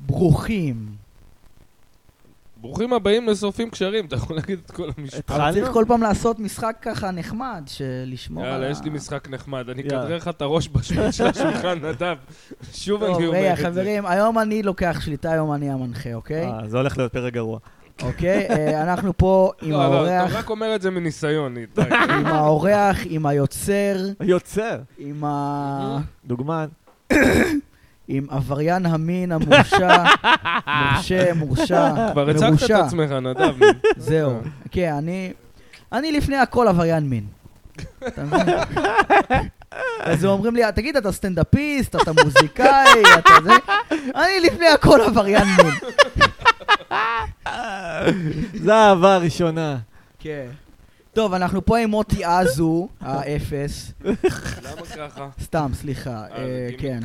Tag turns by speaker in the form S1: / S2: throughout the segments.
S1: ברוכים.
S2: ברוכים הבאים לשורפים קשרים, אתה יכול להגיד את כל המשפט.
S1: אבל צריך כל פעם לעשות משחק ככה נחמד, שלשמור על ה...
S2: לא- יאללה, יש לי משחק נחמד, אני
S3: אה. יאללה.
S2: אכדרר לך את הראש בשביל של השולחן, נדב. שוב
S1: טוב,
S2: אני
S1: רגע,
S2: אומר את זה.
S1: חברים, היום אני לוקח שליטה, היום אני המנחה, אוקיי?
S3: אה, זה הולך להיות פרק גרוע.
S1: אוקיי, אה, אנחנו פה עם
S2: לא, לא, אתה
S1: האורח,
S2: רק אומר את זה מניסיון, איתי.
S1: עם האורח, עם היוצר,
S3: יוצר.
S1: עם ה...
S3: דוגמן.
S1: עם עבריין המין המורשע, מורשה, מורשע,
S2: כבר הצגת את
S1: מרושע.
S2: עצמך, נדב.
S1: זהו.
S4: אה.
S1: כן, אני... אני לפני הכל עבריין מין. אתה מבין? אז הם אומרים לי, תגיד, אתה סטנדאפיסט, אתה מוזיקאי, אתה זה... אני לפני הכל עבריין מין.
S3: זה האהבה הראשונה.
S1: כן. טוב, אנחנו פה עם מוטי עזו, האפס.
S2: למה ככה?
S1: סתם, סליחה.
S2: זה
S1: אה,
S2: גימיק.
S1: כן.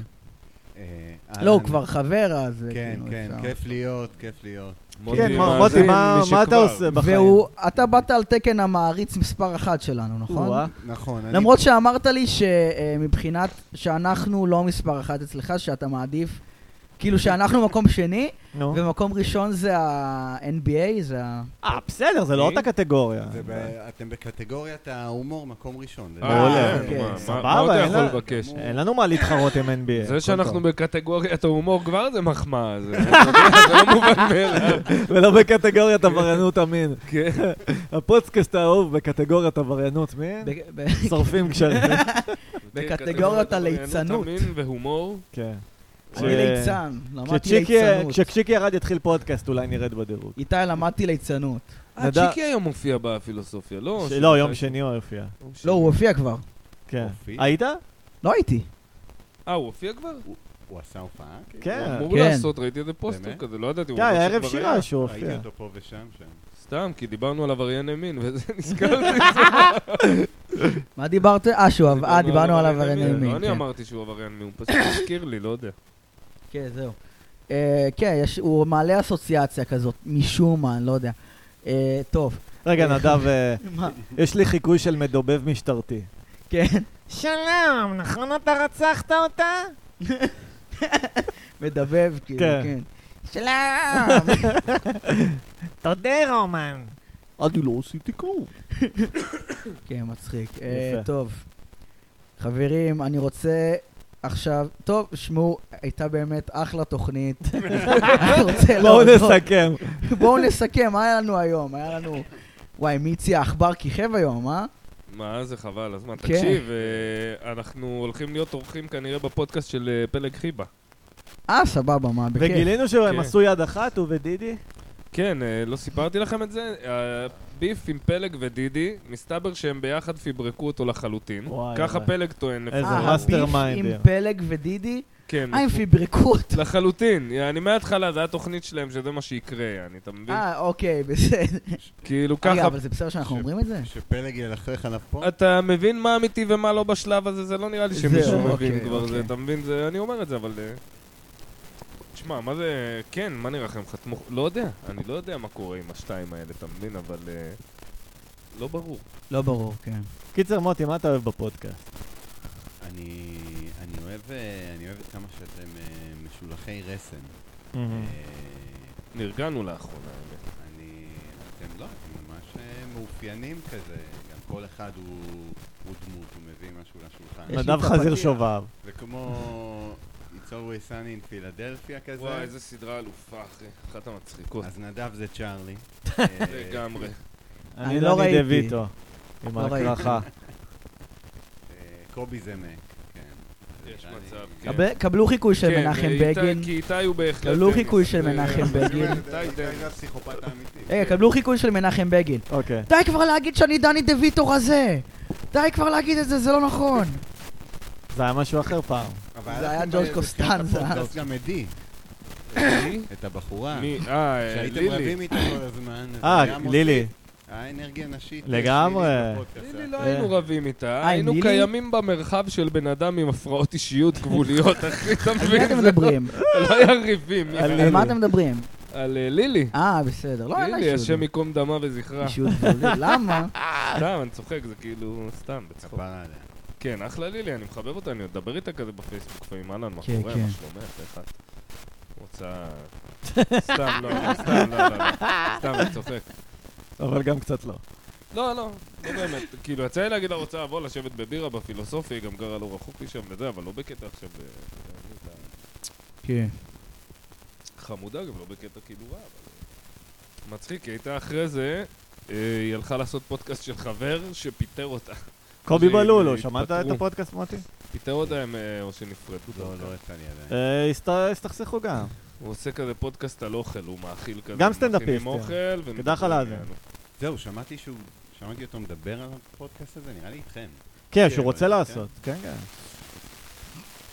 S4: אה,
S1: לא, הוא
S4: אהלן.
S1: כבר חבר, אז...
S4: כן,
S1: כאילו,
S4: כן,
S1: אפשר.
S4: כיף להיות, כיף להיות.
S3: כן,
S2: מאזין,
S3: מה- מוטי, מה-
S2: מי
S3: מה אתה
S2: שכבר.
S3: עושה בחיים?
S1: והוא, אתה באת על תקן המעריץ מספר אחת שלנו, נכון?
S3: או-אה.
S4: נכון, אני...
S1: למרות שאמרת לי שמבחינת, שאנחנו לא מספר אחת אצלך, שאתה מעדיף, כאילו שאנחנו מקום שני,
S3: נו.
S1: ומקום ראשון זה ה-NBA, זה ה...
S3: אה, בסדר, זה לא
S2: אה?
S3: אותה קטגוריה.
S4: זה ב- אתם בקטגוריית ההומור מקום ראשון.
S2: אה,
S3: מעולה. כן,
S2: אוקיי. מה- מה-
S3: סבבה,
S2: מה עוד
S3: אין
S2: אתה יכול
S3: לה-
S2: לבקש?
S3: אין לנו מה להתחרות עם NBA. הכל
S2: זה שאנחנו
S3: טוב.
S2: בקטגוריית ההומור כבר זה מחמאה, זה אתה יודע, זה לא מובן מאליו.
S3: ולא בקטגוריית עבריינות המין.
S2: כן.
S3: הפודקאסט האהוב בקטגוריית עבריינות
S2: כן.
S3: מין.
S1: ב- ב-
S3: שורפים קשרים.
S1: בקטגוריית הליצנות.
S2: עבריינות המין והומור.
S3: כן.
S1: אני ליצן, למדתי
S3: כשצ'יקי-
S1: ליצנות.
S3: כשצ'יקי ירד יתחיל פודקאסט, אולי נרד בדירוג.
S1: איתי, למדתי ליצנות.
S2: אה,
S3: נדב-
S2: צ'יקי היום מופיע בפילוסופיה, לא?
S3: לא, יום שני הוא יופיע.
S2: יום שני.
S1: לא, הוא הופיע כבר.
S3: כן.
S4: הופיע?
S3: היית?
S1: לא הייתי.
S2: אה, הוא הופיע כבר?
S4: הוא עשה הופעה?
S3: כן.
S2: הוא אמור
S1: כן.
S2: לעשות, ראיתי איזה פוסטר
S4: באמת?
S2: כזה, לא ידעתי. הוא
S3: כן, היה
S2: ממש
S3: ערב
S2: כבר
S3: שירה שהוא
S4: ראיתי
S3: הופיע.
S4: אותו פה ושם, שם.
S2: סתם, כי דיברנו על עברייני מין, וזה נזכרתי.
S1: מה דיברת? אה, שוב,
S2: לא
S1: אה, דיברנו עליו על כן.
S2: מין.
S1: הנעימים.
S2: לא אני אמרתי שהוא עבריין מין, הוא פשוט הזכיר לי, לא יודע.
S1: כן, זהו. אה, כן, יש- הוא מעלה אסוציאציה כזאת, משום מה, אני לא יודע. אה, טוב.
S3: רגע, נדב, אה,
S1: מה?
S3: יש לי חיקוי של מדובב משטרתי.
S1: כן.
S3: שלום, נכון אתה רצחת אותה?
S1: מדבב, כאילו,
S3: כן.
S1: כן. שלום!
S3: תודה, רומן. אני לא עשיתי כלום.
S1: כן, מצחיק. אה,
S3: יפה.
S1: טוב. חברים, אני רוצה עכשיו... טוב, שמעו, הייתה באמת אחלה תוכנית. אני רוצה
S3: בואו
S1: להודות.
S3: נסכם.
S1: בואו נסכם, מה היה לנו היום? היה לנו... וואי, מיצי העכבר כיכב היום, אה?
S2: מה זה חבל, אז מה,
S1: כן.
S2: תקשיב, אה, אנחנו הולכים להיות אורחים כנראה בפודקאסט של אה, פלג חיבה.
S1: אה, סבבה, מה, בכיף.
S3: וגילינו שהם
S2: כן.
S3: עשו יד אחת, הוא ודידי.
S2: כן, אה, לא סיפרתי לכם את זה? הביף עם פלג ודידי, מסתבר שהם ביחד פברקו אותו לחלוטין.
S3: וואי,
S2: ככה
S3: וואי.
S2: פלג טוען.
S3: איזה
S2: לפחות.
S1: אה,
S3: מאסטר
S1: הביף
S3: מיינד.
S1: עם פלג ודידי,
S2: כן.
S1: אה, הם פברקו אותו.
S2: לחלוטין, אני מההתחלה, זה התוכנית שלהם, שזה מה שיקרה, יעני, אתה מבין?
S1: אה, אוקיי, בסדר.
S2: כאילו
S1: רגע,
S2: ככה,
S1: אוקיי, אבל זה בסדר שאנחנו אומרים את זה?
S4: שפלג ילכלך עליו פה?
S2: אתה מבין מה אמיתי ומה לא בשלב הזה, זה לא נראה לי
S1: זהו,
S2: שמישהו
S1: אוקיי,
S2: מבין כבר
S1: אוקיי.
S2: זה, אתה מבין? זה- אני אומר את זה, אבל... אה, תשמע, מה זה... כן, מה נראה לכם? חתמו... לא יודע, אני לא יודע מה קורה עם השתיים האלה, אתה מבין? אבל... אה, לא ברור.
S1: לא ברור, כן.
S3: קיצר, מוטי, מה אתה אוהב בפודקאסט?
S4: אני אני אוהב אה, אני אוהב את כמה שאתם אה, משולחי רסן.
S3: Mm.
S4: אה,
S2: נרגענו לאחרונה, האמת.
S4: אני... אתם לא, אתם ממש אה, מאופיינים כזה. גם כל אחד הוא הוא דמות, הוא מביא משהו לשולחן.
S1: יש לי
S3: נדב
S1: את
S3: חזיר
S1: הפתיח.
S3: שובב.
S4: זה כמו... It's always sunny in Philadelphia כזה.
S2: וואי, איזה סדרה אלופה, אחי. אחת המצחיקות.
S4: אז נדב זה צ'ארלי.
S2: לגמרי.
S1: אני
S3: אני
S1: לא
S3: דני
S1: ראיתי.
S3: דויטו. עם
S1: לא ראיתי.
S3: ההקרחה.
S4: אה, קובי זמק, כן.
S2: יש
S4: אני-
S2: מצב, כן.
S1: קבל- קבלו חיקוי של
S2: כן,
S1: מנחם
S2: איתי-
S1: בגין.
S2: כי איתי הוא בהחלט...
S1: קבלו
S2: דניס.
S1: חיקוי של
S2: אה,
S1: מנחם
S2: אה,
S1: בגין.
S4: זה
S2: איתי דניס.
S4: זה הפסיכופת האמיתי.
S1: רגע,
S2: כן.
S1: קבלו חיקוי של מנחם בגין.
S3: אוקיי.
S1: די כבר להגיד שאני דני דה ויטו רזה! די כבר להגיד את זה, זה לא נכון!
S3: זה היה משהו אחר פעם.
S4: אבל
S1: זה היה
S4: אנחנו
S1: ג'ורג'
S4: ב-
S1: קוסטנזה.
S4: בתחילת כאילו הפודקאסט גם עדי,
S2: מי?
S4: את הבחורה.
S2: מי? אה,
S4: שהייתם
S2: לילי.
S4: רבים איתה כל הזמן. אז זה
S3: אה,
S4: היה מוסיף
S3: לילי.
S4: האנרגיה הנשית.
S3: לגמרי.
S4: שלילית בפודקאסט.
S2: לילי לא היינו
S3: אה.
S2: רבים איתה,
S1: אה, עם
S2: היינו
S1: לילי?
S2: קיימים במרחב של בן אדם עם הפרעות אישיות גבוליות, אחי, אתה
S1: על מי אתם
S2: מבין? זה
S1: מדברים?
S2: לא היה ריבים.
S3: על
S2: אה,
S1: על מה אתם מדברים?
S2: על אה, לילי.
S1: אה, בסדר. לא, אין לה
S2: לילי, השם
S1: אישיות.
S2: ייקום דמה וזכרה.
S1: אישיות גבולית. למה?
S2: סתם, אני צוחק, זה כאילו, סתם, בצחוק.
S4: כפרה עליה.
S2: כן, אחלה לילי, אני מחבב אותה, אני עוד אדבר איתה כזה בפייסבוק לפעמים, אהלן, מה
S1: כן,
S2: קורה,
S1: כן.
S2: מה שלומך, איך את? רוצה סתם לא, לא, סתם לא, לא, לא. סתם, אני צוחק.
S3: אבל גם קצת לא.
S2: לא, לא, לא באמת. כאילו, יצא לי להגיד לרוצה, בוא לשבת בבירה בפילוסופי, גם גרה לא רחוק משם וזה, אבל לא בקטע עכשיו... אה, אתה יודע,
S1: כן.
S2: חמודה גם, לא בקטע כאילו רע, אבל... מצחיק, היא הייתה אחרי זה, אה, היא הלכה לעשות פודקאסט של חבר שפיטר אותה.
S3: קובי
S2: זה-
S3: בלולו,
S2: זה
S3: שמעת את
S2: התפטרו.
S3: הפודקאסט, מוטי?
S2: פיטר אותה הם, אה, או שנפרדו.
S4: לא,
S2: דווקא.
S4: לא יצא לי עדיין.
S3: אה, הסת- הסתכסכו גם.
S2: הוא עושה כזה פודקאסט על אוכל, הוא מאכיל כזה.
S3: גם סטנדאפיסט,
S2: מכינים
S3: כן.
S2: אוכל. ומדברים
S3: לך להאזין.
S2: עלינו.
S4: זהו, שמעתי שהוא... שמעתי אותו מדבר על הפודקאסט הזה, נראה לי איתכם.
S3: כן,
S4: כן,
S3: שהוא רוצה
S4: כן.
S3: לעשות. כן, כן.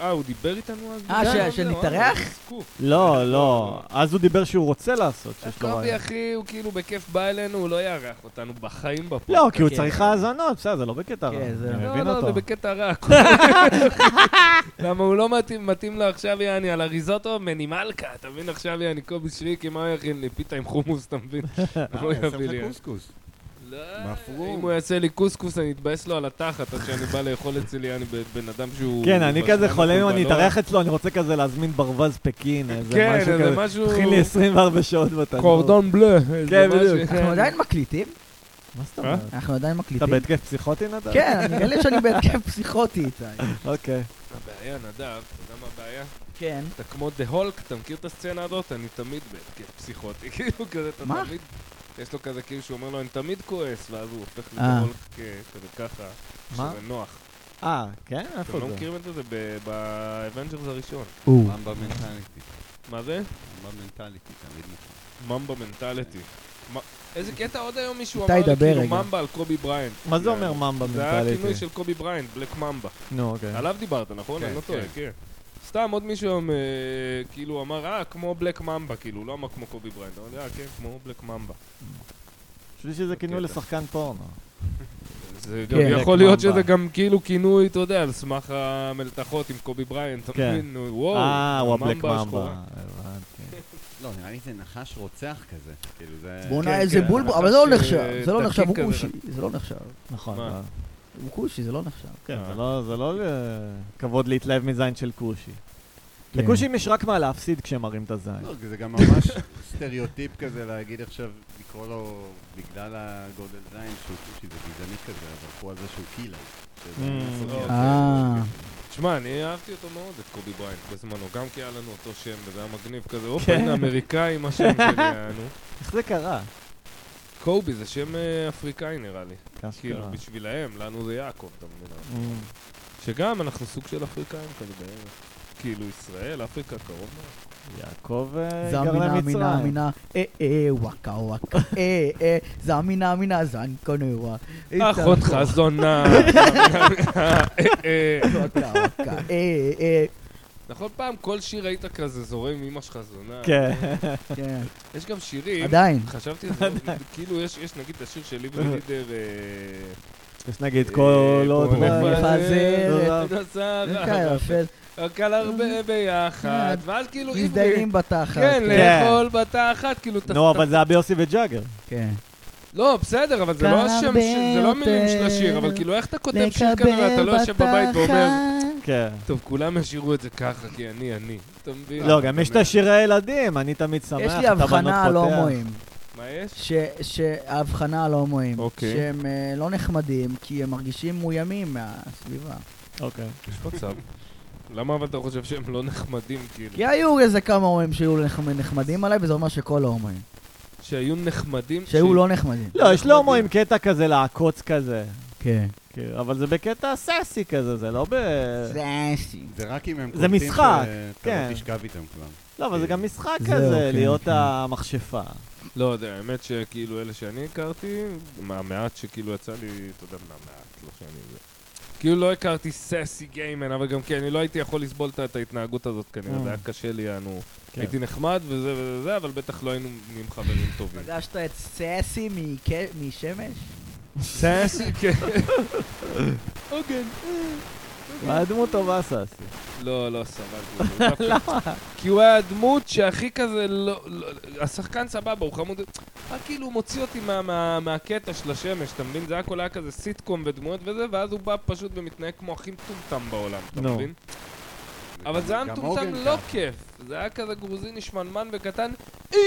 S2: אה, הוא דיבר איתנו אז?
S1: אה, ש-
S2: כן,
S1: של
S2: זהו,
S1: להתארח?
S2: אה, זה זקוף.
S3: לא, לא. אז הוא דיבר שהוא רוצה לעשות, שיש לו
S2: קובי
S3: רעיון.
S2: אחי, הוא כאילו בכיף בא אלינו, הוא לא יארח אותנו בחיים בפודקאסט.
S3: לא, כי הוא
S1: כן.
S3: צריך האזנות, בסדר, זה לא בקטע רע.
S1: כן, זה-
S3: אני
S2: לא,
S3: מבין
S2: לא, זה
S3: אותו.
S2: בקטע רע. למה הוא לא מתאים, מתאים לו עכשיו, יעני, על אריזוטו מנימלקה, אתה מבין עכשיו, יעני, קובי שריקי, מה הוא יכין לי? פיתה עם חומוס, אתה מבין? לא
S4: למה? אני אעשה
S2: יביא לי.
S4: לך קוסקוס.
S2: לא,
S4: מפרום.
S2: אם הוא יעשה לי קוסקוס, אני אתבאס לו על התחת, אז כשאני בא לאכול אצלי, יעני, בן אדם שהוא...
S3: כן, אני כזה
S2: בשניים
S3: חולם אם אני
S2: בבלון.
S3: אתארח אצלו, אני רוצה כזה להזמין ברווז פקין, איזה
S2: לא. כן,
S3: משהו
S2: איזה
S3: כזה.
S2: משהו...
S3: תכין לי 24 שעות בתנור.
S2: קורדון בלה. איזה
S3: כן,
S2: משהו,
S3: בדיוק.
S2: כן.
S1: אנחנו עדיין מקליטים?
S3: מה
S2: אה?
S3: זאת אומרת?
S1: אנחנו עדיין
S3: אתה
S1: מקליטים.
S3: בהתקף פסיכוטי נדב?
S1: כן, אני- נראה לי שאני בהתקף פסיכוטי איתי.
S3: אוקיי.
S2: הבעיה, נדב, אתה יודע מה הבעיה?
S1: כן.
S2: אתה כמו דה הולק, אתה מכיר את הסצנה הזאת? אני תמיד בהתקף פסיכוטי, כאילו כזה, אתה
S1: מה?
S2: תמיד... יש לו כזה כאילו שהוא אומר לו, אני תמיד כועס, ואז הוא הופך
S1: אה.
S2: לדה הולק כ- כזה ככה,
S3: מה?
S2: שזה נוח.
S3: אה, כן? איפה
S2: אתם לא
S3: זה?
S2: מכירים את זה? זה ב- באבנג'רס הראשון.
S4: ממבה מנטליטי.
S2: מה זה?
S4: ממבה מנטליטי, תמיד נכון. מוכן.
S2: ממבה מנטליטי. מה- איזה קטע עוד היום מישהו
S1: איתי,
S2: אמר לי
S1: דבר
S2: כאילו
S1: רגע.
S2: ממבה על קובי בריינט.
S3: מה זה אומר ממבה
S2: זה היה הכינוי
S3: מנטליטי?
S2: של קובי בריינט, בלק ממבה.
S3: נו, אוקיי.
S2: עליו דיברת, נכון?
S4: כן,
S2: אני לא טועה,
S4: כן.
S2: כן. סתם עוד מישהו היום, אה, כאילו אמר, אה, כמו בלק ממבה, כאילו, לא אמר כמו קובי בריינד, אבל אה, כן, כמו בלק ממבה.
S3: חשבתי שזה כינוי
S2: קטע.
S3: לשחקן פורנו.
S2: זה
S1: כן.
S2: גם
S1: בלק
S2: יכול להיות
S3: ממבה.
S2: שזה גם כאילו כינוי, אתה יודע, על סמך המלתחות עם קובי בריינד, אתה
S3: כן.
S2: מבין? נו, וואו,
S3: אה, הוא הבלק
S2: הממבה השחורה.
S3: ממבה. הבנתי.
S4: לא, נראה לי זה נחש רוצח כזה. כאילו זה...
S1: בואנה
S2: כן,
S1: איזה
S2: כן,
S1: בולבול,
S2: נחש,
S1: אבל זה לא
S2: אה,
S1: נחשב, זה לא
S2: תפקיד
S1: נחשב, הוא
S2: כזה.
S1: כושי, זה לא נחשב.
S3: נכון.
S2: מה? אה.
S3: אבל-
S1: הוא כושי, זה לא נחשב.
S3: כן, זה לא- זה לא ל- כבוד להתלהב מזין של כושי.
S1: כן.
S3: לכושים יש רק מה להפסיד כשמראים את הזין.
S4: לא, זה גם ממש סטריאוטיפ כזה להגיד עכשיו, לקרוא לו בגלל הגודל זין שהוא כושי, זה גזעני כזה, אז הלכו על זה שהוא קילר. שזה
S3: Mm.
S4: סוגייה.
S2: אוקיי.
S1: אה,
S2: תשמע, אני אהבתי אותו מאוד, את קובי בריינד, בזמנו, גם כי היה לנו אותו שם, וזה היה מגניב כזה, הופה,
S3: כן.
S2: הנה אמריקאי עם השם שלי, היה, נו.
S3: איך זה קרה?
S2: קובי זה שם אה, אפריקאי נראה לי. כאילו,
S3: אשכרה.
S2: בשבילהם, לנו זה יעקב, אתה מבין?
S3: אמ,
S2: שגם אנחנו סוג של אפריקאים כזה בערך. כאילו, ישראל, אפריקה, קרוב מאוד.
S3: יעקב אה, גר
S1: זמינה מינה
S3: למצרים.
S1: מינה, אה אה וואקה וואקה, אה אה, זמינה מינה זנקונווה.
S2: אחותך זונה. אה,
S1: וואקה וואקה, אה אה,
S2: נכון, פעם כל שיר היית כזה זורם עם אמא שלך זונה.
S3: כן.
S1: כן,
S2: יש גם שירים,
S1: עדיין.
S2: חשבתי, על זה, כאילו, יש יש נגיד את השיר של ליברי לידר, אה,
S3: יש נגיד
S2: אה,
S3: כל עוד... לא אה,
S2: בוא
S1: רע
S2: נפזר
S1: יפזר
S2: את השרה.
S1: זה קל, אפל,
S2: הכל הרבה ביחד, ואז כאילו, עברי,
S1: מזדיינים בתחת.
S2: כן,
S3: כן.
S2: לאכול בתחת, כאילו, אתה-
S3: נו,
S2: אתה-
S3: אבל זה היה ביוסי וג'אגר.
S1: כן.
S2: לא, בסדר, אבל זה לא
S1: קל
S2: השם, ש- זה לא
S1: הרבה
S2: המילים של השיר, אבל
S1: יותר
S2: כאילו, איך אתה כותב שיר כזה
S1: לקבל
S2: ואתה לא יושב בבית ואומר,
S1: בתחת.
S3: כן.
S2: טוב, כולם ישאירו את זה ככה, כי אני, אני. אה, אתה מבין?
S3: לא, גם יש את השיר הילדים, אני תמיד שמח,
S1: יש
S3: אתה
S1: לי
S3: בנות פותח.
S1: הבחנה על הומואים.
S2: מה יש?
S1: ש- שההבחנה על הומואים,
S2: אוקיי.
S1: שהם אה, לא נחמדים כי הם מרגישים מאוימים מהסביבה.
S3: אוקיי.
S2: יש מצב. למה אבל אתה חושב שהם לא נחמדים, כאילו?
S3: כן.
S1: כי היו איזה כמה הומואים שהיו נחמ- נחמדים עליי, וזה אומר שכל ההומואים.
S2: שהיו נחמדים?
S1: שהיו לא נחמדים.
S3: לא, יש להומואים קטע כזה לעקוץ כזה.
S1: כן.
S3: כאילו, אבל זה בקטע סאסי כזה, זה לא ב...
S1: זה אסי.
S4: זה רק אם הם
S3: זה
S4: קולטים
S3: משחק,
S4: שאתה
S3: כן.
S4: לא תשכב איתם כבר.
S3: לא, אבל זה גם משחק
S1: זהו,
S3: כזה,
S1: כן,
S3: להיות
S1: כן.
S3: המכשפה.
S2: לא יודע, האמת שכאילו אלה שאני הכרתי, מהמעט שכאילו יצא לי, אתה יודע, מהמעט, לא שאני זה. כאילו לא הכרתי סאסי גיימן, אבל גם כן, אני לא הייתי יכול לסבול את- את ההתנהגות הזאת כנראה,
S3: Mm.
S2: זה היה קשה לי, יענו.
S3: כן.
S2: הייתי נחמד וזה וזה, וזה, אבל בטח לא היינו נהיים חברים טובים.
S1: פגשת את סאסי מכ- משמש?
S2: סאסי, כן. אוקיי. הוגן.
S3: מה דמות טובה סאסי?
S2: לא, לא, סבבה.
S3: לא.
S2: למה? כי הוא היה הדמות שהכי כזה לא... לא- השחקן סבבה, הוא חמוד. רק כאילו הוא מוציא אותי מה- מה- מהקטע של השמש, אתה מבין? זה הכל היה כזה סיטקום ודמויות וזה, ואז הוא בא פשוט ומתנהג כמו הכי מטומטם בעולם, אתה
S3: נו.
S2: מבין? אבל זה היה
S4: גם
S2: מטומטם
S4: הוגן
S2: לא
S4: ככה.
S2: כיף. זה היה כזה גרוזיני שמנמן וקטן, "אה,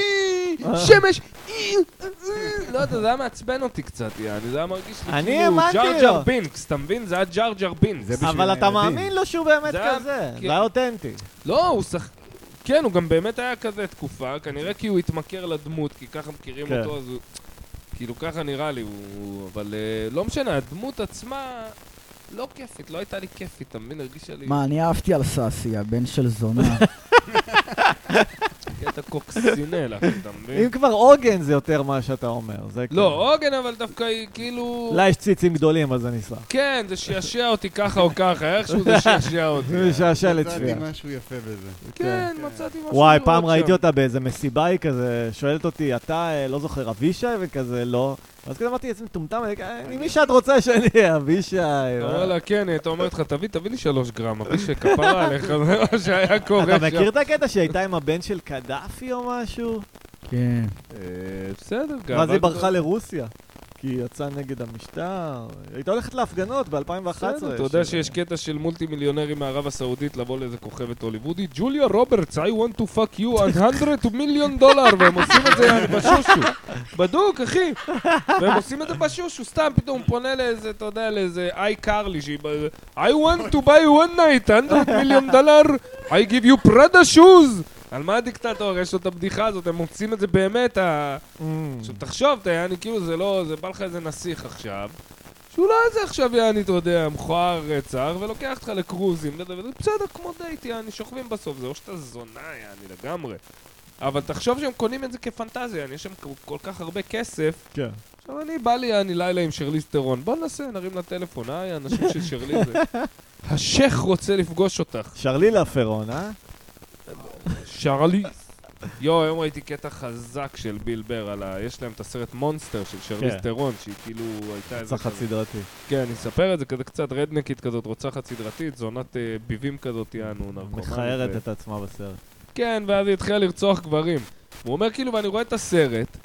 S2: שמש, אה, אה, אה." לא יודע, זה היה מעצבן אותי קצת, יעני, זה היה מרגיש לי
S3: אני
S2: כאילו
S3: האמנתי
S2: ג'אר ג'אר
S3: לו.
S2: בינקס, אתה מבין? זה היה ג'אר ג'אר בינקס.
S4: זה בשביל
S3: אבל אתה
S4: הילדים.
S3: מאמין לו שהוא באמת
S2: זה היה-
S3: כזה,
S2: כן.
S3: זה היה אותנטי.
S2: לא, הוא שח... כן, הוא גם באמת היה כזה תקופה, כנראה כי הוא התמכר לדמות, כי ככה מכירים
S3: כן.
S2: אותו, אז הוא... כאילו, ככה נראה לי, הוא... אבל אה, לא משנה, הדמות עצמה לא כיפית, לא הייתה לי כיפית, אתה מבין? הרגישה לי...
S1: מה, אני אהבתי על סאסי, הבן של זונה.
S2: כי אתה קוקסינל, אחי, אתה מבין?
S3: אם כבר עוגן זה יותר מה שאתה אומר, זה
S2: לא,
S3: כאילו-
S2: עוגן, אבל דווקא היא כאילו...
S3: לה יש ציצים גדולים, אז אני אסלח.
S2: כן, זה שישע אותי ככה או ככה, איכשהו זה שישע אותי.
S3: זה משעשע לצביעה.
S4: מצאתי משהו יפה בזה.
S2: כן, מצאתי משהו...
S3: וואי,
S2: לראות
S3: פעם ראיתי
S2: שם.
S3: אותה באיזה מסיבה, היא כזה שואלת אותי, אתה, אה, לא זוכר, אבישי? וכזה, לא. ואז כזה אמרתי, איזה מטומטם, אני כזה, "אה, מי שאת רוצה שאני אהיה, אבישי.
S2: אתה
S3: מה?"
S2: אומר לה, כן, היא הייתה אומרת לך, תביא, תביא לי שלוש גרם, אבי שכפרה עליך, זה מה שהיה קורה שם.
S3: אתה מכיר את הקטע שהיא הייתה עם הבן של קדאפי או משהו?
S1: כן.
S2: אה, בסדר, גאווה
S3: ואז היא
S2: גדולה.
S3: ברחה לרוסיה. כי היא יצאה נגד המשטר. היא הייתה הולכת להפגנות ב-2011.
S2: בסדר, אתה יודע שיש קטע של מולטי מיליונרים מערב הסעודית לבוא לאיזה כוכבת הוליוודית? ג'וליה רוברטס, I want to fuck you 100 מיליון דולר, והם עושים את זה בשושו. בדוק, אחי. והם עושים את זה בשושו, סתם פתאום פונה לאיזה, אתה יודע, לאיזה איי קרלי שהיא... ב- I want to buy one night 100 מיליון דולר, I give you prada shoes. על מה הדיקטטור? יש לו את הבדיחה הזאת, הם עושים את זה באמת, ה...
S3: Mm.
S2: עכשיו תחשוב, אתה יעני, כאילו זה לא, זה בא לך איזה נסיך עכשיו, שהוא לא איזה עכשיו יעני, אתה יודע, מכוער רצח, ולוקח אותך לקרוזים, וזה- וזה בסדר, כמו דייט, יעני, שוכבים בסוף, זה או שאתה זונה, יעני, לגמרי. אבל תחשוב שהם קונים את זה כפנטזיה, יעני, יש שם כל- כל כך הרבה כסף.
S3: כן.
S2: עכשיו אני בא לי, יעני, לילה עם שרליז טרון, בוא ננסה, נרים לה טלפון, היי, האנשים של שרליז. זה- השייח רוצה לפגוש אותך.
S3: שרלילה פרון, אה?
S2: שרליז. יואו, היום ראיתי קטע חזק של ביל בר על ה... יש להם את הסרט מונסטר של שרליז
S3: כן.
S2: טרון, שהיא כאילו הייתה איזה...
S3: צחת
S2: כזה-
S3: סדרתי.
S2: כן, אני אספר את זה כזה קצת רדנקית כזאת, רוצחת סדרתית, זונת אה, ביבים כזאת, יענו, נרקומנית.
S3: מכערת
S2: ו-
S3: את עצמה בסרט.
S2: כן, ואז היא התחילה לרצוח גברים. הוא אומר כאילו, ואני רואה את הסרט,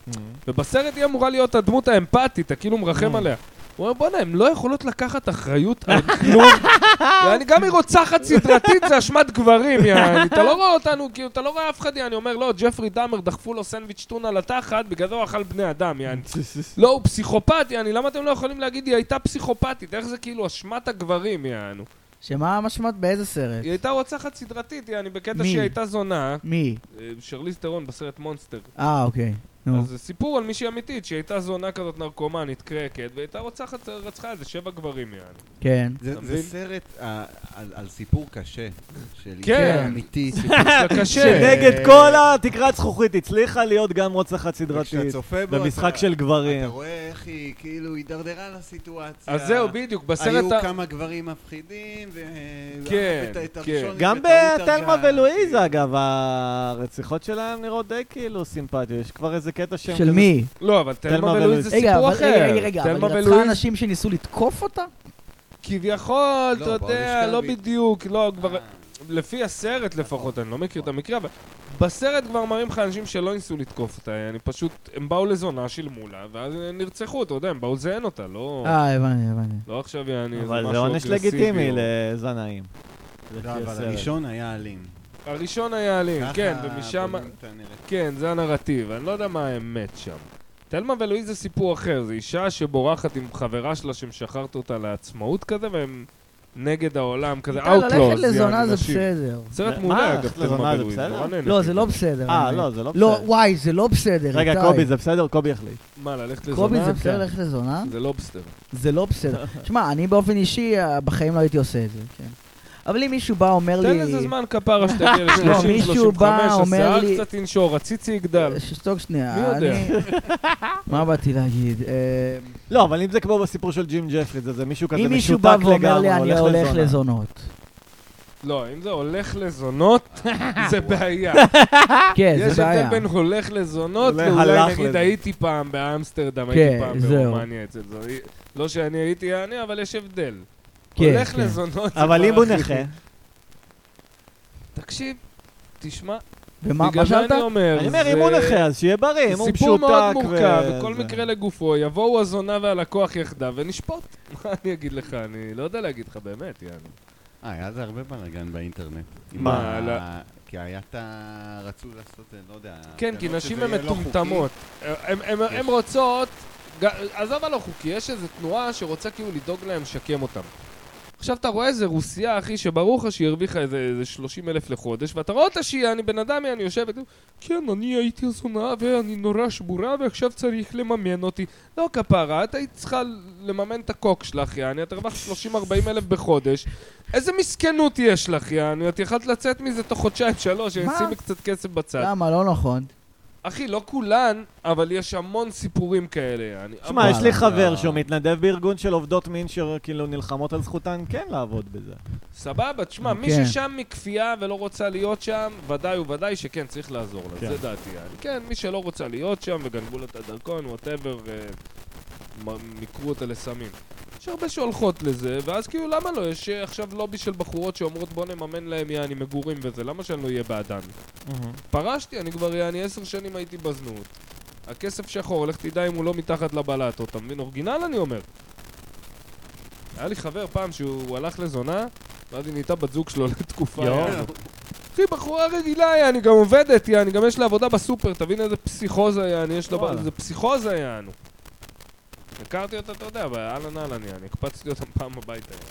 S2: ובסרט היא אמורה להיות הדמות האמפתית, אתה כאילו מרחם
S3: Mm.
S2: עליה. הוא אומר, בואנה, הן לא יכולות לקחת אחריות על כלום. יעני, גם היא רוצחת סדרתית, זה אשמת גברים, יעני. אתה לא רואה אותנו, כאילו, אתה לא רואה אף אחד, יעני. אומר, לא, ג'פרי דאמר דחפו לו סנדוויץ' טונה לתחת, בגלל זה הוא אכל בני אדם, יעני. לא, הוא פסיכופת, יעני, למה אתם לא יכולים להגיד, היא הייתה פסיכופתית? איך זה כאילו אשמת הגברים, יענו?
S1: שמה המשמעות באיזה סרט?
S2: היא הייתה רוצחת סדרתית, יעני, בקטע
S1: מי?
S2: שהיא הייתה זונה,
S1: מי?
S2: אה, שרליז טרון בסרט מונסטר.
S1: אה, אוקיי. נו.
S2: אז זה סיפור על מישהי אמיתית, שהיא הייתה זונה כזאת נרקומנית, קרקת, והייתה רוצחת, רצחה איזה שבע גברים, יעני.
S1: כן.
S4: זה-
S2: אתה
S4: זה
S2: מבין?
S4: סרט אה, על על סיפור קשה. של
S2: כן.
S4: אישה אמיתי. סיפור
S2: זה קשה.
S3: כן. שנגד כל התקרת זכוכית הצליחה להיות גם רוצחת
S4: כשאתה
S3: סדרתית.
S4: צופה בו,
S3: במשחק
S4: אתה-
S3: של
S4: אתה
S3: גברים.
S4: רואה איך היא כאילו הידרדרה לסיטואציה.
S2: אז זהו, בדיוק, בסרט... ה-
S4: היו כמה גברים מפחידים, ו...
S2: כן,
S4: ואף את- את
S2: כן.
S4: הראשון
S3: גם
S4: בטעות
S3: בתלמה
S4: הרגה.
S3: ולואיזה, אגב, הרציחות שלהם נראות די כאילו סימפטיות. יש כבר איזה קטע שהם...
S1: של
S3: כזה-
S1: מי?
S2: לא, אבל תלמה
S3: תלמה
S2: ולואיז
S3: ולואיז.
S2: זה
S1: רגע,
S2: סיפור
S1: אבל
S2: אחר.
S1: רגע, רגע, רגע, אבל
S2: תלמה
S1: היא רצחה
S2: ולואיז
S1: אנשים שניסו לתקוף אותה?
S2: כביכול,
S4: לא,
S2: אתה
S4: בוא
S2: יודע,
S4: נשכב
S2: לא
S4: איתה.
S2: בדיוק, לא, כבר...
S4: אה,
S2: לפי הסרט לפחות, אני לא מכיר את המקרה, אבל בסרט כבר מראים לך אנשים שלא ניסו לתקוף אותה, אני פשוט, הם באו לזונה, שילמו לה, ואז נרצחו, אתה יודע, הם באו לזיין אותה, לא...
S1: אה, הבנתי, הבנתי.
S2: לא עכשיו יעני איזה משהו
S3: אבל זה עונש
S2: אגרסיבי
S3: לגיטימי
S2: או-
S3: לזנאים. לפי
S4: לא, אבל
S3: הסרט.
S4: הראשון היה אלים.
S2: הראשון היה אלים, כן,
S4: ככה
S2: ומשם...
S4: בונים את הנרטיב.
S2: כן, זה הנרטיב, אני לא יודע מה האמת שם. תלמה ולואיז זה סיפור אחר, זו אישה שבורחת עם חברה שלה שמשחררת אותה לעצמאות כזה, והם נגד העולם, כזה
S1: איתה
S2: Outlaws.
S1: כן, ללכת לזונה
S2: יעני,
S1: זה
S2: נשים.
S1: בסדר.
S2: סרט
S3: מה,
S2: מעולה, אגב,
S3: ללכת
S2: תלמה אוקיי.
S3: לזונה זה
S2: ולואיז.
S3: בסדר?
S2: נורא נהניתי.
S1: לא, זה לא בסדר.
S3: אה,
S1: אני-
S3: לא, זה לא
S1: לא,
S3: בסדר.
S1: וואי, זה לא בסדר,
S3: רגע,
S1: איתי.
S3: קובי, זה בסדר? קובי יחליט.
S2: מה, ללכת לזונה?
S1: קובי, זה
S3: כן.
S1: בסדר ללכת לזונה?
S2: זה לובסטר.
S1: זה לא בסדר. שמע, אני באופן אישי, אה, בחיים לא הייתי עושה את זה, כן. אבל אם מישהו בא אומר לא לי... לא,
S2: תן לזה זמן כפרה שתגיע ל-30,
S1: מישהו
S2: 35,
S1: בא, אומר
S2: השיער
S1: לי-
S2: קצת ינשור, הציצי יגדל.
S1: אה, שתוק שנייה.
S2: מי יודע?
S1: אני- מה באתי להגיד? אה,
S3: לא, אבל אם זה כמו בסיפור של ג'ים ג'פריד, זה- זה מישהו כזה
S1: אם מישהו
S3: משותק
S1: בא
S3: לגמרי,
S1: ואומר לי, אני הולך לזונות.
S2: לא, אם זה הולך לזונות, זה בעיה.
S1: כן,
S2: יש
S1: זה בעיה.
S2: הבדל בין הולך לזונות
S3: אולי
S2: לאולי
S3: הלך
S2: נגיד
S3: לזה.
S2: הייתי פעם באמסטרדם, הייתי
S1: כן,
S2: פעם
S1: זהו.
S2: ברומניה אצל זה. לא שאני הייתי יעני, אבל יש הבדל.
S1: כן,
S2: הולך
S1: כן.
S2: לזונות זה
S3: אבל אם
S2: כבר
S3: הוא
S2: הכי-
S3: נכה,
S2: תקשיב, תשמע,
S1: ומה מה
S2: בגלל זה
S1: שאלת?
S2: אני לא אומר,
S3: אני אומר,
S2: זה-
S3: אם הוא נכה, אז שיהיה בריא, אם הוא
S2: זה
S3: משותק.
S2: סיפור מאוד מורכב,
S3: ו-
S2: וכל
S3: זה.
S2: מקרה לגופו, יבואו הזונה והלקוח יחדיו ונשפוט. מה אני אגיד לך, אני לא יודע להגיד לך באמת, יענו.
S4: אה, היה זה הרבה בלאגן באינטרנט. עם
S3: מה?
S4: ה-
S2: לא.
S4: כי היה את ה... רצו לעשות, אה, לא יודע...
S2: כן, כי
S4: הפגנות
S2: נשים
S4: שזה
S2: הן
S4: יהיה לא חוקי.
S2: מטומטמות. הן
S4: יש.
S2: רוצות, ג- עזוב הלא חוקי, יש איזו תנועה שרוצה כאילו לדאוג להם, לשקם אותם. עכשיו אתה רואה איזה רוסיה, אחי, שברור לך שהיא הרוויחה איזה, איזה 30 אלף לחודש, ואתה רואה אותה שהיא, אני בן אדם, אני יושבת, כן, אני הייתי זונה ואני נורא שבורה ועכשיו צריך לממן אותי. לא כפרה, את היית צריכה לממן את הקוק שלך, יעני, את הרווחת 30-40 אלף בחודש. איזה מסכנות יש לך, יעני, את יכלת לצאת מזה תוך חודשיים-שלוש,
S1: מה?
S2: שימי קצת כסף בצד.
S1: למה? לא נכון.
S2: אחי, לא כולן, אבל יש המון סיפורים כאלה. אני...
S3: תשמע, יש לי
S4: וואלה.
S2: אה,
S3: חבר שהוא מתנדב בארגון של עובדות מין שכאילו נלחמות על זכותן כן לעבוד בזה.
S2: סבבה, תשמע, מי
S1: כן.
S2: ששם מכפייה ולא רוצה להיות שם, ודאי וודאי שכן, צריך לעזור לה,
S3: כן.
S2: זה דעתי. אני. כן, מי שלא רוצה להיות שם וגנבו לה את הדרכון, ווטאבר, מיקרו אותה לסמים. יש הרבה שהולכות לזה, ואז כאילו, למה לא? יש אה, עכשיו לובי של בחורות שאומרות בוא נממן להם יעני מגורים וזה, למה שאני לא אהיה בעדן? פרשתי, אני כבר יעני עשר שנים הייתי בזנות. הכסף שחור, לך תדע אם הוא לא מתחת לבלטות, אתה מבין? אורגינל אני אומר. היה לי חבר פעם שהוא הלך לזונה, ואז היא נהייתה בת זוג שלו לתקופה.
S3: יואו.
S2: יעני. אחי, בחורה רגילה, יעני, גם עובדת, יעני, גם יש לה עבודה בסופר, תבין איזה פסיכוזה יעני, יש לה...
S3: וואלה.
S2: ב- זה פסיכוזה יענו. הכרתי אותה, אתה יודע, אבל אהלן אהלן יעני, הקפצתי אותם פעם הביתה. יעני.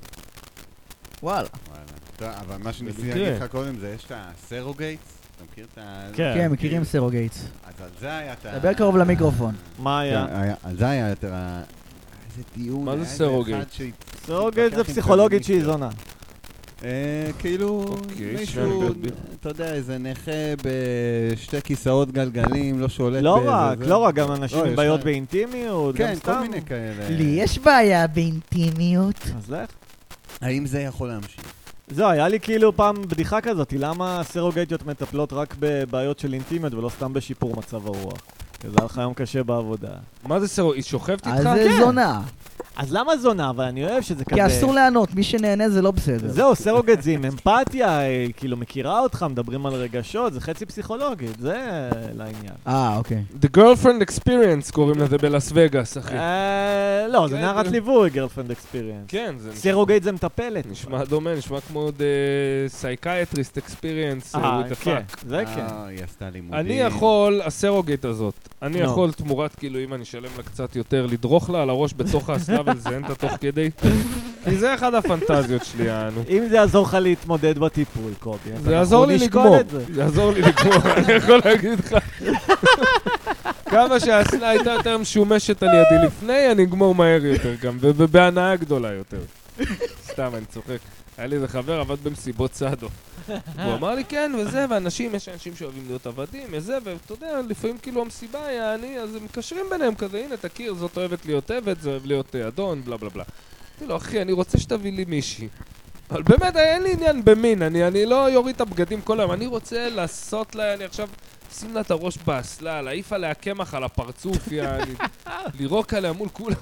S1: וואלה.
S4: וואלה. טוב, אבל מה שניסיתי
S3: במקרה.
S4: להגיד לך קודם זה, יש את הסרוגייטס, אתה מכיר את ה...
S3: כן.
S1: כן, מכירים סרוגייטס.
S4: אז על זה היה את ה...
S1: דבר קרוב למיקרופון.
S3: מה היה?
S4: כן, היה- על זה היה את ה... איזה דיון.
S2: מה זה
S4: היה איזה
S2: סרוגייט?
S4: אחד שהת-
S3: סרוגייט זה
S4: התווכח עם
S3: פסיכולוגית שהיא
S4: פמיניסטיות.
S3: זונה.
S4: אה, כאילו,
S2: אוקיי,
S4: מישהו,
S2: שנייה, אני אגיד.
S4: אתה יודע, איזה נכה בשתי כיסאות גלגלים, לא שולט
S3: לא
S4: באיזה
S3: רק,
S4: זה.
S3: לא רק, גם אנשים
S4: לא,
S3: עם
S4: יש
S3: בעיות
S4: להם-
S3: באינטימיות, גם
S4: כן,
S3: סתם.
S4: כל מיני כאלה.
S1: לי יש בעיה באינטימיות.
S3: אז לך.
S4: האם זה יכול להמשיך?
S3: זהו, היה לי כאילו פעם בדיחה כזאת, למה סרוגייטיות מטפלות רק בבעיות של אינטימיות ולא סתם בשיפור מצב הרוח? כי זה היה לך יום קשה בעבודה.
S2: מה זה סרו? היא שוכבת
S1: אז
S2: איתך?
S1: זה
S3: כן.
S1: זונה.
S3: אז למה זונה? אבל אני אוהב שזה כזה...
S1: כי אסור לענות, מי שנהנה זה לא בסדר.
S3: זהו, סרוגט זה עם אמפתיה, היא כאילו מכירה אותך, מדברים על רגשות, זה חצי פסיכולוגית, זה לעניין.
S1: אה, אוקיי.
S2: The Girlfriend Experience קוראים לזה בלאס וגאס, אחי.
S3: אה, לא, זה
S2: כן,
S3: נערת
S2: כן.
S3: ליווי, גרלפרנד אקספיריאנס.
S2: כן, זה נשמע...
S3: סרוגייט זה מטפלת. אה,
S2: נשמע דומה, נשמע כמו אה, סייקייטריסט אקספיריאנס,
S3: אה,
S2: what the
S3: כן,
S2: fuck.
S3: זה כן.
S4: אה, היא עשתה לימודים.
S2: אני יכול, הסרוגייט הזאת, אני
S3: נו.
S2: יכול תמורת, כאילו, אם אני אשלם לה קצת יותר, לדרוך לה על הראש בתוך האסלה ולזיין אותה תוך כדי? כי זה אחד הפנטזיות שלי, יענו.
S3: אם זה יעזור לך להתמודד בטיפול, קובי.
S2: זה יעזור לי לגמור, זה יעזור לי לגמור, אני יכול להגיד לך. כמה שהאסלה הייתה יותר משומשת על ידי לפני, אני אגמור מהר יותר גם, ובהנאה גדולה יותר. סתם, אני צוחק. היה לי איזה חבר, עבד במסיבות סעדו. והוא אמר לי, כן, וזה, ואנשים, יש אנשים שאוהבים להיות עבדים, וזה, ואתה יודע, לפעמים כאילו המסיבה היה אני, אז הם מקשרים ביניהם כזה, הנה, תכיר, זאת אוהבת להיות עבד, זה אוהב להיות אה, אדון, בלה בלה בלה. אמרתי לו, אחי, אני רוצה שתביא לי מישהי. אבל באמת, אין לי עניין במין, אני, אני לא יוריד את הבגדים כל היום, אני רוצה לעשות לה, אני עכשיו, שים לה את הראש באסלה, להעיף עליה קמח על הפרצוף, יעני, לירוק עליה מול כולם.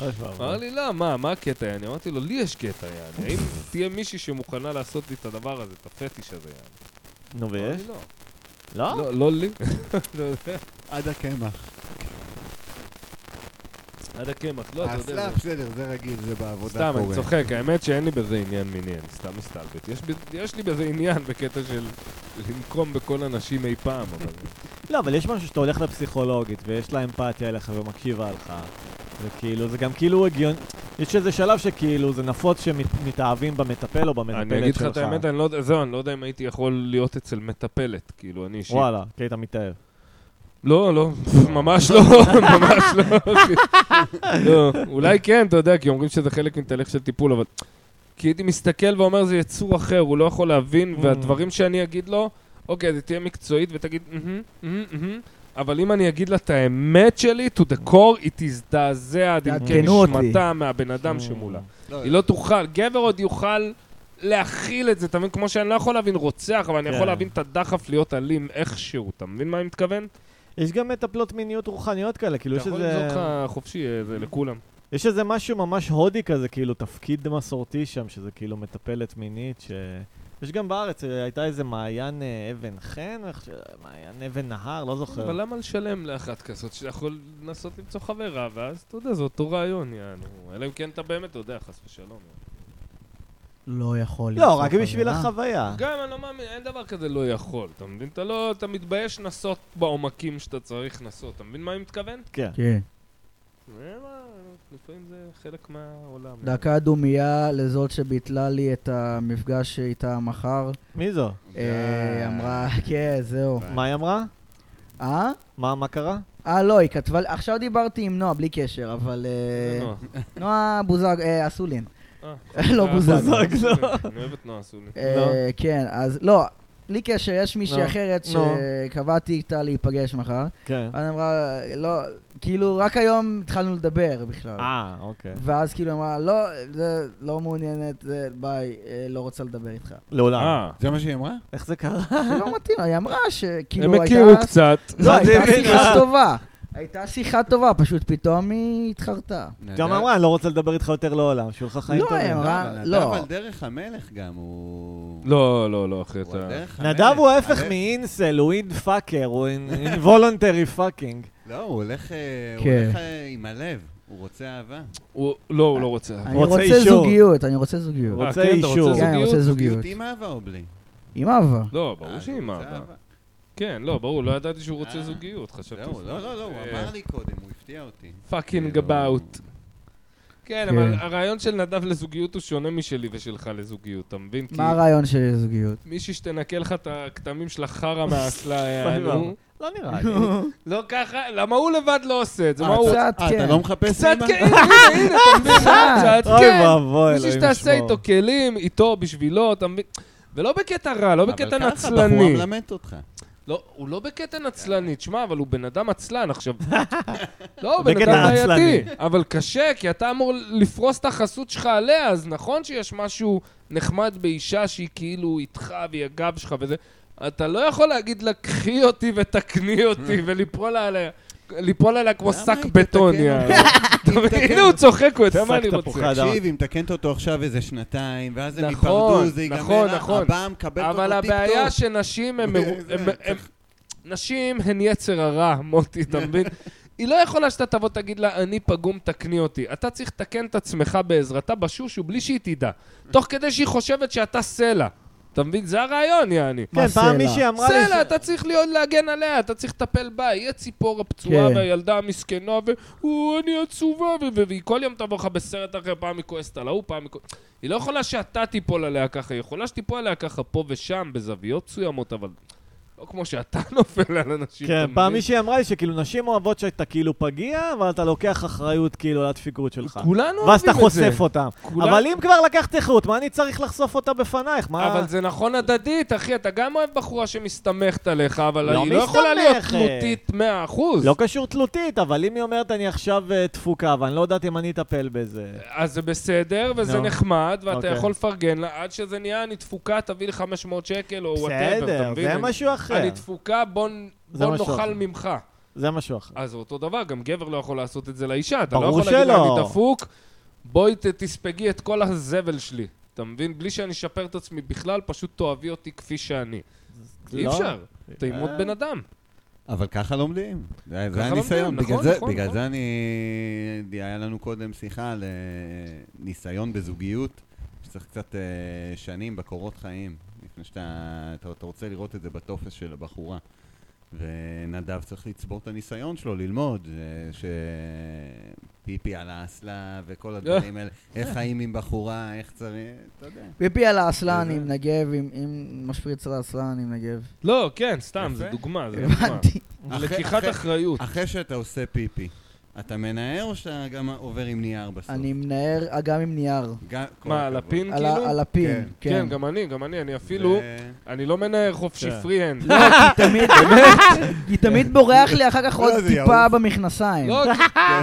S3: אה,
S2: אמר לי, לא, מה, מה הקטע, יעני? אמרתי לו, לי יש קטע, יעני, האם תהיה מישהי שמוכנה לעשות לי את הדבר הזה, את הפטיש הזה, יעני?
S3: נו,
S2: אמר
S3: ויש?
S2: לי, לא.
S3: לא?
S2: לא, לא לי. לא יודע.
S4: עד הקמח.
S2: עד הקמח, לא, אתה יודע.
S4: האסלה,
S2: זה-
S4: אה, בסדר, זה רגיל, זה בעבודה
S2: סתם, אני
S4: קורה.
S2: צוחק, האמת שאין לי בזה עניין מיני, אני סתם מסתלבט. יש ב- יש לי בזה עניין בקטע של לנקום בכל הנשים אי פעם, אבל...
S3: לא, אבל יש משהו שאתה הולך לפסיכולוגית ויש לה אמפתיה אליך ומקשיבה לך. וכאילו, זה גם כאילו הגיוני, יש איזה שלב שכאילו זה נפוץ שמתאהבים במטפל או במטפלת שלך.
S2: אני אגיד לך את האמת, אני לא יודע, זהו, אני לא יודע אם הייתי יכול להיות אצל מטפלת, כאילו, אני אישית.
S3: וואלה, כי היית מתאהב.
S2: לא, לא, ממש לא, ממש לא. אחי. לא, אולי כן, אתה יודע, כי אומרים שזה חלק מתהליך של טיפול, אבל... כי הייתי מסתכל ואומר, זה יצור אחר, הוא לא יכול להבין,
S3: Mm.
S2: והדברים שאני אגיד לו, אוקיי, אז היא תהיה מקצועית ותגיד, "מהמם, מהמם, מהמם", אבל אם אני אגיד לה את האמת שלי, to the core, היא תזדעזע, עד עמקי
S1: תעדכנו אותי.
S2: נשמתה מהבן אדם שמולה.
S4: לא,
S2: היא לא תוכל, גבר עוד יוכל להכיל את זה, אתה מבין? כמו שאני לא יכול להבין רוצח, אבל אני
S3: כן.
S2: יכול להבין את הדחף להיות אלים איכשהו, אתה מבין מה אני מתכוון?
S3: יש גם מטפלות מיניות רוחניות כאלה, כאילו
S2: אתה
S3: יש
S2: יכול
S3: איזה...
S2: לזרוק לך חופשי אה, זה לכולם.
S3: יש איזה משהו ממש הודי כזה, כאילו תפקיד מסורתי שם, שזה כאילו מטפלת מינית ש... יש גם בארץ, אה, הייתה איזה מעיין אה, אבן חן, איך ש- מעיין אבן נהר, לא זוכר.
S2: אבל למה לשלם לאחת כזאת שאתה יכול לנסות למצוא חברה, ואז אתה יודע, זה אותו רעיון, יענו. אלא אם כן אתה באמת, אתה יודע, חס ושלום.
S1: לא יכול
S3: לא,
S1: למצוא
S3: רק בשביל
S1: חברה.
S3: החוויה.
S2: גם אני לא מאמין, אין דבר כזה לא יכול, אתה מבין? אתה לא, אתה מתבייש לנסות בעומקים שאתה צריך לנסות, אתה מבין מה אני מתכוון?
S3: כן.
S1: כן.
S2: אה, מה, לפעמים זה חלק מהעולם.
S1: דקה דומייה לזאת שביטלה לי את המפגש איתה מחר.
S3: מי זו?
S1: אה, אמרה, כן, זהו.
S3: מה היא אמרה?
S1: אה?
S3: מה מה קרה?
S1: אה, לא, היא כתבה, לי- עכשיו דיברתי עם נועה, בלי קשר, אבל... אה,
S2: זה נוח.
S1: נועה בוזג, אה, אסולין.
S2: אה,
S1: לא
S2: אה,
S1: בוזגלו.
S3: בוזגלו.
S2: אני אוהב את נועה אסולין.
S1: אה,
S3: לא.
S1: כן, אז לא, בלי קשר, יש מישהי
S3: לא.
S1: אחרת
S3: נו.
S1: שקבעתי איתה להיפגש מחר.
S3: כן.
S1: אז היא אמרה, לא, כאילו, רק היום התחלנו לדבר בכלל.
S3: אה, אוקיי.
S1: ואז כאילו היא אמרה, לא, זה לא מעוניינת, זה ביי, אה, לא רוצה לדבר איתך.
S3: לעולם.
S2: אה,
S4: זה מה שהיא אמרה?
S3: איך זה קרה?
S1: שלא מתאים, לה, היא אמרה שכאילו
S2: הם
S1: הייתה...
S2: הכירו קצת.
S1: לא, הייתה
S3: זה
S1: שיחה
S3: בטח.
S1: טובה. הייתה שיחה טובה, פשוט פתאום היא התחרתה.
S3: גם אמרה, אני לא רוצה לדבר איתך יותר לעולם, שיהיו לך חיים
S1: לא,
S3: טובים.
S1: הם- אמרה, לא.
S4: לא. אבל דרך המלך גם הוא...
S2: לא, לא, לא, אחי,
S4: הוא על
S2: אתה...
S4: דרך המלך.
S3: נדב הוא ההפך
S4: הלב-
S3: מאינסל, הוא אין פאקר, הוא אינבולונטרי פאקינג.
S4: לא, הוא הולך אה, הוא
S1: כן.
S4: הולך, אה, עם הלב, הוא רוצה אהבה.
S2: הוא- לא, הוא לא רוצה.
S1: אני
S3: רוצה
S1: רוצה
S3: אישור.
S1: זוגיות, אני רוצה זוגיות.
S3: רוצה
S2: אה, כן, אתה
S3: אישור.
S1: כן, אני רוצה זוגיות.
S4: זוגיות עם אהבה או בלי?
S1: עם אהבה.
S2: לא,
S4: אה,
S2: ברור
S4: הוא
S2: שהיא עם
S4: רוצה
S2: אהבה. כן, לא, ברור, לא ידעתי שהוא רוצה
S4: אה.
S2: זוגיות, חשבתי...
S4: זהו, לא, לא, לא, הוא
S2: אה,
S4: אמר לי קודם, הוא הפתיע אותי.
S2: fucking
S4: כאילו,
S2: about. כן,
S1: כן.
S2: אבל הרעיון של נדב לזוגיות הוא שונה משלי ושלך לזוגיות, אתה מבין? כי
S1: מה הרעיון של זוגיות?
S2: מישהי שתנקה לך את הכתמים של החרא מהאסלה, יענו.
S3: לא נראה לי.
S2: לא ככה, למה הוא לבד לא עושה את זה?
S4: אה,
S2: מה הוא...
S1: קצת
S4: אה,
S1: כן.
S4: אתה לא מחפש
S2: קצת
S4: אימא?
S2: כן, הנה, הנה, אתה מבין?
S1: אה,
S2: קצת
S3: אוי
S2: כן.
S3: ואבוי,
S2: מישהו
S3: אלוהים
S2: שתעשה
S3: ישמור.
S2: איתו כלים, איתו, בשבילו, אתה מבין? ולא בקטע רע, לא בקטע
S4: אבל ככה, בחורה
S2: נצלני.
S4: מלמדת אותך.
S2: לא, הוא לא בקטע נצלני, תשמע, אבל הוא בן אדם עצלן עכשיו. לא, הוא בן
S3: בקטע
S2: אדם
S3: עצלני.
S2: בעייתי, אבל קשה, כי אתה אמור לפרוס את החסות שלך עליה, אז נכון שיש משהו נחמד באישה שהיא כאילו איתך והיא הגב שלך וזה, אתה לא יכול להגיד לה, קחי אותי ותקני אותי וליפול עליה. ליפול עליה כמו
S4: למה
S2: שק
S4: היא
S2: בטון,
S4: תתקן
S2: יאללה.
S4: אותי?
S2: אתה מבין? הנה הוא צוחק, הוא יודע
S3: שק
S2: מה אני
S3: תפוחי
S2: רוצה.
S3: אדם.
S4: תקשיב, אם תקנת אותו עכשיו איזה שנתיים, ואז הם
S2: נכון,
S4: ייפרדו, זה
S2: נכון,
S4: ייגמר,
S2: נכון.
S4: רע, הבאה מקבלת אותו
S2: אבל
S4: טיפ-טופ.
S2: הבעיה שנשים הן... מרו-
S4: זה,
S2: הן- הן- נשים הן יצר הרע, מוטי, אתה מבין? היא לא יכולה שאתה תבוא תגיד לה, אני פגום, תקני אותי. אתה צריך לתקן את עצמך בעזרתה בשושו בלי שהיא תדע. תוך כדי שהיא חושבת שאתה סלע. אתה מבין? זה הרעיון, יעני.
S1: מה
S3: כן, פעם
S1: הסלע?
S3: מישהי אמרה לי...
S2: סלע,
S3: ש-
S2: אתה צריך להיות להגן עליה, אתה צריך לטפל בה, היא הציפור הפצועה
S1: כן.
S2: והילדה המסכנה, והוא, אני עצובה, ו- ו- והיא כל יום תבוא לך בסרט אחר, פעם היא כועסת על ההוא, פעם היא כועסת... היא לא יכולה שאתה תיפול עליה ככה, היא יכולה שתיפול עליה ככה פה ושם, בזוויות מסוימות, אבל לא כמו שאתה נופל על אנשים. אתה
S3: כן,
S2: מבין?
S3: פעם מישהי אמרה לי שכאילו נשים אוהבות שאתה כאילו פגיע, אבל אתה לוקח אחריות כאילו על הדפיקות שלך.
S2: כולנו אוהבים את
S3: ואז
S2: זה.
S3: אתה חושף אותם.
S2: כולם-
S3: אבל אם כבר לקחת איכות, מה אני צריך לחשוף אותה בפנייך? מה...
S2: אבל זה נכון הדדית, אחי, אתה גם אוהב בחורה שמסתמכת עליך, אבל
S3: לא
S2: היא לא יכולה להיות
S3: מסתמכת.
S2: תלותית 100%.
S3: לא קשור תלותית, אבל אם היא אומרת אני עכשיו אה, דפוקה ואני לא יודעת אם אני אטפל בזה.
S2: אז זה בסדר, וזה
S3: נו.
S2: נחמד, ואתה
S3: אוקיי.
S2: יכול לפרגן לה, עד שזה נהיה, אני תפוקה, תביא לי 500 שקל, או וואטאבר, אה, אתה
S3: בסדר,
S2: מבין?
S3: זה
S2: אני-
S3: משהו אחר.
S2: אני תפוקה, בוא נ-
S3: זה
S2: בוא
S3: משהו
S2: נאכל
S3: אחר.
S2: ממך.
S3: זה משהו אחר.
S2: אז אותו דבר, גם גבר לא יכול לעשות את זה לאישה. אתה לא
S3: ברור
S2: יכול להגיד לה,
S3: שלא.
S2: אני דפוק, בואי ת- תספגי את כל הזבל שלי. אתה מבין? בלי שאני אשפר את עצמי בכלל, פשוט תאהבי אותי כפי שאני. אי
S3: לא. אה.
S2: אפשר, אתה עימות בן אדם.
S4: אבל ככה לומדים. זה זה
S2: ככה
S4: הניסיון.
S2: לומדים,
S4: בגלל
S2: נכון,
S4: זה-
S2: נכון,
S4: בגלל
S2: נכון.
S4: זה אני... היה לנו קודם שיחה על אה, ניסיון בזוגיות, שצריך קצת אה, שנים בקורות חיים, לפני שאתה אתה- אתה רוצה לראות את זה בטופס של הבחורה. ונדב צריך לצבור את הניסיון שלו, ללמוד, אה, שפיפי על האסלה וכל הדברים האלה, איך חיים עם בחורה, איך צריך, אתה יודע.
S1: פיפי על האסלן
S4: זה-
S1: עם נגב, עם- עם משפריץ על האסלן עם נגב.
S2: לא, כן, סתם,
S4: יפה.
S2: זו דוגמה, זו דוגמה.
S1: הבנתי.
S4: אחרי-
S2: לקיחת
S4: אחרי-
S2: אחריות.
S4: אחרי שאתה עושה פיפי, אתה מנער או שאתה גם עובר עם נייר בסוף?
S1: אני מנער אגם עם נייר.
S4: גם- כל
S2: מה, על
S4: הכבוד.
S2: הפין
S1: על ה-
S2: כאילו?
S1: על
S4: כן.
S1: הפין,
S2: כן,
S1: כן.
S2: גם אני, גם אני, אני אפילו,
S4: זה-
S2: אני לא מנער חופשי
S3: כן.
S2: פרי-הנד.
S1: לא, כי תמיד, כי תמיד בורח לי אחר כך
S4: לא,
S1: עוד
S4: זה
S1: טיפה
S4: יעוף.
S1: במכנסיים.
S2: לא,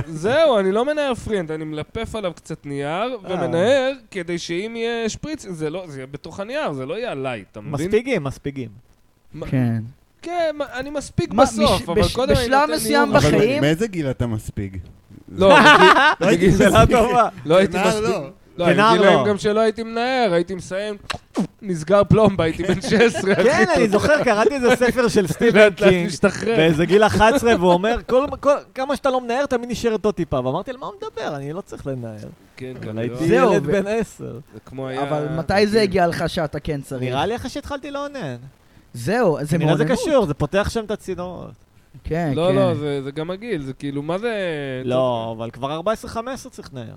S2: זהו, אני לא מנער פרי-הנד, אני מלפף עליו קצת נייר,
S3: אה.
S2: ומנער כדי שאם יהיה שפריץ, זה לא, זה יהיה בתוך הנייר, זה לא יהיה עליי, אתה מבין?
S3: מספיגים, מספיגים.
S2: מה-
S1: כן.
S2: כן, מה- אני מספיק
S1: מה,
S2: בסוף,
S1: מש-
S2: אבל
S1: בש-
S2: קודם אני
S1: בשלב
S2: נותן
S1: מסוים
S2: נייר.
S1: בחיים-
S4: מאיזה גיל אתה מספיג?
S2: לא, בגיל-
S3: שאלה טובה.
S2: לא הייתי
S4: נער
S2: מספיק.
S4: לא.
S2: לא,
S3: כנער
S2: היו גילאים
S3: לא.
S2: גם שלא הייתי מנער, הייתי מסיים, נסגר פלומבה, הייתי בן 16.
S3: כן, אני זוכר, קראתי איזה ספר של סטיבן
S2: לאט לאט
S3: קינג,
S2: משתחרר.
S3: באיזה גיל 11, והוא אומר, "כל- כל- כמה שאתה לא מנער, תמיד נשארת עוד טיפה. ואמרתי, על מה הוא מדבר? אני לא צריך לנער.
S2: כן,
S3: אבל
S2: כנראה.
S3: הייתי
S1: זהו,
S3: ילד
S1: ו-
S3: בן 10.
S2: זה כמו היה...
S1: אבל מתי זה הגיע לך שאתה כן צריך?
S3: נראה לי אחרי שהתחלתי לאונן.
S1: זהו, זה
S3: נראה
S1: מעוננות.
S3: זה קשור, זה פותח שם את הצינורות.
S1: כן,
S2: לא,
S1: כן.
S2: לא, זה זה גם הגיל, זה כאילו, מה זה...
S3: לא, אבל כבר 14-15 צריך לנער.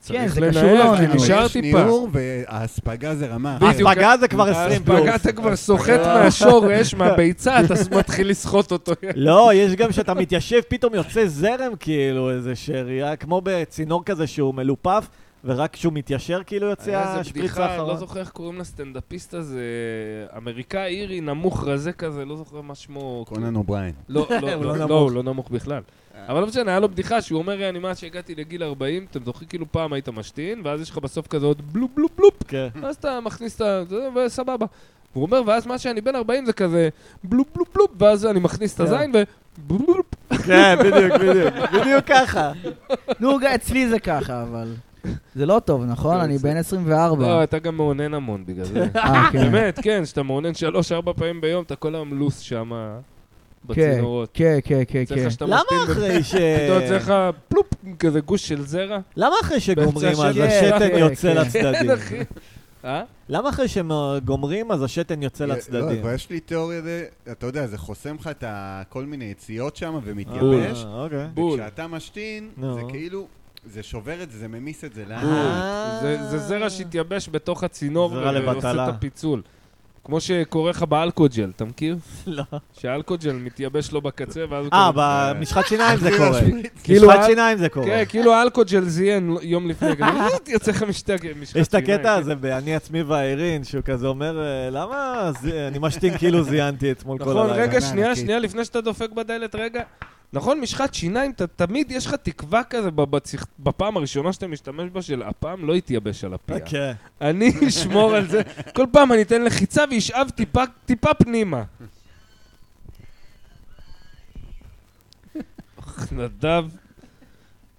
S2: צריך
S1: כן, זה
S2: לנער,
S1: קשור לעונה.
S2: כאילו, נשאר
S4: יש
S2: טיפה.
S4: ניעור והאספגה זה רמה.
S2: בדיוק.
S3: הספגה זה כבר 20 פלוס.
S2: ההספגה אתה אה, כבר סוחט מהשורש, מהביצה, אתה מתחיל לסחוט אותו.
S3: לא, יש גם שאתה מתיישב, פתאום יוצא זרם, כאילו, איזה שאריה, כמו בצינור כזה שהוא מלופף, ורק כשהוא מתיישר, כאילו, יוצא
S2: היה איזה
S3: השפריץ
S2: בדיחה, לא
S3: האחרון.
S2: זוכר איך קוראים לסטנדאפיסט הזה, אמריקאי אירי נמוך רזה כזה, לא זוכר מה שמו.
S4: אה, קונן אובריין.
S2: לא, לא,
S3: הוא לא
S2: לא,
S3: נמוך.
S2: לא, הוא לא נמוך בכלל. אבל לא משנה, היה לו בדיחה שהוא אומר, אני מאז שהגעתי לגיל 40, אתם זוכרים כאילו פעם היית משתין, ואז יש לך בסוף כזה עוד בלופ בלופ בלופ,
S3: כן.
S2: אז אתה מכניס את ה... זה, וסבבה. הוא אומר, ואז מה שאני בן 40 זה כזה בלופ בלופ בלופ, ואז אני מכניס את
S3: כן.
S2: הזין ו... בלופ בלופ.
S3: כן, בדיוק, בדיוק, בדיוק ככה.
S1: נו, גם אצלי זה ככה, אבל... זה לא טוב, נכון?
S2: כן,
S1: אני
S2: זה-
S1: בן 24.
S2: לא, אתה גם מעונן המון בגלל זה.
S1: אה, אוקיי. כן.
S2: באמת, כן, שאתה מעונן שלוש-ארבע פעמים ביום, אתה כל היום לוס שם בצינורות.
S1: כן, כן, כן,
S2: יוצא לך
S1: כן.
S2: שאתה
S3: למה
S2: משתין ו-
S3: אחרי ש...
S2: פתאום יוצא לך פלופ, כזה גוש של זרע.
S3: למה אחרי שגומרים
S2: באמצע
S3: אז
S2: השבוע.
S3: השתן
S1: כן,
S3: יוצא
S1: כן.
S3: לצדדים?
S2: כן, אחי. אה?
S3: למה אחרי שגומרים אז השתן יוצא
S4: לא,
S3: לצדדים?
S4: אבל יש לי תיאוריה, זה- אתה יודע, זה חוסם לך את ה- כל מיני יציאות שם
S3: אה,
S4: ומתייבש.
S3: אוקיי.
S2: בול.
S4: כשאתה משתין,
S3: נו.
S4: זה כאילו, זה שובר את זה, זה ממיס את זה לאט.
S3: אה.
S2: זה- זה זרע שהתייבש בתוך הצינור
S3: זרע
S2: ועושה
S3: לבטלה.
S2: את הפיצול. כמו שקורה לך באלכוג'ל, אתה מכיר?
S3: לא.
S2: שהאלכוג'ל מתייבש לו בקצה, ואז הוא
S3: אה,
S2: כבר-
S3: במשחת שיניים זה קורה.
S2: כאילו,
S3: משחת
S2: אה,
S3: שיניים זה קורה.
S2: כן, כאילו האלכוג'ל זיין יום לפני, כזה, יוצא לך משתי משחת
S3: יש את
S2: שיניים. כן.
S3: הקטע הזה ב"אני עצמי והאירין", שהוא כזה אומר, "אה, למה זה- אני משתין כאילו זיינתי אתמול כל
S2: נכון,
S3: הלילה.
S2: רגע,
S4: ענקית.
S2: שנייה, שנייה, לפני שאתה דופק בדלת, רגע. נכון, משחת שיניים, אתה תמיד יש לך תקווה כזה ב- בצח- בפעם הראשונה שאתה משתמש בה, של הפעם לא יתייבש על הפייה.
S3: כן.
S2: אני אשמור על זה. כל פעם אני אתן לחיצה ואשאב טיפה- טיפה פנימה. נדב,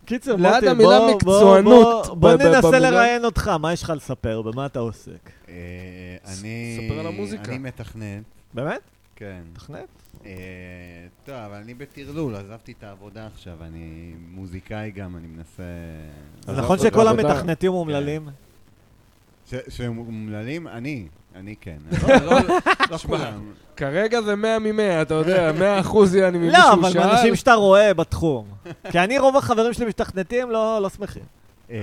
S3: קיצר,
S2: ליד
S3: מוטי,
S2: המילה
S3: בוא- בוא-
S2: מקצוענות,
S3: בוא- בוא
S2: ב- ב-
S3: ננסה
S2: במילה-
S3: לראיין אותך, מה יש לך לספר? במה אתה עוסק?
S4: אה,
S2: ס-
S4: אני...
S2: ספר על המוזיקה.
S4: אני מתכנן,
S3: באמת?
S4: כן.
S3: תכנת?
S4: אה, טוב, אבל אני בטרלול, עזבתי את העבודה עכשיו, אני מוזיקאי גם, אני מנסה...
S3: אז
S2: עזוב,
S3: נכון
S2: עזוב,
S3: שכל
S2: עבודה.
S3: המתכנתים אומללים?
S4: ש- שהם אומללים? אני, אני כן. לא, לא- לא כולם.
S2: כרגע זה 100 מ-100, אתה יודע, 100 אחוז יעני ממישהו שאל.
S3: לא, אבל מאנשים שאתה רואה בתחום. כי אני, רוב החברים שלי מתכנתים, לא לא שמחים.
S4: אה,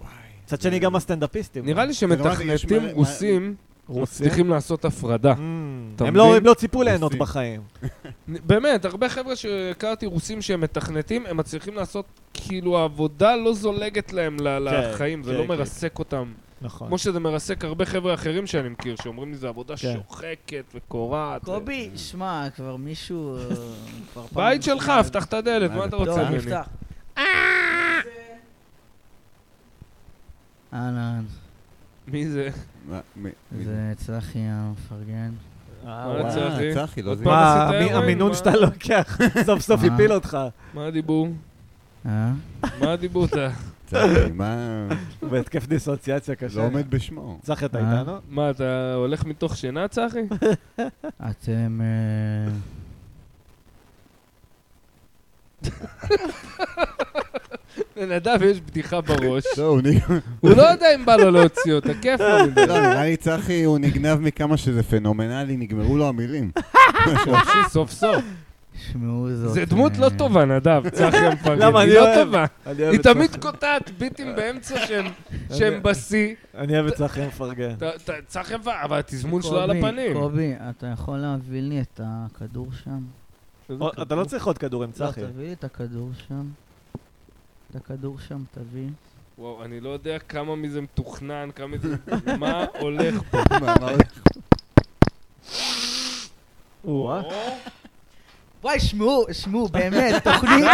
S4: וואי.
S3: מצד שני, גם הסטנדאפיסטים.
S2: נראה לי
S4: יש
S2: שמתכנתים
S4: מלא-
S2: רוסים
S3: רוסים.
S2: מצליחים לעשות הפרדה.
S3: Mm,
S2: אתה
S3: הם לא-
S2: מבין?
S3: הם לא ציפו ליהנות
S4: רוסים.
S3: בחיים.
S2: באמת, הרבה חבר'ה שהכרתי רוסים שהם מתכנתים, הם מצליחים לעשות, כאילו העבודה לא זולגת להם ל-
S3: כן,
S2: לחיים, זה
S3: כן,
S2: לא
S3: כן.
S2: מרסק אותם.
S3: נכון.
S2: כמו שזה מרסק הרבה חבר'ה אחרים שאני מכיר, שאומרים לי, זו עבודה
S3: כן.
S2: שוחקת וקורעת.
S1: קובי, שמע, כבר מישהו... אה, כבר פעם-
S2: בית שלך, פתח את הדלת,
S4: מה
S2: מה
S4: זה
S2: אתה
S4: פה?
S2: רוצה
S1: טוב,
S2: ממני?
S1: נפתח. אה, אהלן,
S2: מי זה?
S4: מה- מי- מי-
S1: זה צחי המפרגן.
S3: אה,
S2: וואלה,
S3: וואי.
S4: וואי,
S2: צחי.
S4: צחי, לא
S2: עוד
S4: זיהיתי.
S2: פעם.
S3: מה,
S2: עשית
S3: המי-
S2: הרואין,
S3: המינון
S2: מה?
S3: שאתה לוקח, סוף סוף
S2: אה.
S1: מה?
S3: הפיל אותך.
S2: מה הדיבור?
S1: אה?
S2: מה הדיבור? אתה-
S4: צחי, מה...
S3: הוא בהתקף דיסוציאציה קשה.
S4: לא עומד בשמו.
S3: צחי, אתה
S1: אה?
S3: איתנו?
S2: מה, אתה הולך מתוך שינה, צחי?
S1: אתם... אה,
S2: לנדב יש בדיחה בראש.
S4: לא, הוא נ-
S2: הוא לא יודע אם בא לו להוציא אותה, כיף לו מדי.
S4: לא, נראה לי צחי, הוא נגנב מכמה שזה פנומנלי, נגמרו לו המילים.
S2: חופשי סוף סוף.
S1: שמעו זאת.
S2: זה דמות
S1: אה,
S2: לא טובה, נדב, צחי המפרגן.
S3: למה,
S2: היא
S3: אני
S2: לא
S3: אוהב.
S2: טובה.
S3: אני אוהב
S2: היא
S3: את
S2: תמיד
S3: צחי.
S2: קוטעת ביטים באמצע שהם- שהם בשיא.
S3: אני אוהב את צחי המפרגן.
S2: אתה- אתה- צחי, אבל- אבל התזמון שלו על
S1: קובי,
S2: הפנים.
S1: קובי, אתה יכול להביא לי את הכדור שם?
S3: או, אתה לא צריך עוד כדורים,
S1: לא,
S3: צחי.
S1: תביא לי את הכדור שם. את הכדור שם, תביא.
S2: וואו, אני לא יודע כמה מזה מתוכנן, כמה מזה... מה הולך פה?
S4: מה- מה-
S3: או-אה.
S1: וואי, שמעו, שמעו, באמת, תוכנית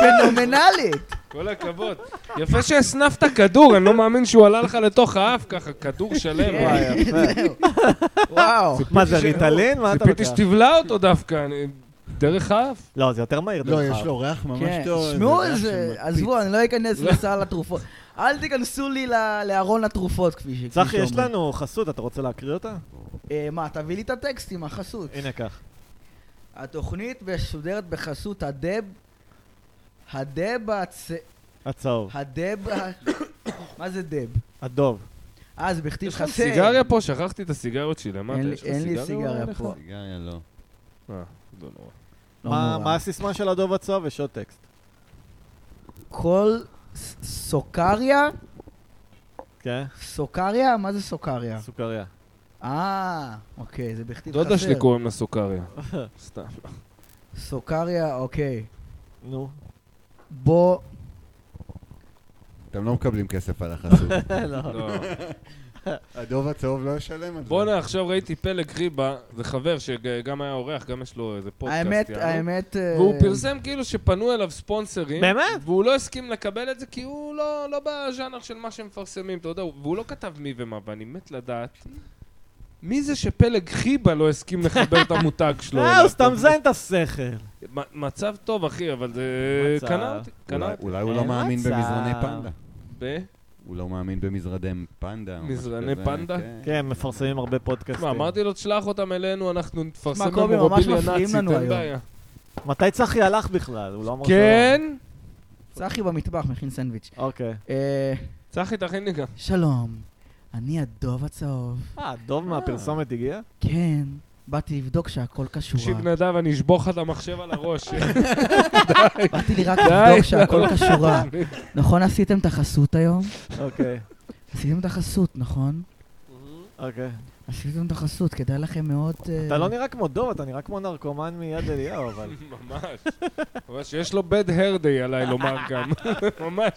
S1: פנומנלית.
S2: כל הכבוד. יפה שהסנפת כדור, אני לא מאמין שהוא עלה לך לתוך האף ככה, כדור שלם.
S1: כן.
S2: וואי,
S3: יפה.
S1: וואו.
S3: מה זה ריטלין? מה אתה
S2: ציפיתי
S3: לוקח?
S2: שתבלע אותו דווקא, אני דרך האף.
S3: לא, זה יותר מהיר
S4: לא,
S3: דרך
S4: יש
S3: אגב.
S4: לו ריח ממש
S1: כן,
S4: טוב.
S1: שמעו
S4: ריח
S1: איזה,
S4: שמקפיץ.
S1: עזבו, אני לא אכנס
S2: לא.
S1: לסל התרופות. אל תיכנסו לי ל- לארון התרופות, כפי ש...
S3: צחי,
S1: כפי
S3: יש
S1: שאומרים.
S3: לנו חסות, אתה רוצה להקריא אותה?
S1: אה, מה, תביא לי את הטקסטים, החסות.
S3: הנה כך.
S1: התוכנית משודרת בחסות הדב... הדב הצ...
S3: הצהוב.
S1: הדב... ה- מה זה דב?
S3: הדוב.
S1: אה, זה בכתיב
S2: יש לך
S1: חסר.
S2: סיגריה פה? שכחתי את הסיגריות שלי למטה.
S1: אין לי-
S2: יש לך
S1: אין לי סיגריה
S2: אולי
S1: פה.
S2: לך?
S4: סיגריה לא.
S2: אה, לא נורא.
S1: לא
S3: מה
S1: נורא.
S3: מה הסיסמה של הדוב הצהוב? יש עוד טקסט.
S1: כל ס- סוכריה?
S3: כן?
S1: סוכריה? מה זה סוכריה?
S3: סוכריה.
S1: אה, אוקיי, זה בכתיב חסר.
S2: דודה שלי קוראים לה סוכריה. סתם.
S1: סוכריה, אוקיי.
S3: נו.
S1: בוא...
S4: אתם לא מקבלים כסף על החסות.
S1: אה.
S2: לא.
S4: הדוב הצהוב לא ישלם על זה.
S2: בואנה, עכשיו ראיתי פלג ריבה, זה חבר שגם היה אורח, גם יש לו איזה פודקאסט.
S1: האמת,
S2: יענו.
S1: האמת... אה,
S2: והוא פרסם כאילו שפנו אליו ספונסרים.
S3: באמת?
S2: והוא לא הסכים לקבל את זה כי הוא לא, לא בז'אנר של מה שמפרסמים, אתה יודע, והוא לא כתב מי ומה, ואני מת לדעת מי זה שפלג חיבה לא הסכים לחבר את המותג שלו.
S3: אה,
S2: אליו.
S3: הוא סתם זיין את השכל.
S2: מ- מצב טוב, אחי, אבל זה...
S3: מצב.
S2: קנה אותי, קנה
S4: אולי-
S2: אותי.
S4: אולי הוא
S3: אין
S4: לא מאמין
S3: מצב.
S4: במזרני פנדה.
S2: ב-
S4: הוא לא מאמין במזרני פנדה. או משהו
S2: מזרני
S4: כזה,
S2: פנדה?
S4: כן.
S3: כן, מפרסמים הרבה
S2: תשמע,
S3: פודקאסטים.
S2: אמרתי לו, תשלח אותם אלינו, אנחנו נפרסם
S1: תשמע, קובי, ממש
S2: במוביליה
S1: מפריעים
S2: נאצית,
S1: לנו
S2: אין
S1: היום.
S2: בעיה.
S3: מתי צחי הלך בכלל? הוא לא אמר
S2: כן?
S1: צחי במטבח מכין סנדוויץ'.
S3: שלא. אוקיי.
S1: אה,
S2: צחי, תכין לי גם.
S1: שלום, אני הדוב הצהוב.
S3: אה, הדוב מהפרסומת הגיע?
S1: כן, באתי לבדוק שהכל קשור.
S2: תקשיב, נדב, אני אשבור לך את המחשב על הראש.
S1: באתי לי רק
S2: די,
S1: לבדוק שהכל קשורה. נכון עשיתם את החסות היום?
S3: אוקיי.
S1: עשיתם את החסות, נכון?
S3: אוקיי.
S1: עשיתם את החסות, כדאי לכם מאוד... אה,
S3: אתה לא נראה כמו דוב, אתה נראה כמו נרקומן מיד אליהו, אבל...
S2: ממש. ממש, יש לו bad hair day עליי לומר גם. ממש.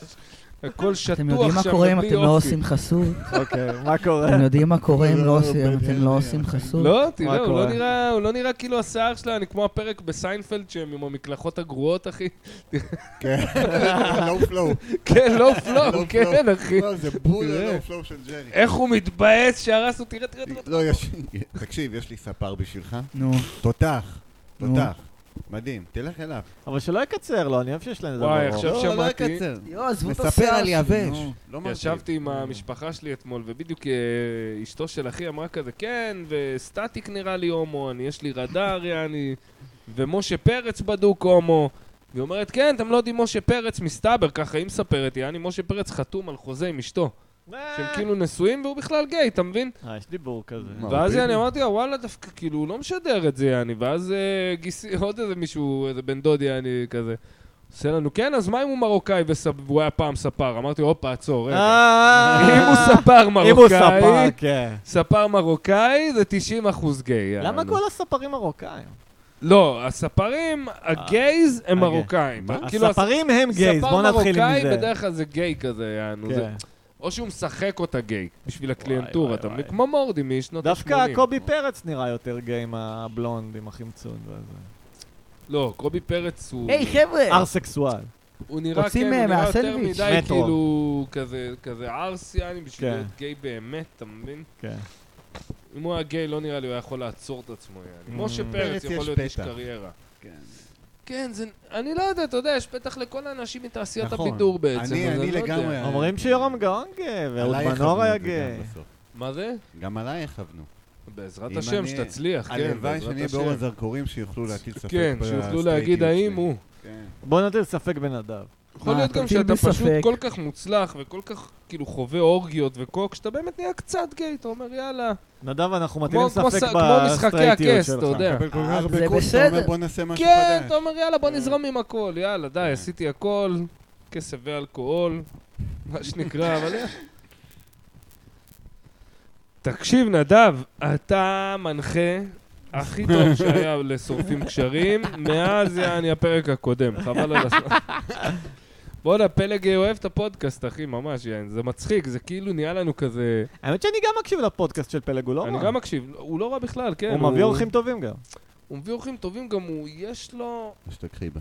S2: הכל שטוח שם,
S1: אתם יודעים מה קורה אם
S2: בלי
S1: אתם לא
S2: אופי.
S1: עושים חסות?
S3: אוקיי, מה קורה?
S1: אתם יודעים מה קורה אם לא
S4: לא,
S1: עושים- אם
S4: בן
S1: אתם לא
S4: ארי,
S1: עושים
S4: אחי.
S1: חסות?
S2: לא, תראה,
S3: מה
S2: הוא לא
S3: קורה?
S2: נראה- הוא לא נראה כאילו השיער שלה, אני כמו הפרק בסיינפלד שהם עם המקלחות הגרועות, אחי.
S4: כן. לואו פלואו.
S2: כן, לא פלואו,
S4: לא
S2: כן, אה,
S4: flow.
S2: אחי.
S4: לא, זה בול
S2: תראה.
S4: הלואו פלואו של ג'רי.
S2: איך הוא מתבאס שהרס אותו, תראה, תראה, תראה.
S4: לא, יש... תקשיב, יש לי ספר בשבילך.
S1: נו,
S4: תותח.
S1: נו.
S4: תותח. מדהים. תלך אליו.
S3: אבל שלא יקצר לו, אני אוהב שיש להם איזה
S2: וואי,
S3: ברור.
S2: עכשיו
S4: לא, לא
S2: שמעתי-
S4: אקצר.
S1: יואו, עזבו את
S4: מספר
S1: השיער
S4: על
S1: שלי,
S4: יבש.
S1: נו.
S4: לא מרחיב.
S2: ישבתי עם המשפחה שלי אתמול, ובדיוק אה, אשתו של אחי אמרה כזה, כן, וסטטיק נראה לי הומו, אני, יש לי רדאר, יעני, ומשה פרץ בדוק הומו. והיא אומרת, כן, אתם לא יודעים, משה פרץ מסתבר, ככה היא מספרת, יעני, משה פרץ חתום על חוזה עם אשתו,
S3: אה,
S2: שהם כאילו נשואים והוא בכלל גיי, אתה מבין?
S3: אה, יש דיבור כזה.
S4: מה?
S2: ואז
S4: אוקיי.
S2: יעני אמרתי לה, וואלה, דווקא, כאילו, הוא לא משדר את זה, יעני, ואז אה, גיסי, עוד איזה מישהו, איזה בן דוד, יעני, כזה. עושה לנו, כן, אז מה אם הוא מרוקאי וסב- והוא היה פעם ספר? אמרתי, הופה, עצור, רגע.
S3: אה,
S2: אם הוא ספר
S3: אם הוא
S2: מרוקאי,
S3: ספר, כן.
S2: ספר מרוקאי זה 90 אחוז גיי.
S3: למה
S2: יענו.
S3: כל הספרים מרוקאים?
S2: לא, הספרים, הגייז הם
S3: הגיי.
S2: מרוקאים. כאילו,
S3: הספרים הם
S2: הס-
S3: אוקיי. גייז,
S2: ספר
S3: בואו נתחיל עם
S2: מרוקאי
S3: זה.
S2: בדרך כלל זה גיי כזה, יענו. זה-
S3: כן.
S2: או שהוא משחק אותה גיי, בשביל הקליינטורה,
S3: וואי,
S2: אתה מבין?
S3: וואי.
S2: כמו מורדי משנות ה-80.
S3: דווקא קובי פרץ נראה יותר גיי עם הבלונד, עם החמצון וזה.
S2: לא, קובי פרץ הוא...
S1: היי,
S2: אה.
S3: אה,
S1: חבר'ה!
S3: ארסקסואל.
S2: הוא נראה,
S1: רוצים,
S2: כן, הוא
S1: אה,
S2: נראה יותר
S1: מהסנדוויץ'?
S2: מדי
S3: מטרו.
S2: כאילו כזה- כזה ערסיאני בשביל
S3: כן.
S2: להיות גיי באמת, אתה מבין?
S3: כן.
S2: אם הוא היה גיי, לא נראה לי הוא היה יכול לעצור את עצמו, יעני.
S3: Mm.
S2: משה
S4: פרץ
S2: פרץ
S4: יש
S2: יכול להיות איש
S4: פתח.
S2: קריירה.
S4: כן.
S2: כן, זה... אני לא יודע, אתה יודע, יש פתח לכל האנשים מתעשיית
S4: נכון.
S2: הבידור בעצם.
S4: אני-
S2: אז
S4: אני
S2: לא יודע.
S4: לגמרי.
S3: אומרים שיורם גאון גיי, ואהוד
S4: עליי
S3: מנור היה
S4: יכוונו את זה גם
S3: גיי.
S4: בסוף.
S2: מה זה?
S4: גם עליי יכוונו.
S2: בעזרת
S4: אם
S2: השם,
S4: אני-
S2: שתצליח, כן,
S4: הלוואי
S2: בעזרת
S4: שנהיה באור
S2: השם.
S4: הזרקורים שיוכלו להטיל ספק.
S2: כן, שיוכלו להגיד האם הוא.
S4: כן.
S3: בואו נטיל ספק בנדב.
S2: יכול
S1: מה,
S2: להיות גם
S1: תטיל
S2: שאתה
S1: בי
S2: פשוט
S1: ספק.
S2: כל כך מוצלח וכל כך כאילו חווה אורגיות וקוק, שאתה באמת נהיה קצת גיי, אתה אומר יאללה.
S3: נדב, אנחנו מטילים
S2: כמו- כמו
S3: ספק
S2: ס- כמו משחקי
S3: בסטרייטיות
S2: הכס,
S3: שלך.
S2: אתה יודע.
S4: מקבל כל
S1: אה,
S4: כך הרבה
S1: זה
S4: קורס, אתה אומר
S1: בסדר.
S4: בוא נעשה משהו
S2: כן,
S4: חדש.
S2: אתה אומר יאללה, בוא נזרום עם הכל, יאללה, די, עשיתי הכל, כסף ואלכוהול, מה שנקרא, אבל... תקשיב, נדב, אתה מנחה הכי טוב שהיה לשורפים קשרים, מאז יעני הפרק הקודם, חבל על הזמן. בואנה, פלג אוהב את הפודקאסט, אחי, ממש, יעני, זה מצחיק, זה כאילו נהיה לנו כזה...
S3: האמת שאני גם מקשיב לפודקאסט של פלג, הוא לא
S2: אני
S3: רע.
S2: גם מקשיב, הוא לא רע בכלל, כן.
S3: הוא מביא אורחים טובים גם.
S2: הוא מביא אורחים טובים, גם הוא, יש לו...
S4: אז תקחי בה.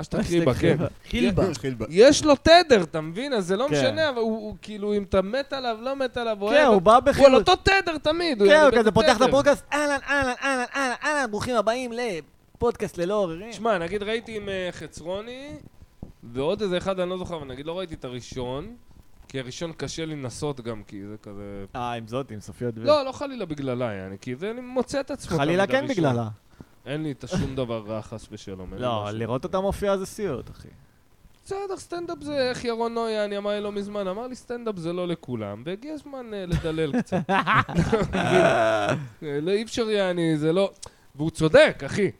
S2: אשתקרי בה, כן.
S1: חילבה.
S4: תתחיל בה.
S2: יש לו תדר, אתה מבין? אז זה לא
S3: כן.
S2: משנה, אבל הוא הוא כאילו, אם אתה מת עליו, לא מת עליו, אוהב...
S3: כן, הוא בא
S2: הוא לא על
S3: בחילות.
S2: אותו תדר תמיד.
S3: כן,
S2: יעני
S3: הוא כזה
S2: באותו
S3: פותח את
S2: תדר.
S3: הפודקאסט, אהלן, אהלן, אהלן, אהלן, אהלן, ברוכים הבאים ל... פודקאסט ללא עוררין.
S2: שמע, נגיד ראיתי עם אה, חצרוני, ועוד איזה אחד, אני לא זוכר, אבל נגיד לא ראיתי את הראשון, כי הראשון קשה לי לנסות גם, כי זה כזה...
S3: אה, עם זאתי, עם סופיות דביר.
S2: לא, לא חלילה בגללה, יעני, כי זה אני מוצא את עצמו.
S3: חלילה
S2: תמיד
S3: כן
S2: הראשון.
S3: בגללה.
S2: אין לי את השום דבר רע, חס ושלום. אין לי
S3: לא,
S2: משהו.
S3: לראות אותה מופיעה זה סיוט, אחי.
S2: בסדר, סטנדאפ זה איך ירון נויה, אני אמר לי לא מזמן, אמר לי סטנדאפ זה לא לכולם, והגיע הזמן אה, לדלל קצת. אה, לא אי אפשר יעני, זה לא... והוא צודק, אחי.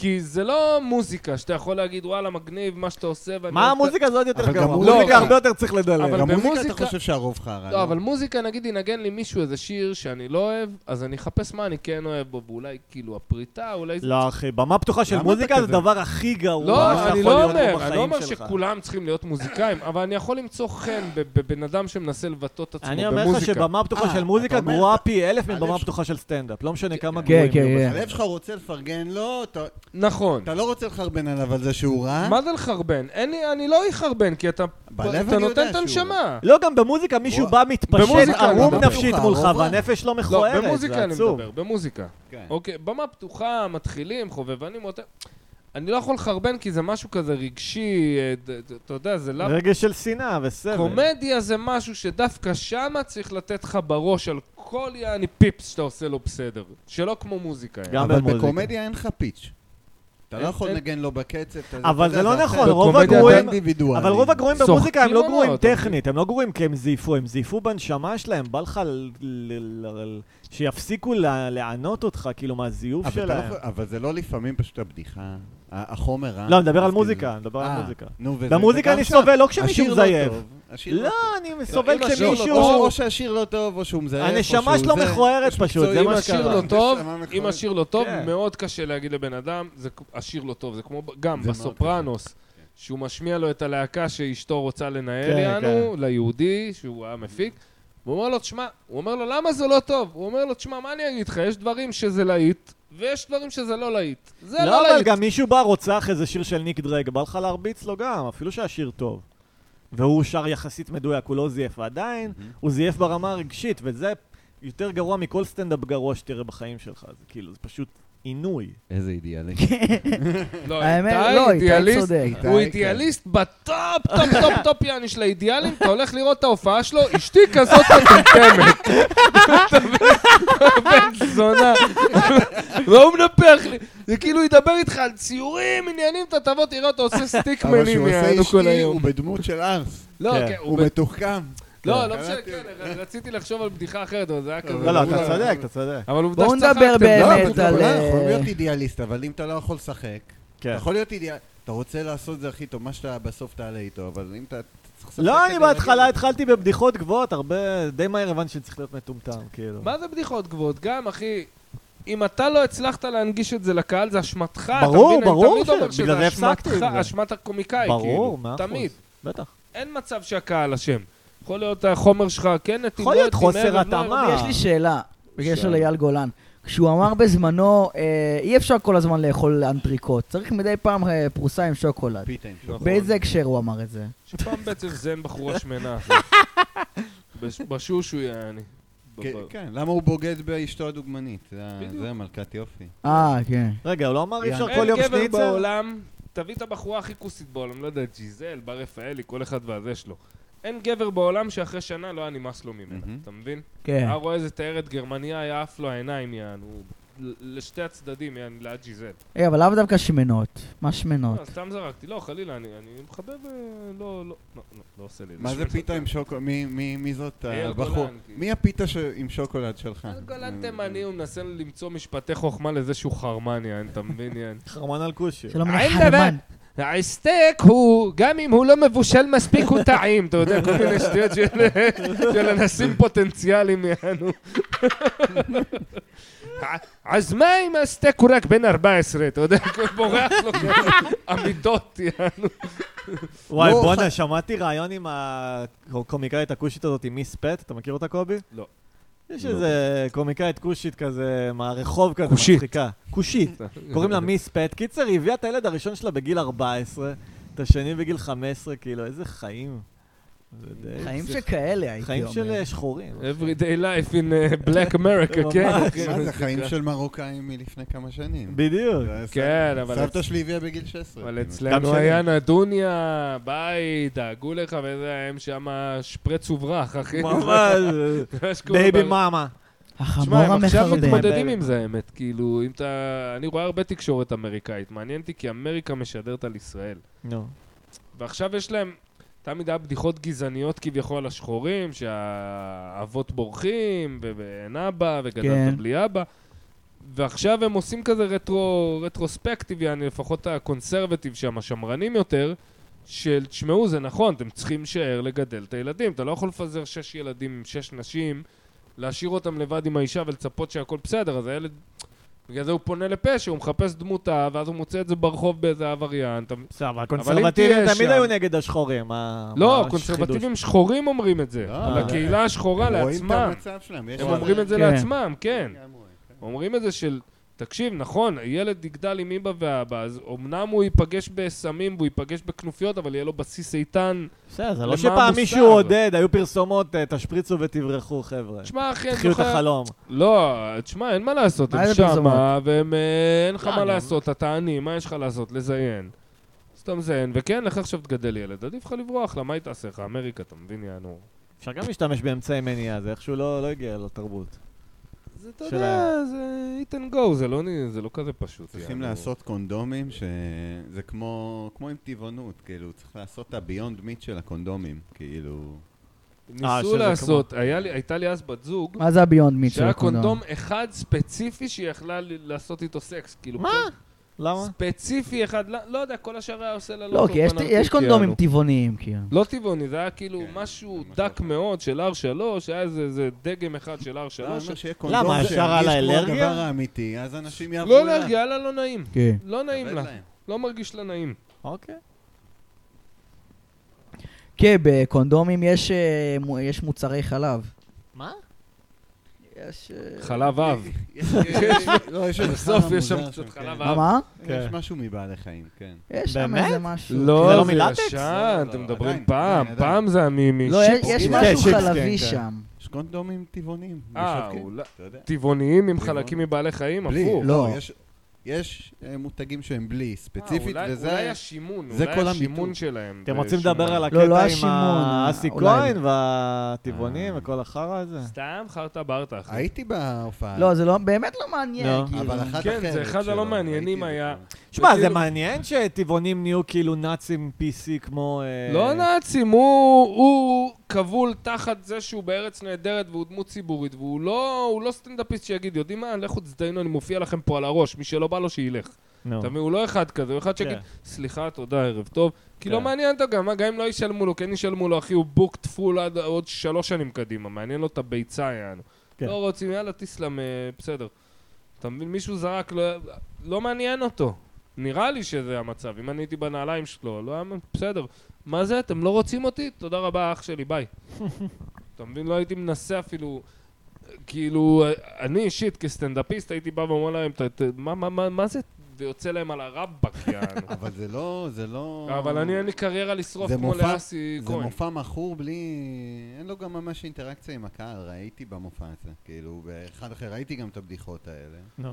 S2: כי זה לא מוזיקה שאתה יכול להגיד, וואלה, מגניב מה שאתה עושה. ואני
S3: מה
S2: אוהב את ה-"
S3: המוזיקה הזאת יותר
S4: אבל גם
S3: גרוע?
S4: מוזיקה-
S3: מוזיקה
S2: לא,
S3: הרבה יותר צריך לדלל.
S2: אבל
S4: גם מוזיקה
S2: במוזיקה-
S4: אתה חושב שהרוב חרא.
S2: לא, אבל מוזיקה, נגיד, ינגן לי מישהו איזה שיר שאני לא אוהב, אז אני אחפש מה אני כן אוהב בו, ואולי כאילו הפריטה, אולי... זה-
S3: לא, אחי, במה פתוחה של
S4: למה
S3: מוזיקה
S4: אתה
S3: זה
S4: כזה?
S3: הדבר הכי גרוע
S2: לא,
S3: שיכול
S2: אני
S3: להיות
S2: לא
S3: פה
S2: אומר, אני לא
S3: בחיים
S2: אומר
S3: שלך.
S2: שכולם צריכים להיות מוזיקאים, אבל אני יכול למצוא חן ב- בבן אדם שמנסה לבטא את עצמו
S3: אני
S2: במוזיקה.
S3: אומר לך שבמה פתוחה
S4: אה,
S3: של
S4: אתה
S3: מוזיקה
S4: אומר,
S3: גרועה פי אלף מבמה
S4: הלב ש-
S3: פתוחה של סטנדאפ. לא משנה כמה
S1: כן,
S3: גרועים.
S1: כן,
S3: יהיו
S1: כן.
S4: הלב שלך רוצה לפרגן לו, אתה-
S2: נכון.
S4: אתה לא רוצה לחרבן עליו על זה שהוא רע?
S2: מה זה לחרבן? אין לי- אני לא אחרבן, כי אתה
S4: אה? בלב
S2: אתה
S4: אני יודע
S2: נותן את
S4: שהוא-
S2: הנשמה.
S3: לא, גם במוזיקה מישהו
S4: וואו.
S3: בא מתפשט
S2: במוזיקה,
S3: ערום
S2: לא,
S3: נפשית
S4: במוזיקה,
S3: מולך
S4: הרוב רע.
S3: והנפש לא
S2: לא,
S3: מכוערת,
S2: במוזיקה
S3: זה
S2: אני
S3: עצוב.
S2: מדבר, במוזיקה.
S4: כן.
S2: אוקיי, במה פתוחה, מתחילים, חובבנים, עוד- אני לא יכול לחרבן כי זה משהו כזה רגשי, אה, ד- ד- אתה יודע, זה לאו...
S3: רגש של שנאה וסבל.
S2: לא. קומדיה זה משהו שדווקא שמה צריך לתת לך בראש על כל יעני פיפס שאתה עושה לו בסדר. שלא כמו מוזיקה. יעני.
S3: גם
S4: אבל
S3: במוזיקה.
S4: בקומדיה אין לך פיץ'. אתה לא
S2: אין-
S4: יכול
S2: אין-
S4: לנגן לו בקצב. אתה-
S3: אבל
S4: אתה
S3: זה
S4: יודע,
S3: לא
S4: אחר.
S3: נכון, רוב
S2: בקומדיה
S4: זה
S3: הגרועים...
S4: אינדיבידואלי.
S3: אבל רוב הגרועים
S2: צוחקים
S3: במוזיקה הם לא
S2: או לא?
S3: גרועים
S2: אתה מבין?
S3: טכנית, הם לא גרועים כי הם זייפו, הם זייפו בנשמה שלהם, בא לך ל- ל- ל- ל- שיפסיקו ל- לענות אותך, כאילו, מהזיוף
S4: אבל אתה לא
S3: שלהם.
S4: יכול- אבל זה לא לפעמים פשוט הבדיחה. ה- החומר רע.
S3: לא, אני מדבר על
S4: אז כאילו-
S3: מוזיקה, אני מדבר
S4: אה,
S3: על מוזיקה.
S4: נו, וזה-
S3: במוזיקה
S4: וגם
S3: אני
S4: שם,
S3: סובל, לא כשמישהו
S4: השיר לא
S3: מזייף.
S4: טוב, השיר
S3: לא, אני סובל
S2: אם השיר לא
S4: טוב. או
S2: שהוא-
S3: כשמישהו...
S4: או שהשיר לא טוב, או שהוא מזייף, או שהוא
S3: הנשמה שלו
S4: זה.
S3: מכוערת
S4: יש
S3: פשוט, זה
S2: אם
S3: מה
S2: השיר
S3: שקרה.
S2: לא טוב,
S4: נשמה מכוערת.
S2: אם השיר לא טוב,
S3: כן.
S2: מאוד קשה להגיד לבן אדם, זה כ- השיר לא טוב, זה כמו ב- גם
S4: זה
S2: בסופרנוס, שהוא משמיע לו את הלהקה שאשתו רוצה לנהל,
S3: כן,
S2: יענו, ליהודי, שהוא היה מפיק, והוא אומר לו, תשמע, הוא אומר לו, למה זה לא טוב? הוא אומר לו, תשמע, מה אני אגיד לך, יש דברים שזה להיט, ויש דברים שזה לא להיט. זה
S3: לא,
S2: לא
S3: אבל
S2: להיט.
S3: גם מישהו בא רוצח איזה שיר של ניק דרג, בא לך להרביץ לו גם, אפילו שהשיר טוב. והוא שר יחסית מדויק, הוא לא זייף, ועדיין הוא זייף ברמה הרגשית, וזה יותר גרוע מכל סטנדאפ גרוע שתראה בחיים שלך. זה כאילו, זה פשוט עינוי.
S4: איזה אידיאלי.
S2: לא,
S1: האמת,
S2: איתי
S1: לא, איתי
S2: אידיאליסט,
S1: צודק.
S4: איתי,
S2: הוא
S4: כן.
S2: אידיאליסט בטופ, טופ, טופ, טופ, יעני של האידיאלים, אתה הולך לראות את ההופעה שלו, אשתי כזאת מטומטמת. אתה מבין? בן זונה. והוא מנפח לי. זה כאילו ידבר איתך על ציורים, עניינים, אתה תבוא, תראה אותו עושה
S4: אבל שהוא
S2: סטיקמנים,
S4: עושה
S2: יענו כל
S4: אשתי, הוא
S2: היום.
S4: בדמות של ארס.
S2: לא,
S3: כן,
S2: כן, הוא
S4: הוא
S2: ב-
S4: מתוחכם.
S2: לא,
S4: כן.
S2: לא משנה,
S4: קראתי
S2: כן, רציתי לחשוב על בדיחה אחרת, אבל זה היה כזה.
S3: לא, לא, אתה
S2: אבל-
S3: צודק, אתה צודק.
S2: אבל עובדה
S1: בואו
S2: שצחקתם.
S1: נדבר
S2: לא,
S1: באמת
S2: אבל-
S4: אתה
S1: על- אה,
S4: יכול להיות אידיאליסט, אבל אם אתה לא יכול לשחק, אתה
S3: כן.
S4: יכול להיות אידיאליסט. אתה רוצה לעשות את זה הכי טוב, מה שאתה בסוף תעלה איתו, אבל אם אתה... אתה צריך לשחק
S3: לא,
S4: כדי
S3: אני
S4: להגיע
S3: בהתחלה
S4: לזה.
S3: התחלתי בבדיחות גבוהות, הרבה, די מהר הבנתי שצריך להיות מטומטם, כאילו.
S2: מה זה בדיחות גבוהות? גם, אחי, אם אתה לא הצלחת להנגיש את זה לקהל, זה אשמתך. אתה
S3: ברור,
S2: מבין? אני
S3: ברור
S2: תמיד אומר
S3: ש-
S2: שזה
S3: בגלל זה הפסקתי
S2: אשמתך,
S3: עם זה.
S2: אשמת הקומיקאי, כאילו.
S3: ברור, מאה אחוז.
S2: תמיד.
S3: בטח.
S2: אין מצב שהקהל אשם. יכול להיות החומר שלך, כן, נתיב,
S3: יכול
S2: לא
S3: להיות
S2: נתיב,
S3: חוסר
S2: ערב, לא
S3: התאמה.
S2: ערב.
S1: יש לי שאלה, בקשר
S2: שאלה.
S1: לאייל גולן. כשהוא אמר בזמנו, אה, אי אפשר כל הזמן לאכול אנטריקוט, צריך מדי פעם אה, פרוסה עם שוקולד.
S4: פיתה עם שוקולד.
S1: באיזה הקשר הוא אמר את זה?
S2: שפעם בעצם זן בחורה שמנה. אחי. בש- בשושו יעני.
S4: כן, כן, למה הוא בוגד באשתו הדוגמנית? זה ה-
S2: בדיוק.
S4: זה מלכת יופי.
S1: אה, כן.
S3: רגע, הוא לא אמר אי אפשר
S4: יאללה.
S3: כל
S2: אין
S3: יום
S2: גבר
S3: שניצר?
S2: בעולם, תביא את הבחורה הכי כוסית בעולם, לא יודע, ג'יזל, בר רפאלי, כל אחד והזה שלו. אין גבר בעולם שאחרי שנה לא היה נמאס לו ממנה,
S4: מהמם.
S2: אתה מבין?
S1: כן.
S2: היה רואה איזה תיירת גרמניה, היה עף לו העיניים, יענו. ל- לשתי הצדדים, יענו, ליד ג'יזל.
S1: אה, אבל למה דווקא שמנות? מה שמנות?
S2: לא, סתם זרקתי. לא, חלילה, אני אני מחבב... אה, לא, לא, לא, לא, לא עושה לי את
S4: מה זה
S2: שמנות.
S4: פיתה עם שוקולד? מי- מי- מי זאת
S2: אייל
S4: הבחור?
S2: גולן, כאילו.
S4: מי הפיתה ש- עם שוקולד שלך?
S2: אייל
S4: אה,
S2: גולן תימני, הוא מנסה למצוא משפטי חוכמה לזה שהוא חרמן, יען, אתה מבין, יען?
S3: חרמן על כושי.
S1: שלום
S2: אין
S1: לחרמן.
S2: הסטייק הוא, גם אם הוא לא מבושל מספיק, הוא טעים, אתה יודע, כל מיני שטויות של- של אנשים פוטנציאליים, יענו. אז מה אם הסטייק הוא רק בן 14, אתה יודע, כל בורח לו כאלה אמיתות, יענו.
S3: וואי,
S4: לא,
S3: בואנה,
S4: ח-
S3: שמעתי ראיון עם הקומיקאית הכושית הזאת, עם מיס פט, אתה מכיר אותה, קובי?
S2: לא.
S3: יש איזה קומיקאית כושית כזה, מהרחוב כזה,
S2: כושית.
S3: מצחיקה. כושית. קוראים לה מיס פט. קיצר, היא הביאה את הילד הראשון שלה בגיל 14, את השני בגיל 15, כאילו, איזה חיים. זה די-
S1: חיים
S3: זה-
S1: שכאלה, הייתי
S3: חיים
S1: אומר.
S3: של אה, שחורים.
S2: Everyday life in uh, black America, כן.
S3: ממש.
S2: כן,
S4: מה זה,
S2: זה
S4: חיים
S2: ככה.
S4: של מרוקאים מלפני כמה שנים.
S3: בדיוק.
S4: זה היה סבתא-
S2: כן, אבל-
S4: סבתא שלי הביאה בגיל 16.
S2: אבל
S4: כאילו.
S3: גם
S2: אצלנו
S3: שלי.
S2: היה נדוניה, ביי, דאגו לך, וזה, הם שם שפרץ וברח, אחי.
S3: ממש. אה,
S2: זה מה שקורה
S3: בייבי
S2: ב-
S3: מאמה.
S1: החמור
S2: תשמע, הם עכשיו
S1: המחרבן.
S2: מתמודדים עם זה, האמת. כאילו, אם אתה... אני רואה הרבה תקשורת אמריקאית. מעניין אותי כי אמריקה משדרת על ישראל.
S3: נו.
S2: ועכשיו יש להם... תמיד היה בדיחות גזעניות כביכול על השחורים, שהאבות בורחים, ו- ואין אבא,
S1: כן.
S2: וגדלת בלי אבא. ועכשיו הם עושים כזה רטרו, רטרוספקטיב, יעני, לפחות הקונסרבטיב שם, השמרנים יותר, של, תשמעו, זה נכון, אתם צריכים להישאר לגדל את הילדים. אתה לא יכול לפזר שש ילדים עם שש נשים, להשאיר אותם לבד עם האישה ולצפות שהכל בסדר, אז הילד... בגלל זה הוא פונה לפשע, הוא מחפש דמותה, ואז הוא מוצא את זה ברחוב באיזה עבריין. אתה...
S3: בסדר, אבל
S2: אם
S3: הקונסרבטיבים
S2: תהיה
S3: תמיד
S2: שם-
S3: היו נגד השחורים. מה- מה
S2: לא,
S3: החידוש?
S2: קונסרבטיבים שחורים אומרים את זה.
S4: לא,
S2: על הקהילה השחורה
S4: רואים את
S2: לעצמם.
S4: המצב שלהם. יש
S2: הם
S4: להם-
S2: אומרים את זה
S1: כן.
S2: לעצמם, כן.
S4: גם רואים, כן.
S2: אומרים את זה של, תקשיב, נכון, הילד יגדל עם אמא ואבא, אז אמנם הוא ייפגש בסמים והוא ייפגש בכנופיות, אבל יהיה לו בסיס איתן.
S3: בסדר, זה
S2: למה
S3: לא שפעם
S2: המוסר?
S3: מישהו עודד, היו פרסומות, אה, תשפריצו ותברחו, חבר'ה.
S2: תשמע, אחי, אני
S3: תחיו את
S2: זוכר...
S3: החלום.
S2: לא, תשמע, אין מה לעשות,
S1: מה
S2: הם
S1: זה פרסומות?
S2: שמה, והם... אה, אין לך
S3: לא,
S2: מה
S3: אני-
S2: לעשות, אתה עני, מה יש לך לעשות? לזיין. אז אתה מזיין, וכן, לך עכשיו תגדל ילד, עדיף לך לברוח, למה היא תעשה לך? אמריקה, אתה מבין, יענו.
S3: אפשר גם להשתמש באמצעי מניעה, זה איכשהו לא לא הגיע לתרבות.
S2: זה, אתה
S3: יודע,
S2: יודע, זה hit and go, זה לא, נ- זה לא כזה פשוט.
S4: צריכים
S2: יענו.
S4: לעשות קונדומים, שזה כמו כמו עם טבעונות, כאילו, צריך לעשות את הביונד מיט של הקונדומים, כאילו...
S3: אה,
S2: ניסו
S3: שזה
S2: לעשות, היה לי- הייתה לי אז בת זוג,
S1: מה זה הביונד מיט של
S2: שהיה
S1: הקונדום?
S2: קונדום אחד ספציפי שהיא יכלה ל- לעשות איתו סקס. כאילו,
S3: מה? למה?
S2: כל- ספציפי אחד, לא לא יודע, כל השאר היה עושה לה
S1: לא, כי יש-
S2: טורפנטית,
S1: יש קונדומים
S2: יענו.
S1: טבעוניים, כאילו.
S2: לא טבעוני, זה היה כאילו
S4: כן,
S2: משהו
S4: משהו
S2: דק
S4: אחר.
S2: מאוד של R3, היה איזה איזה דגם אחד של R3.
S4: לא, אני אומר
S2: ש-
S4: שיהיה קונדום
S3: למה,
S4: שירגיש
S3: ישר על
S4: כמו
S3: האלרגיה?
S4: הדבר האמיתי, אז אנשים יעברו
S2: לא
S4: אליו.
S2: אלרגיה, יאללה, לא נעים.
S1: כן.
S2: לא נעים
S4: כבד
S2: לה,
S4: להם.
S2: לא מרגיש לה נעים.
S3: אוקיי.
S1: כן, בקונדומים יש, אה, מו- יש מוצרי חלב.
S3: מה?
S1: יש... אה,
S2: חלב אב.
S4: יש- יש- לא, יש איזה
S2: בסוף
S4: חרא
S2: יש שם
S4: מוזר
S2: קצת
S4: שם,
S2: חלב
S4: כן.
S1: מה,
S2: אב.
S1: מה?
S4: יש משהו מבעלי חיים, כן.
S1: יש שם
S3: באמת?
S1: איזה משהו.
S3: זה
S2: לא,
S3: לא
S2: זה
S3: מלטקס?
S2: ישן,
S4: לא,
S2: אתם
S4: לא,
S2: מדברים
S4: עדיין,
S2: פעם,
S4: עדיין, עדיין.
S2: פעם זה המימי.
S1: לא, יש- יש
S3: כן,
S1: משהו
S3: שיפס,
S1: חלבי
S3: כן, כן.
S1: שם.
S4: יש קונדומים טבעונים.
S2: אה,
S4: משווקים,
S2: אולי-
S4: אתה יודע.
S2: טבעוניים עם
S4: טבעון.
S2: חלקים מבעלי חיים,
S4: בלי,
S2: הפוך.
S1: לא.
S4: לא, יש- יש אה, מותגים שהם בלי,
S2: אה,
S4: ספציפית,
S2: אולי-
S4: וזה...
S2: אולי השימון,
S4: זה כל
S2: אולי השימון
S4: המיתוג.
S2: שלהם.
S3: אתם רוצים
S2: בשומן.
S3: לדבר על
S1: לא,
S3: הקטע
S1: לא
S3: עם
S1: השימון,
S3: האסי
S1: אולי.
S3: כהן והטבעונים
S4: אה.
S3: וכל החרא הזה?
S2: סתם חרטה ברטה, אחי.
S4: הייתי בהופעה.
S1: לא, זה לא, באמת לא מעניין,
S3: לא.
S1: כאילו.
S4: אבל אחת
S2: כן,
S4: אחרת.
S2: זה אחד
S4: שלו,
S2: הלא מעניינים
S4: ראיתי
S2: היה.
S4: את זה.
S3: תשמע, זה
S2: וכאילו-
S3: מעניין שטבעונים נהיו כאילו נאצים PC כמו... אה,
S2: לא נאצים, הוא הוא כבול תחת זה שהוא בארץ נהדרת והוא דמות ציבורית, והוא לא הוא לא סטנדאפיסט שיגיד, יודעים מה, לכו תזדיינו, אני מופיע לכם פה על הראש, מי שלא בא לו שילך.
S3: נו.
S2: אתה מבין, הוא לא אחד כזה, הוא אחד שיגיד,
S3: כן.
S2: סליחה, תודה, ערב טוב. כי לא
S3: כן.
S2: מעניין אותו גם, מה, גם אם לא ישלמו לו, כן ישלמו לו, אחי, הוא בוקט פול עד עוד שלוש שנים קדימה, מעניין לו את הביצה, יענו.
S3: כן.
S2: לא רוצים, יאללה, תסלם, אה, בסדר. אתה מבין, מישהו זרק, לא- לא מעניין אותו. נראה לי שזה המצב, אם אני הייתי בנעליים שלו, לא היה, בסדר. מה זה, אתם לא רוצים אותי? תודה רבה, אח שלי, ביי. אתה מבין, לא הייתי מנסה אפילו... כאילו, אני אישית כסטנדאפיסט הייתי בא ואומר להם, "ת- ת- מה- מה- מה מה זה? ויוצא להם על הרבק, יענו.
S4: אבל זה לא, זה לא...
S2: אבל אני אין לי קריירה לשרוף
S4: זה
S2: כמו
S4: מופע-
S2: לאסי
S4: זה
S2: כהן.
S4: מופע מכור בלי... אין לו גם ממש אינטראקציה עם הקהל, ראיתי במופע הזה. כאילו, באחד אחר ראיתי גם את הבדיחות האלה.
S3: נו.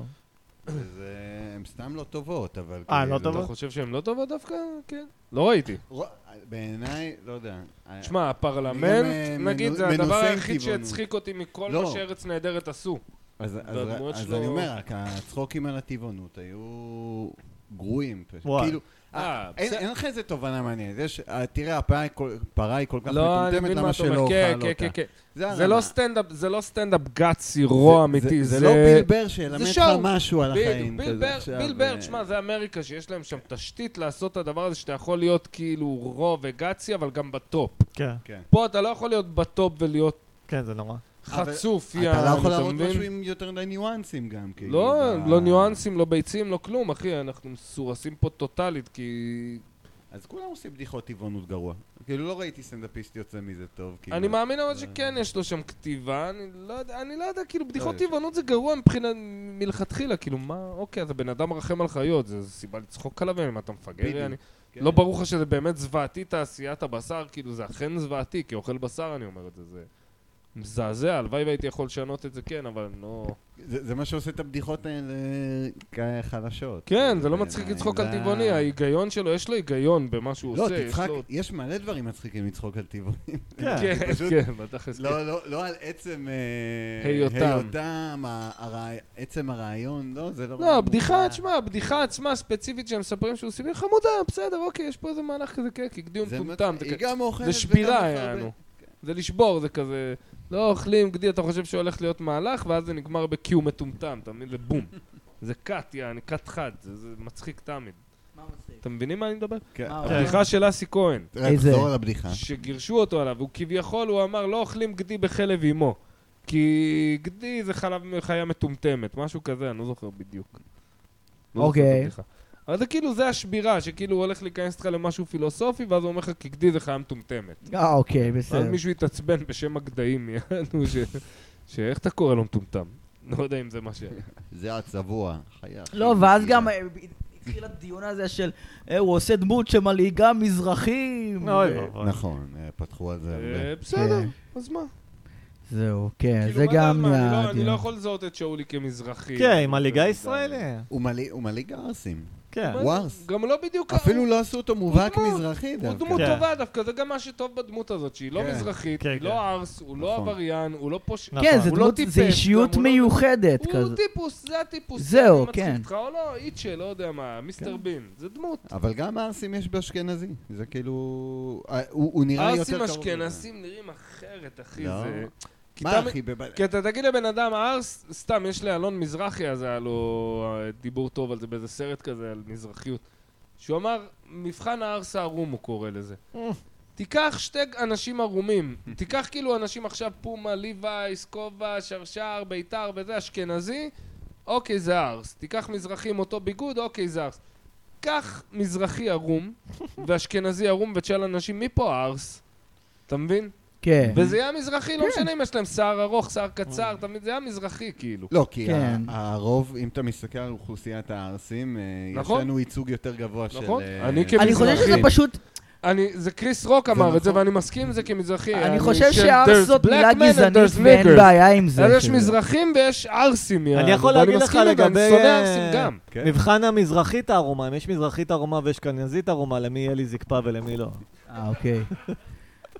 S4: וזה... הן סתם לא טובות, אבל...
S3: אה,
S4: כאילו-
S3: לא טובות?
S2: אתה חושב שהן לא טובות דווקא? כן. לא ראיתי.
S4: רוא- בעיניי, לא יודע.
S2: שמע,
S4: אני גם,
S2: הפרלמנט,
S4: אה,
S2: נגיד,
S4: מנו-
S2: זה הדבר
S4: מנוסה עם
S2: היחיד
S4: טבעונות.
S2: שהצחיק אותי מכל
S4: לא.
S2: מה שארץ נהדרת עשו.
S4: אז, אז,
S2: והדמויות
S4: אז
S2: שלו-
S4: אני אומר, רק הצחוקים על הטבעונות היו גרועים. פשוט.
S3: וואי.
S4: כאילו,
S2: אה,
S4: אין
S2: בסדר.
S4: אין לך איזה תובנה מעניינת. יש, אה, תראה, הפרה היא כל- פרה היא כל כך
S2: לא, אני
S4: מטומטמת,
S2: מבין מה
S4: למה
S2: אתה
S4: שלא
S2: אומר.
S4: אוכל
S2: כן, כן,
S4: אותה?
S2: כן, כן. זה
S4: הרמה.
S2: לא סטנדאפ, זה לא סטנדאפ גאצי, רוע אמיתי.
S4: זה לא ביל בר שילמד
S2: זה
S4: לך
S2: שואו.
S4: משהו על
S2: בדיוק,
S4: החיים.
S2: ביל
S4: כזה
S2: בר-
S4: עכשיו,
S2: ביל
S4: אה,
S2: בר, שמע, זה אמריקה, שיש להם שם תשתית לעשות את הדבר הזה, שאתה יכול להיות כאילו רוע וגאצי, אבל גם בטופ.
S3: כן,
S4: כן.
S2: פה אתה לא יכול להיות בטופ ולהיות
S3: כן, זה נורא.
S4: אבל
S2: חצוף, יאללה,
S4: אתה לא יכול להראות משהו עם יותר מדי ניואנסים גם, כאילו.
S2: לא,
S4: ב-
S2: לא ניואנסים, לא ביצים, לא כלום, אחי, אנחנו מסורסים פה טוטאלית, כי...
S4: אז כולם עושים בדיחות טבעונות גרוע. כאילו לא ראיתי סטנדאפיסט יוצא מזה טוב, כאילו.
S2: אני מאמין אבל
S4: זה-
S2: שכן יש לו שם כתיבה, אני לא יודע, אני לא יודע, כאילו בדיחות
S4: יודע.
S2: טבעונות זה גרוע מבחינת, מלכתחילה, כאילו מה, אוקיי, אז הבן אדם מרחם על חיות, זה זה סיבה לצחוק עליו, אם אתה
S4: בדיוק,
S2: מפגר, אני...
S4: כן.
S2: לא ברור לך שזה באמת זוועתי תעשיית הבשר, כאילו זה אכן זוועתי, כי אוכל בשר אני אומר את זה, זה מזעזע, הלוואי והייתי יכול לשנות את זה כן, אבל אני לא...
S4: זה זה מה שעושה את הבדיחות האלה אה, כאילו, כחלשות.
S2: כן, זה לא
S4: בעיניי,
S2: מצחיק לצחוק על
S4: זה-
S2: טבעוני, ההיגיון שלו, יש לו היגיון במה שהוא
S4: לא,
S2: עושה, יש
S4: תצחק,
S2: לו...
S4: יש מלא דברים מצחיקים לצחוק על טבעונים.
S3: כן.
S2: כן,
S4: פשוט-
S2: כן, בתכלס, כן.
S4: לא, לא, לא על עצם... אה,
S2: היותם.
S4: היותם, ה- הרעי- עצם הרעיון, לא, זה לא...
S2: לא, הבדיחה, תשמע, הבדיחה עצמה הספציפית שהם מספרים שהוא סיבי חמודה, בסדר, אוקיי, יש פה איזה מהלך כזה כיף, גדי
S4: זה
S2: מטומטם,
S4: מצ-
S2: זה
S4: היא
S2: כזה-
S4: גם אוכלת
S2: זה
S4: וגם
S2: שבירה,
S4: מפרבנת.
S2: יענו. זה לשבור, זה כזה, לא אוכלים גדי, אתה חושב שהולך להיות מהלך, ואז זה נגמר בקיו מטומטם, אתה מבין? זה בום. זה קאט, יעני, קאט חד, זה זה מצחיק תמיד.
S1: מה מצחיק?
S2: אתם מבינים מה אני מדבר?
S4: כן.
S1: מה,
S3: כן.
S2: הבדיחה של אסי כהן.
S4: תראה,
S1: איזה-
S4: תחזור על הבדיחה.
S1: כן.
S2: שגירשו אותו עליו, הוא כביכול, הוא אמר, לא אוכלים גדי בחלב אימו. כי גדי זה חלב חיה מטומטמת, משהו כזה, אני לא זוכר בדיוק. לא זוכר את
S1: אוקיי.
S2: הבדיחה. אבל זה כאילו, זה השבירה, שכאילו הוא הולך להיכנס איתך למשהו פילוסופי, ואז הוא אומר לך, כי גדי זה חיה מטומטמת.
S1: אה, אוקיי,
S2: ואז
S1: בסדר.
S2: מישהו התעצבן בשם הגדיים, יענו, ש... שאיך אתה קורא לו מטומטם? לא יודע אם זה מה שהיה.
S4: זה הצבוע, חיה.
S1: לא, ואז גם אה, התחיל הדיון הזה של, אה, הוא עושה דמות שמלעיגה מזרחים.
S3: אוי
S2: כן.
S3: ואבוי.
S4: נכון, אה, פתחו על זה הרבה.
S2: אה, בסדר,
S1: כן.
S2: אז מה?
S1: זהו, כן,
S2: כאילו,
S1: זה
S2: מה דעת
S1: גם...
S2: מה, אני לא- אני לא
S1: הדיון.
S2: יכול לזהות את שאולי כמזרחי.
S3: כן, עם הליגה הישראלית.
S4: הוא מלא- הוא מלא גרסים.
S3: כן.
S2: מה זה?
S4: ווארס.
S2: גם לא בדיוק...
S4: אפילו לא עשו אותו מובהק
S2: הוא דמות.
S4: מזרחי
S2: הוא
S4: דווקא.
S2: דמות
S3: כן.
S2: טובה דווקא, זה גם מה שטוב בדמות הזאת, שהיא לא
S4: כן.
S2: מזרחית,
S3: כן,
S2: היא
S3: כן.
S2: לא ארס, הוא לא
S4: נכון.
S2: עבריין, הוא לא פושע.
S1: כן,
S3: נכון.
S1: זה
S2: הוא לא
S1: דמות,
S2: טיפש,
S1: זה
S2: גם,
S1: אישיות
S2: הוא לא-
S1: מיוחדת
S2: הוא
S1: כזאת.
S2: טיפוס, זה הטיפוס.
S1: זהו,
S2: אני מצחיק
S1: כן.
S2: אותך או לא, איצ'ה, לא יודע מה, מיסטר בין, זה דמות.
S4: אבל גם ערסים יש באשכנזי, זה כאילו... אה, הוא הוא נראה יותר
S2: ערסים
S4: קרוב.
S2: אשכנזים נראים אחרת, אחי,
S4: לא.
S2: זה... כי כן.
S4: מה
S2: אתה-
S4: אחי, בב-
S2: כי אתה תגיד לבן אדם, ארס, סתם, יש לאלון מזרחי, אז היה לו אה, דיבור טוב על זה באיזה סרט כזה, על מזרחיות. שהוא אמר, מבחן הארס הערום הוא קורא לזה. תיקח שתי אנשים ערומים, תיקח כאילו אנשים עכשיו פומה, ליווייס, כובע, שרשר, ביתר וזה, אשכנזי, אוקיי זה ארס. תיקח מזרחי עם אותו ביגוד, אוקיי זה ארס. קח מזרחי ערום ואשכנזי ערום ותשאל אנשים, מי פה הארס? אתה מבין?
S1: כן. Mm.
S2: וזה יהיה המזרחי, לא משנה אם יש להם שיער ארוך, שיער קצר, אתה מבין? זה יהיה המזרחי כאילו.
S4: לא, כי
S1: כן.
S4: ה- הרוב, אם אתה מסתכל על אוכלוסיית הערסים, אה, יש
S2: נכון.
S4: לנו ייצוג יותר גבוה של...
S2: נכון.
S4: אה,
S2: אני
S1: אני חושב
S2: כמזרחי.
S1: שזה פשוט,
S2: אני, זה קריס רוק
S4: זה
S2: אמר את זה
S4: נכון.
S2: ואני מסכים עם זה כמזרחי.
S1: אני חושב
S2: של
S1: שהארס
S2: there's
S1: זאת
S2: black
S1: מילה
S2: men and
S1: גזענית
S2: there's
S1: ואין
S2: niggers.
S1: בעיה עם זה.
S2: אז יש
S1: כאילו.
S2: מזרחים ויש ערסים, יענו,
S3: אני יכול
S2: ואני
S3: להגיד לך
S2: מסכים עם זה,
S3: לגבי,
S2: אני שונא
S3: אה,
S2: ערסים גם.
S4: כן.
S3: מבחן המזרחית הערומה, אם יש מזרחית ערומה ויש כנזית ערומה, למי יהיה לי זקפה ולמי לא.
S1: אה, אוקיי.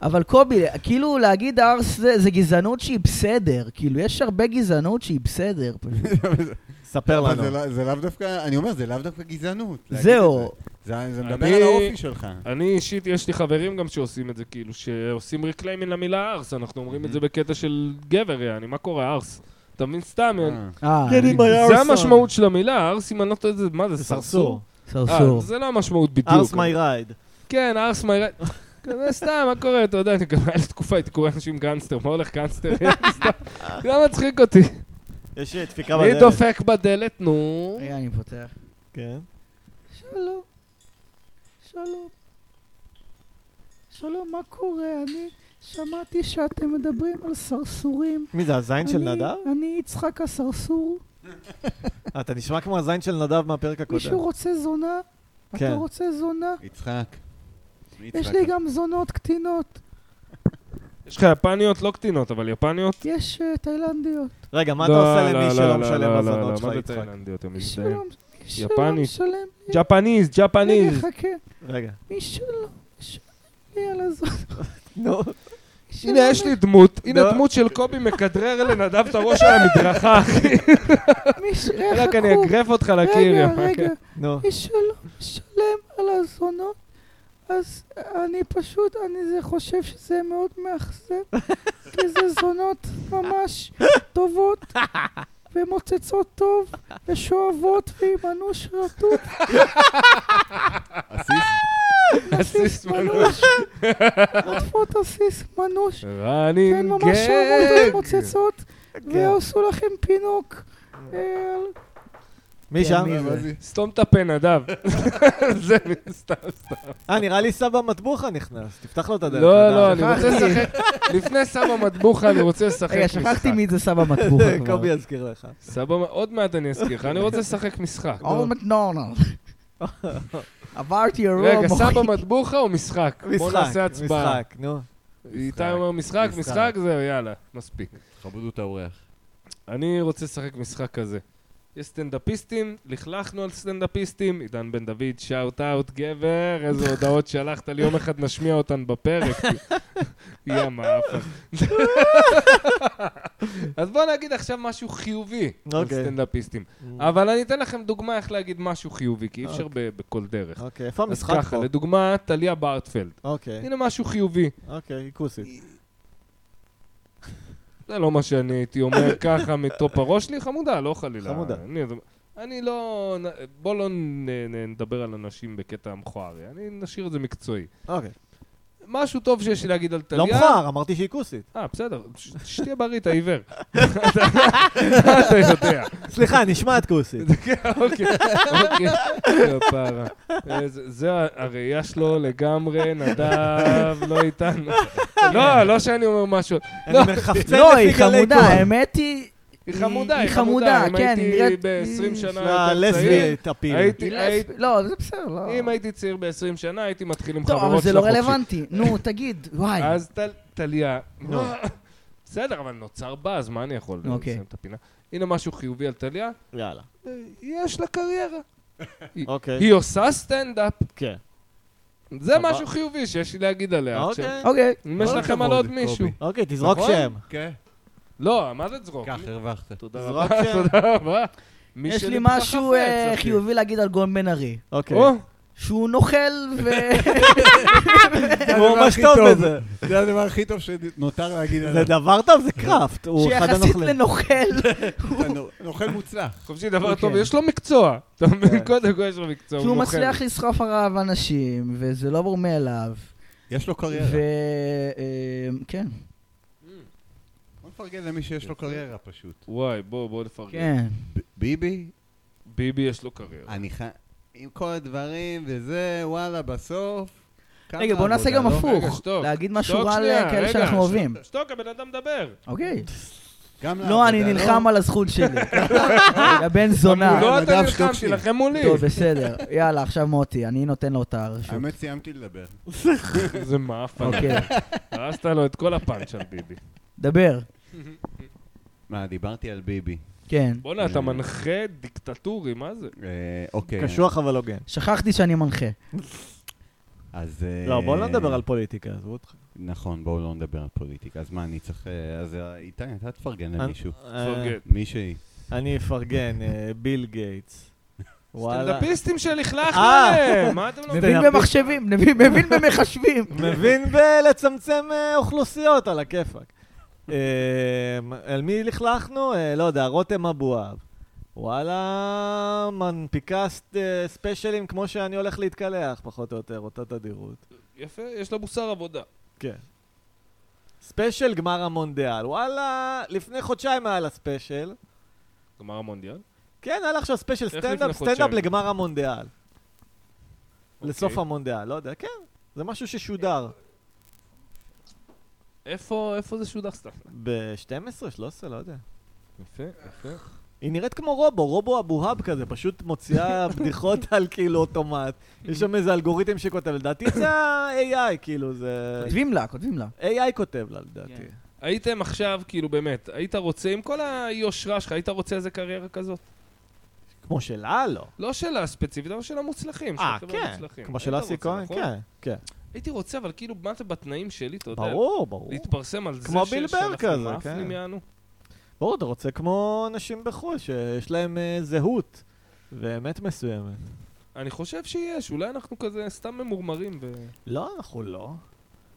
S1: אבל קובי, כאילו להגיד ארס זה זה גזענות שהיא בסדר. כאילו, יש הרבה גזענות שהיא בסדר. פשוט.
S3: ספר
S4: אבל
S3: לנו.
S4: זה לא- זה לאו דווקא, אני אומר, זה לאו דווקא גזענות. להגיד
S1: זהו.
S4: את זה זה- זה מדבר
S2: אני-
S4: על האופי שלך.
S2: אני אישית, יש לי חברים גם שעושים את זה, כאילו, שעושים ריקליימינג למילה ארס, אנחנו אומרים
S1: Mm-hmm.
S2: את זה בקטע של גבר, יעני, מה קורה ארס? אתה מבין? סתם, יעני.
S4: אה.
S1: אה,
S3: כן, אם היה
S2: זה
S3: ארס-
S2: המשמעות של המילה, ארס, אם אני לא טועה, זה מה זה,
S3: זה
S2: סרסור?
S3: סרסור.
S1: סרסור.
S2: אה, זה לא המשמעות בדיוק.
S3: ארס מי רייד.
S2: כן, ארס מי רייד. כזה סתם, מה קורה? אתה יודע, אני גם היה לי תקופה, הייתי קורא לאנשים גאנסטר, מה הולך גאנסטר? סתם. זה היה מצחיק אותי.
S3: יש אה, דפיקה
S2: מי
S3: בדלת.
S2: דופק בדלת, נו?
S1: רגע, אני פותח.
S3: כן.
S1: שלום. שלום. שלום, מה קורה? אני שמעתי שאתם מדברים על סרסורים.
S3: מי זה, הזין של
S1: אני-
S3: נדב?
S1: אני יצחק הסרסור.
S3: אה, אתה נשמע כמו הזין של נדב מהפרק הקודם.
S1: מישהו רוצה זונה?
S3: כן.
S1: אתה רוצה זונה?
S4: אה, יצחק. מי
S1: יש
S4: יצחק?
S1: לי גם זונות קטינות.
S2: יש לך יפניות לא קטינות, אבל יפניות...
S1: יש אה, תאילנדיות.
S3: רגע, מה
S2: לא,
S3: אתה עושה
S2: לא,
S3: למי
S2: לא,
S3: שלא
S2: לא, לא,
S3: משלם
S2: לא,
S3: בזונות
S2: לא,
S3: שלך,
S2: מה זה
S3: יצחק?
S2: תאילנדי יותר
S1: מי
S2: מזדהה?
S1: שלא- מי שלא
S2: יפני.
S1: משלם לי-
S2: ג'פניז,
S1: רגע,
S2: ג'פניז.
S1: חכה.
S3: רגע.
S1: מי שלא משלם לא לי על הזונות.
S3: נו.
S1: מי שלא
S2: הנה, יש לי דמות, הנה דמות של קובי מכדרר לנדב את הראש על המדרכה, אחי.
S1: מי ש-
S2: רק אני
S1: חכו.
S2: אגרף אותך לקיר. כן.
S1: רגע,
S2: יא
S1: רגע.
S3: נו.
S1: מי שלא משלם על הזונות, אז אני פשוט, אני זה חושב שזה מאוד מאכזב, כי זה זונות ממש טובות. ומוצצות טוב, ושואבות ועם אנוש רטוב,
S4: אסיס?
S2: מנוש. עסיס מנוש.
S1: מנוש, עוטפות עסיס מנוש, והן
S2: ראנינג
S1: ממש אוהבות
S2: גג.
S1: כן. ומוצצות, ועשו לכם פינוק. אה,
S3: מי
S1: כן,
S3: שם?
S1: מי זה?
S2: סתום את הפה, נדב. זה מן סתם.
S3: אה, נראה לי סבא מטבוחה נכנס, תפתח לו את הדלת.
S2: לא,
S3: נדב.
S2: לא, אני רוצה
S1: שכחתי.
S2: לשחק. לפני סבא מטבוחה, אני רוצה לשחק משחק.
S1: רגע, שכחתי מי זה סבא מטבוחה כבר.
S3: קובי יזכיר לך.
S2: סבא, עוד מעט אני אזכיר לך, אני רוצה לשחק משחק.
S1: אול מקדונלד. עברתי אירוע
S2: רגע,
S1: מוחי.
S2: סבא מטבוחה או משחק? בוא נעשה
S3: משחק,
S2: הצבעה.
S3: משחק, נו.
S2: איתי אומר משחק,
S3: משחק.
S2: משחק, זהו, יאללה, מספיק.
S4: כבדו את האורח.
S2: אני רוצה לשחק משחק כזה. יש סטנדאפיסטים, לכלכנו על סטנדאפיסטים, עידן בן דוד, שאוט אאוט, גבר, איזה הודעות שלחת לי, יום אחד נשמיע אותן בפרק. יא מאפן. אז בואו נגיד עכשיו משהו חיובי על
S3: אוקיי.
S2: סטנדאפיסטים. אבל אני אתן לכם דוגמה איך להגיד משהו חיובי, כי אי אפשר ב- בכל דרך.
S3: אוקיי, איפה
S2: אז
S3: המשחק
S2: ככה,
S3: פה?
S2: לדוגמה, טליה בארטפלד.
S3: אוקיי,
S2: הנה משהו חיובי.
S3: אוקיי, כוסית.
S2: זה לא מה שאני הייתי אומר ככה מטופ הראש שלי, חמודה, לא חלילה.
S3: חמודה.
S2: אני, אני לא... בוא לא נ, נ, נדבר על אנשים בקטע המכוערי, אני נשאיר את זה מקצועי.
S3: אוקיי.
S2: משהו טוב שיש לי להגיד על טליה...
S3: לא מכוער, אמרתי שהיא כוסית.
S2: אה, בסדר, ש- שתהיה בריא, אתה עיוור. אתה אתה יודע.
S3: סליחה, נשמעת כוסית.
S2: כן, אוקיי, אוקיי. כפרה. אה, זה- זה ה- הראייה שלו לגמרי, נדב, לא איתנו. לא, לא שאני אומר משהו.
S3: אני מחפצן
S1: לא,
S3: לפי
S1: היא
S3: גלי
S1: חמודה,
S3: קול.
S1: האמת היא...
S2: היא חמודה, היא
S1: היא חמודה,
S2: חמודה. אם
S1: כן, היא
S2: הייתי
S1: נראית-
S2: ב-20 שנה יותר
S3: שלה
S2: צעיר,
S3: אה, לסבית, הפיל.
S2: הייתי-
S1: היא
S2: הייתי-
S1: לסבית. לא, זה בסדר, לא.
S2: אם הייתי צעיר ב-20 שנה, הייתי מתחיל עם חברות
S1: טוב,
S2: שלך
S1: אבל זה לא
S2: חופשי.
S1: רלוונטי. נו, תגיד, וואי.
S2: אז טל- טליה...
S3: נו.
S2: בסדר, אבל נוצר באז, מה אני יכול?
S1: אוקיי.
S2: לסיים את הפינה. הנה משהו חיובי על טליה,
S3: יאללה.
S2: אה, יש לה קריירה. היא-
S3: אוקיי.
S2: היא עושה סטנדאפ,
S3: כן.
S2: זה
S3: סבבה.
S2: משהו חיובי שיש לי להגיד עליה עכשיו.
S3: אוקיי.
S1: אוקיי.
S2: אם יש
S4: כל
S2: לכם
S4: הכבוד,
S2: על עוד
S4: קובי.
S2: מישהו.
S3: אוקיי, תזרוק
S2: נכון?
S3: שם.
S4: כן.
S2: לא, מה זה צחוק?
S4: כך, הרווחת.
S2: תודה
S3: זרוק
S2: רבה,
S3: שם.
S2: תודה רבה. מי
S1: יש לי
S2: שליבך
S1: משהו
S2: חפץ,
S1: אה,
S2: אחי.
S1: חיובי להגיד על גון בן ארי.
S3: אוקיי.
S2: או,
S1: שהוא נוכל ו...
S3: הוא ממש
S4: הכי
S3: טוב
S4: טוב.
S3: בזה.
S4: זה הדבר הכי טוב שנותר להגיד
S3: זה דבר טוב, זה קראפט. הוא אחד
S1: שיחסית
S3: הנוכלים.
S1: לנוכל,
S4: נוכל מוצלח.
S2: חופשי דבר
S1: אוקיי.
S2: טוב, יש לו מקצוע. אתה מבין?
S3: כן.
S2: קודם כל יש לו מקצוע,
S1: שהוא
S2: הוא נוכל.
S1: מצליח לסחוף אחריו אנשים, וזה לא ברור מאליו.
S4: יש לו קריירה.
S1: ו... אה, כן,
S4: בוא נפרגן למי שיש לו קריירה פשוט.
S2: וואי, בוא, בוא נפרגן.
S1: כן.
S4: ב- ביבי,
S2: ביבי יש לו קריירה.
S4: אני ח... עם כל הדברים וזה, וואלה, בסוף. כמה
S1: רגע, בוא נעשה
S4: עבודה,
S1: גם
S4: לא?
S1: הפוך.
S2: רגע, שתוק.
S1: להגיד משהו
S2: שתוק
S1: רע
S2: שנייה,
S1: לכאלה
S2: רגע,
S1: שאנחנו
S2: ש-
S1: אוהבים.
S2: שתוק, הבן אדם מדבר.
S1: אוקיי.
S4: גם
S1: לא,
S4: לעבודה,
S1: אני נלחם על הזכות שלי. לבן זונה.
S2: לא, אתה
S4: נדב, שתוק
S2: נלחמתי
S4: שנייה.
S2: לכם מולי.
S1: טוב, בסדר. יאללה, עכשיו מוטי, אני נותן לו את הרשות.
S4: האמת, סיימתי לדבר.
S2: זה מאפן.
S1: אוקיי,
S2: הרסת לו את כל הפאנץ' על ביבי.
S1: דבר.
S4: מה, דיברתי על ביבי.
S1: כן.
S2: בואנה, אתה מנחה דיקטטורי, מה זה?
S4: אה, אוקיי.
S3: קשוח אבל לא הוגן.
S1: שכחתי שאני מנחה.
S2: אה,
S4: אז... אה,
S3: לא, בואו לא נדבר על פוליטיקה, עזבו אותך.
S4: נכון, בואו לא נדבר על פוליטיקה. אז מה, אני צריך... אה, אז אה, איתי, אתה תפרגן למישהו.
S3: אה,
S2: פורגט.
S4: מישהי.
S3: אני אפרגן, אה, ביל גייטס. וואלה.
S2: סטנדאפיסטים שלכלכנו
S3: אה.
S2: עליהם, מה אתם לא
S3: מבין.
S1: מבין במחשבים, מבין מבין במחשבים.
S3: מבין בלצמצם אה, אוכלוסיות, על הכיפאק. אמ, על מי לכלכנו? אה, לא יודע, רותם אבואב. וואלה, מנפיקה סט- אה, ספיישלים כמו שאני הולך להתקלח, פחות או יותר, אותה תדירות.
S2: יפה, יש לו מוסר עבודה.
S3: כן. ספיישל גמר המונדיאל. וואלה, לפני חודשיים היה לה ספיישל.
S2: גמר המונדיאל?
S3: כן, היה לה עכשיו ספיישל
S2: לפני
S3: סטנדאפ,
S2: חודשיים?
S3: סטנדאפ לגמר המונדיאל. לסוף
S2: אוקיי.
S3: המונדיאל, לא יודע, כן. זה משהו ששודר
S2: איפה איפה זה שודר סתם?
S3: ב-12, 13, לא יודע.
S2: יפה, יפה.
S3: היא נראית כמו רובו, רובו אבוהאב כזה, פשוט מוציאה בדיחות על כאילו אוטומט. יש שם איזה אלגוריתם שכותב, לדעתי זה ה-AI, כאילו זה...
S1: כותבים לה, כותבים לה.
S3: AI כותב לה, לדעתי.
S1: כן.
S2: הייתם עכשיו, כאילו באמת, היית רוצה, עם כל היושרה שלך, היית רוצה איזה קריירה כזאת?
S3: כמו שלה, לא.
S2: לא שלה ספציפית, אבל של המוצלחים. של
S3: אה,
S2: החבר'ה
S3: כן.
S2: המוצלחים.
S3: כמו
S2: היית
S3: של אסי
S2: רוצה,
S3: כהן,
S2: נכון?
S3: כן, כן.
S2: הייתי רוצה, אבל כאילו, מה זה בתנאים שלי, אתה יודע?
S3: ברור, ברור.
S2: להתפרסם על זה
S3: כמו
S2: ש-
S3: ביל בר
S2: שאנחנו
S3: כזה,
S2: מאפנים
S3: כן.
S2: יענו.
S3: ברור, אתה רוצה כמו אנשים בחו"ל, שיש להם אה, זהות ואמת מסוימת.
S2: אני חושב שיש, אולי אנחנו כזה סתם ממורמרים ו...
S3: לא, אנחנו לא.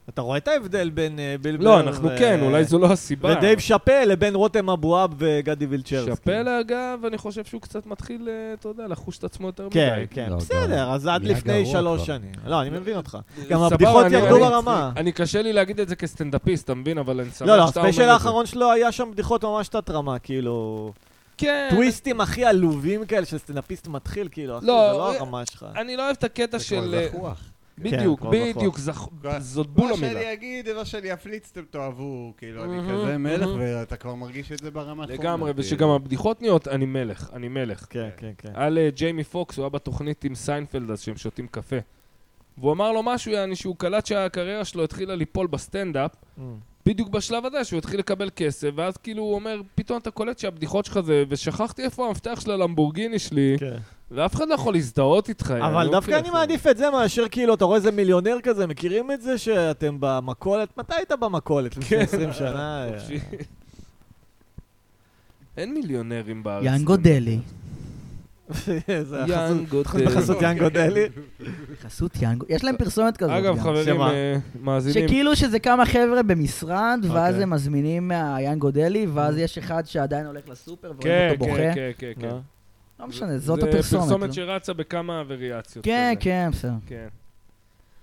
S3: אתה רואה את ההבדל בין אה, ביל בר...
S2: לא, אנחנו
S3: ו-
S2: כן, אולי זו לא הסיבה.
S3: ודייב שאפל לבין רותם אבואב וגדי וילצ'רסקי.
S2: שאפל, אגב, אני חושב שהוא קצת מתחיל, אה, אתה יודע, לחוש את עצמו יותר
S3: כן,
S2: מדי.
S3: כן,
S4: לא,
S3: בסדר,
S4: גם-
S3: אז עד
S4: נהיה
S3: לפני
S4: גרוע
S3: שלוש
S4: כבר.
S3: שנים. לא, אני מבין אותך. גם
S2: אה, סבבה,
S3: הבדיחות
S2: אני-
S3: ירדו
S2: אני-
S3: ברמה.
S2: אני קשה לי להגיד את זה כסטנדאפיסט, אתה מבין? אבל אני שמח שאתה
S3: לא,
S2: אומר
S3: לא,
S2: את זה.
S3: הספיישל האחרון שלו היה שם בדיחות ממש תת-רמה, כאילו...
S2: כן.
S3: טוויסטים הכי עלובים כאלה של סטנדאפיסט מתחיל, כאילו, אחי, זה
S2: לא,
S3: לא
S2: הוא-
S3: הרמה שלך.
S2: אני לא אוהב את הקטע של...
S4: זה כבר זחוח.
S2: בדיוק,
S3: כן, כמו
S2: בדיוק, זכ-
S4: כבר-
S2: זאת
S4: מה
S2: בול המילה.
S4: שאני אגיד, מה שאני אפליץ, אתם תאהבו, כאילו, אני
S2: מהמם,
S4: כזה מלך,
S2: מהמם.
S4: ואתה כבר מרגיש את זה ברמה האחרונה.
S2: לגמרי,
S4: כאילו.
S2: ושגם הבדיחות נהיות, אני מלך, אני מלך.
S3: כן, כן, כן.
S2: על אה, ג'יימי פוקס, הוא היה בתוכנית עם סיינפלד אז שהם שותים קפה. והוא אמר לו משהו, יעני, שהוא קלט שהקריירה שלו התחילה ליפול בסטנדאפ,
S3: Mm,
S2: בדיוק בשלב הזה שהוא התחיל לקבל כסף, ואז כאילו הוא אומר, פתאום אתה קולט שהבדיחות שלך זה, ושכחתי איפה המפתח של הלמבורגיני שלי,
S3: כן.
S2: ואף אחד לא יכול להזדהות איתך. יעני,
S3: אבל
S2: לא
S3: דווקא
S2: מבין
S3: אני
S2: איפה-
S3: מעדיף את זה מאשר כאילו, אתה רואה איזה מיליונר כזה, מכירים את זה שאתם במכולת? מתי היית במכולת? לפני 20 שנה?
S2: כן. חופשי. אין מיליונרים בארץ.
S1: יאנגו דלי.
S3: זה החסות-
S2: יאנגו
S3: בחסות
S2: דלי.
S3: יאנגו דלי.
S1: חסות יאנגו. יש להם פרסומת כזאת.
S2: אגב,
S1: גם.
S2: חברים,
S3: שמה?
S2: אה, מאזינים,
S1: שכאילו שזה כמה חבר'ה במשרד, ואז
S3: אוקיי.
S1: הם מזמינים מהיאנגו דלי, ואז יש אחד שעדיין הולך לסופר ורואים
S2: אה. כן,
S1: אותו
S2: כן,
S1: בוכה.
S2: כן, כן, כן.
S3: נו.
S1: לא משנה, זאת
S2: זה
S1: הפרסומת.
S2: פרסומת
S1: לא?
S2: שרצה בכמה וריאציות.
S1: כן,
S2: כזה.
S1: כן, בסדר.
S2: כן.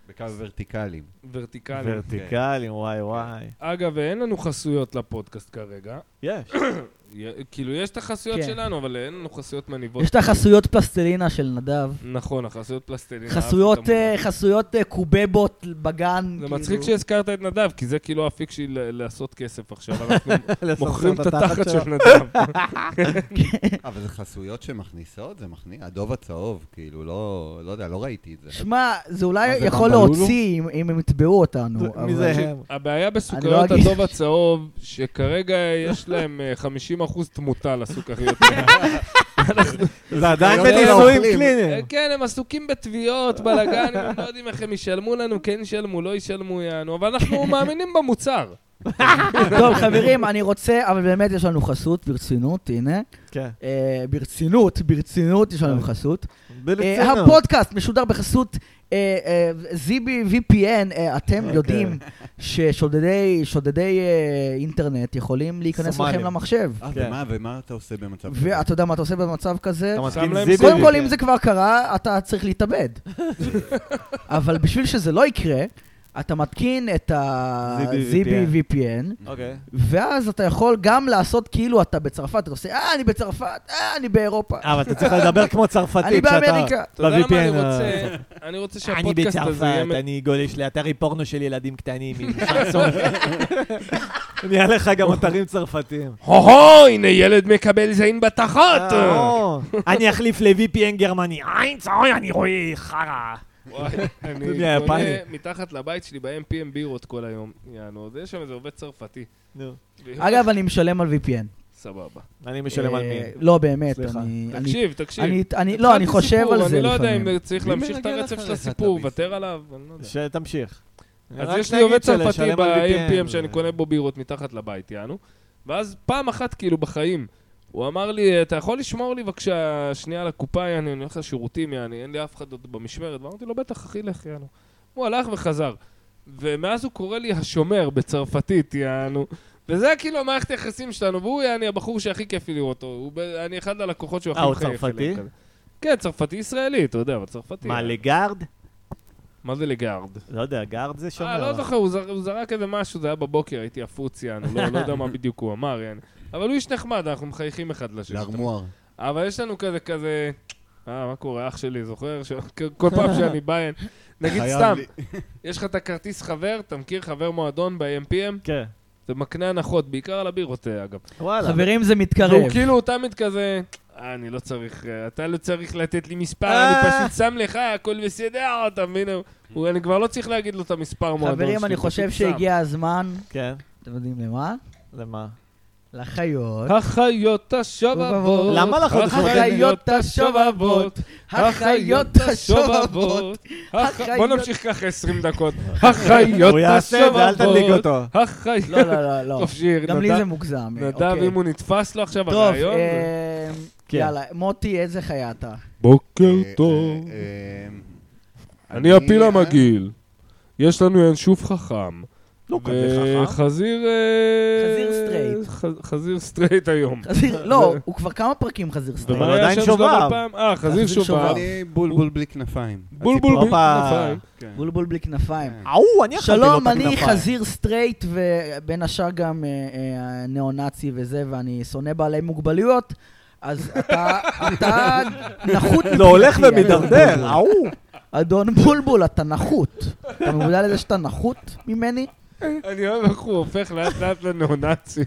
S4: בקו ורטיקלים.
S2: ורטיקלי.
S3: ורטיקלים, וואי וואי.
S2: כן. אגב, אין לנו חסויות לפודקאסט כרגע.
S3: יש.
S2: י- כאילו, יש את החסויות
S1: כן.
S2: שלנו, אבל אין לנו חסויות מניבות.
S1: יש את החסויות פלסטלינה של נדב.
S2: נכון, החסויות פלסטלינה.
S1: חסויות,
S2: אהבתי את
S1: אה,
S2: המונח.
S1: חסויות אה, קובבות בגן.
S2: זה
S1: כאילו.
S2: מצחיק שהזכרת את נדב, כי זה כאילו האפיק שלי ל- לעשות כסף עכשיו. אנחנו מוכרים
S3: לסרטן
S2: את התחת של נדב.
S4: אבל זה חסויות שמכניסות? זה מכניס? הדוב הצהוב, כאילו, לא, לא יודע, לא ראיתי את זה.
S1: שמע, זה אולי
S2: מה זה,
S1: יכול
S2: במבלולו?
S1: להוציא אם- אם הם יתבעו אותנו.
S3: זה- מי
S1: אבל-
S3: זה
S2: תקשיב,
S3: הם?
S2: הבעיה
S1: אני לא
S2: בסוכריות
S1: אגיד.
S2: הדוב הצהוב, שכרגע יש להם אה, 50% תמותה לסוכריות.
S1: כן.
S3: זה עדיין
S4: היום
S3: בניסויים
S4: האוכלים.
S3: קליניים.
S2: כן, הם עסוקים בתביעות, בלאגנים, הם לא יודעים איך הם ישלמו לנו, כן ישלמו, לא ישלמו, יענו, אבל אנחנו מאמינים במוצר.
S1: טוב, חברים, אני רוצה, אבל באמת יש לנו חסות, ברצינות, הנה.
S3: כן.
S1: אה, ברצינות, ברצינות, יש לנו חסות. אה,
S3: ברצינות.
S1: הפודקאסט משודר בחסות אה, אה, זיבי VPN, אה, אתם
S3: אוקיי.
S1: יודעים ששודדי שודדי, אה, אינטרנט יכולים להיכנס
S3: סומלים.
S1: לכם למחשב.
S4: אה,
S3: כן.
S4: ומה, ומה אתה עושה במצב כזה?
S1: ואתה יודע מה אתה עושה במצב כזה?
S3: אתה
S2: שם
S3: מתקין
S2: להם
S3: זיבי.
S1: קודם כל,
S3: כן.
S1: אם זה כבר קרה, אתה צריך להתאבד. אבל בשביל שזה לא יקרה, אתה מתקין את
S3: ZB
S1: ה-ZB VPN,
S3: אוקיי.
S1: ואז אתה יכול גם לעשות כאילו אתה בצרפת, אתה עושה, אה, אני בצרפת, אה, אני באירופה,
S3: אבל אתה צריך לדבר כמו צרפתי.
S1: אני באמריקה.
S2: אתה יודע למה אני
S3: ב-VPN,
S2: רוצה? אני רוצה
S3: אני
S2: שהפודקאסט הזה יהיה...
S3: בצרפת, אני גולש לאתרי פורנו של ילדים קטנים עם שנסון. נהיה לך גם אתרים צרפתיים.
S2: הו-הו, הנה ילד מקבל זין בתחת!
S1: אה,
S3: אה, או, אני אחליף ל-VPN גרמני. איינס, אוי, אני רואה חרא.
S2: וואי, אני
S3: אתה יודע,
S2: קונה
S3: יפני.
S2: מתחת לבית שלי ב-MPM בירות כל היום, יענו, אז יש שם איזה עובד צרפתי.
S3: נו,
S1: אגב, אני משלם על VPN.
S2: סבבה.
S3: אני משלם על מי.
S1: אה, לא, באמת.
S3: סליחה.
S1: אני- אני-
S2: תקשיב, תקשיב.
S1: אני, אני, לא, אני
S2: התחלתי
S1: חושב
S2: סיפור,
S1: על זה
S2: אני לא
S1: לפעמים.
S2: יודע אם צריך
S4: מי
S2: להמשיך את
S4: מרגל
S2: הרצף של
S4: אחריך את
S2: הסיפור,
S4: הביס?
S2: ותר עליו, אני לא יודע.
S3: שתמשיך.
S2: אז
S3: רק
S2: יש לי
S3: נגיד
S2: עובד
S3: שלשלם
S2: צרפתי
S3: על כן.
S2: ב-AMPM
S3: VPN,
S2: שאני
S3: זה-
S2: קונה בו בירות מתחת לבית, יענו. ואז פעם אחת, כאילו, בחיים, הוא אמר לי, אתה יכול לשמור לי בבקשה שנייה על הקופה, יעני, אני הולך לשירותים, יעני, אין לי אף אחד עוד במשמרת. ואמרתי לו, בטח, אחי, לך, יענו. הוא הלך וחזר. ומאז הוא קורא לי השומר בצרפתית, יענו. וזה כאילו המערכת היחסים שלנו, והוא יעני הבחור שהכי כיף לי לראות אותו. הוא ב- אני אחד הלקוחות שהוא
S3: אה,
S2: הכי
S3: הוא
S2: מחייך
S3: צרפתי?
S2: אליהם כזה. כן, צרפתי ישראלי, אתה יודע, אבל צרפתי.
S3: מה, לגארד?
S2: מה זה לגארד?
S3: לא יודע, גארד זה שומר.
S2: אה, לא זוכר, הוא זר- הוא זרק איזה משהו, זה היה בבוקר, הייתי עפוץ, יענו, לא לא יודע מה בדיוק הוא אמר, יענו. אבל הוא איש נחמד, אנחנו מחייכים אחד לשני.
S4: לארמואר.
S2: אבל יש לנו כזה, כזה... אה, מה קורה, אח שלי, זוכר? ש- כל פעם שאני בא, אין- נגיד
S4: חייב
S2: סתם,
S4: לי-
S2: יש לך את הכרטיס חבר, אתה מכיר חבר מועדון ב-MPM?
S3: כן.
S2: זה
S3: זה
S2: מקנה הנחות, בעיקר על הבירות, אה, אגב.
S3: וואלה.
S1: חברים, זה מתקרב.
S2: והוא כאילו תמיד כזה, "אה, אני לא צריך, אה, אתה לא צריך לתת לי מספר,
S3: אה.
S2: אני פשוט שם לך, הכל בסדר, אתה מבין? הוא- אני כבר לא צריך להגיד לו את המספר מועדון שלי,
S1: חברים, אני
S2: פשוט
S1: חושב
S2: שם.
S1: שהגיע הזמן,
S3: כן.
S1: אתם יודעים למה?
S3: למה?
S1: לחיות.
S2: החיות השובבות.
S3: למה אנחנו
S1: החיות השובבות, החיות השובבות.
S2: הח- בוא
S1: החיות-
S2: נמשיך ככה 20 דקות. החיות
S3: הוא יעשה את זה, אל תדליק
S2: השובבות.
S3: אותו.
S2: החיות...
S1: לא, לא, לא, לא.
S2: טוב, שיר,
S1: גם לי
S2: נדב-
S1: זה מוגזם. אה,
S2: נדב,
S1: אוקיי.
S2: אם הוא נתפס לו עכשיו
S1: טוב,
S2: הרעיון. זה-
S1: אה,
S3: כן.
S1: יאללה, מוטי, איזה חיה אתה?
S2: בוקר
S4: אה,
S2: כן, טוב.
S4: אה, אה,
S2: אני הפיל המגעיל. יש לנו ינשוף חכם.
S3: לא
S2: וחזיר... אה,
S1: חזיר סטרייט.
S2: ח- חזיר סטרייט היום.
S1: חזיר, לא, הוא כבר כמה פרקים חזיר סטרייט.
S3: אבל
S2: ומה היה
S3: עדיין
S2: השם שלו
S3: שובב.
S2: עוד פעם? אה, חזיר
S1: חזיר
S2: שובב.
S1: שובב.
S4: אני בולבול בלי כנפיים.
S2: בולבול נכון.
S4: הציפור-
S2: בלי
S3: הופה.
S2: כנפיים.
S4: כן.
S1: בולבול בלי כנפיים.
S3: אאו, אה, אני לא אכלתי לו את
S1: שלום, אני
S3: הכנפיים.
S1: חזיר סטרייט, ובין השאר גם אה, אה, ניאו-נאצי וזה, ואני שונא בעלי מוגבלויות, אז אתה, אתה נחות.
S3: זה לא, הולך אה,
S1: מבחינתי, אדון
S3: ומידרדר,
S1: בולבול.
S3: ההוא.
S1: אדון בולבול, אתה נחות. אתה מודע לזה שאתה נחות ממני?
S2: אני אוהב איך הוא הופך לאט לאט לנאו-נאצי.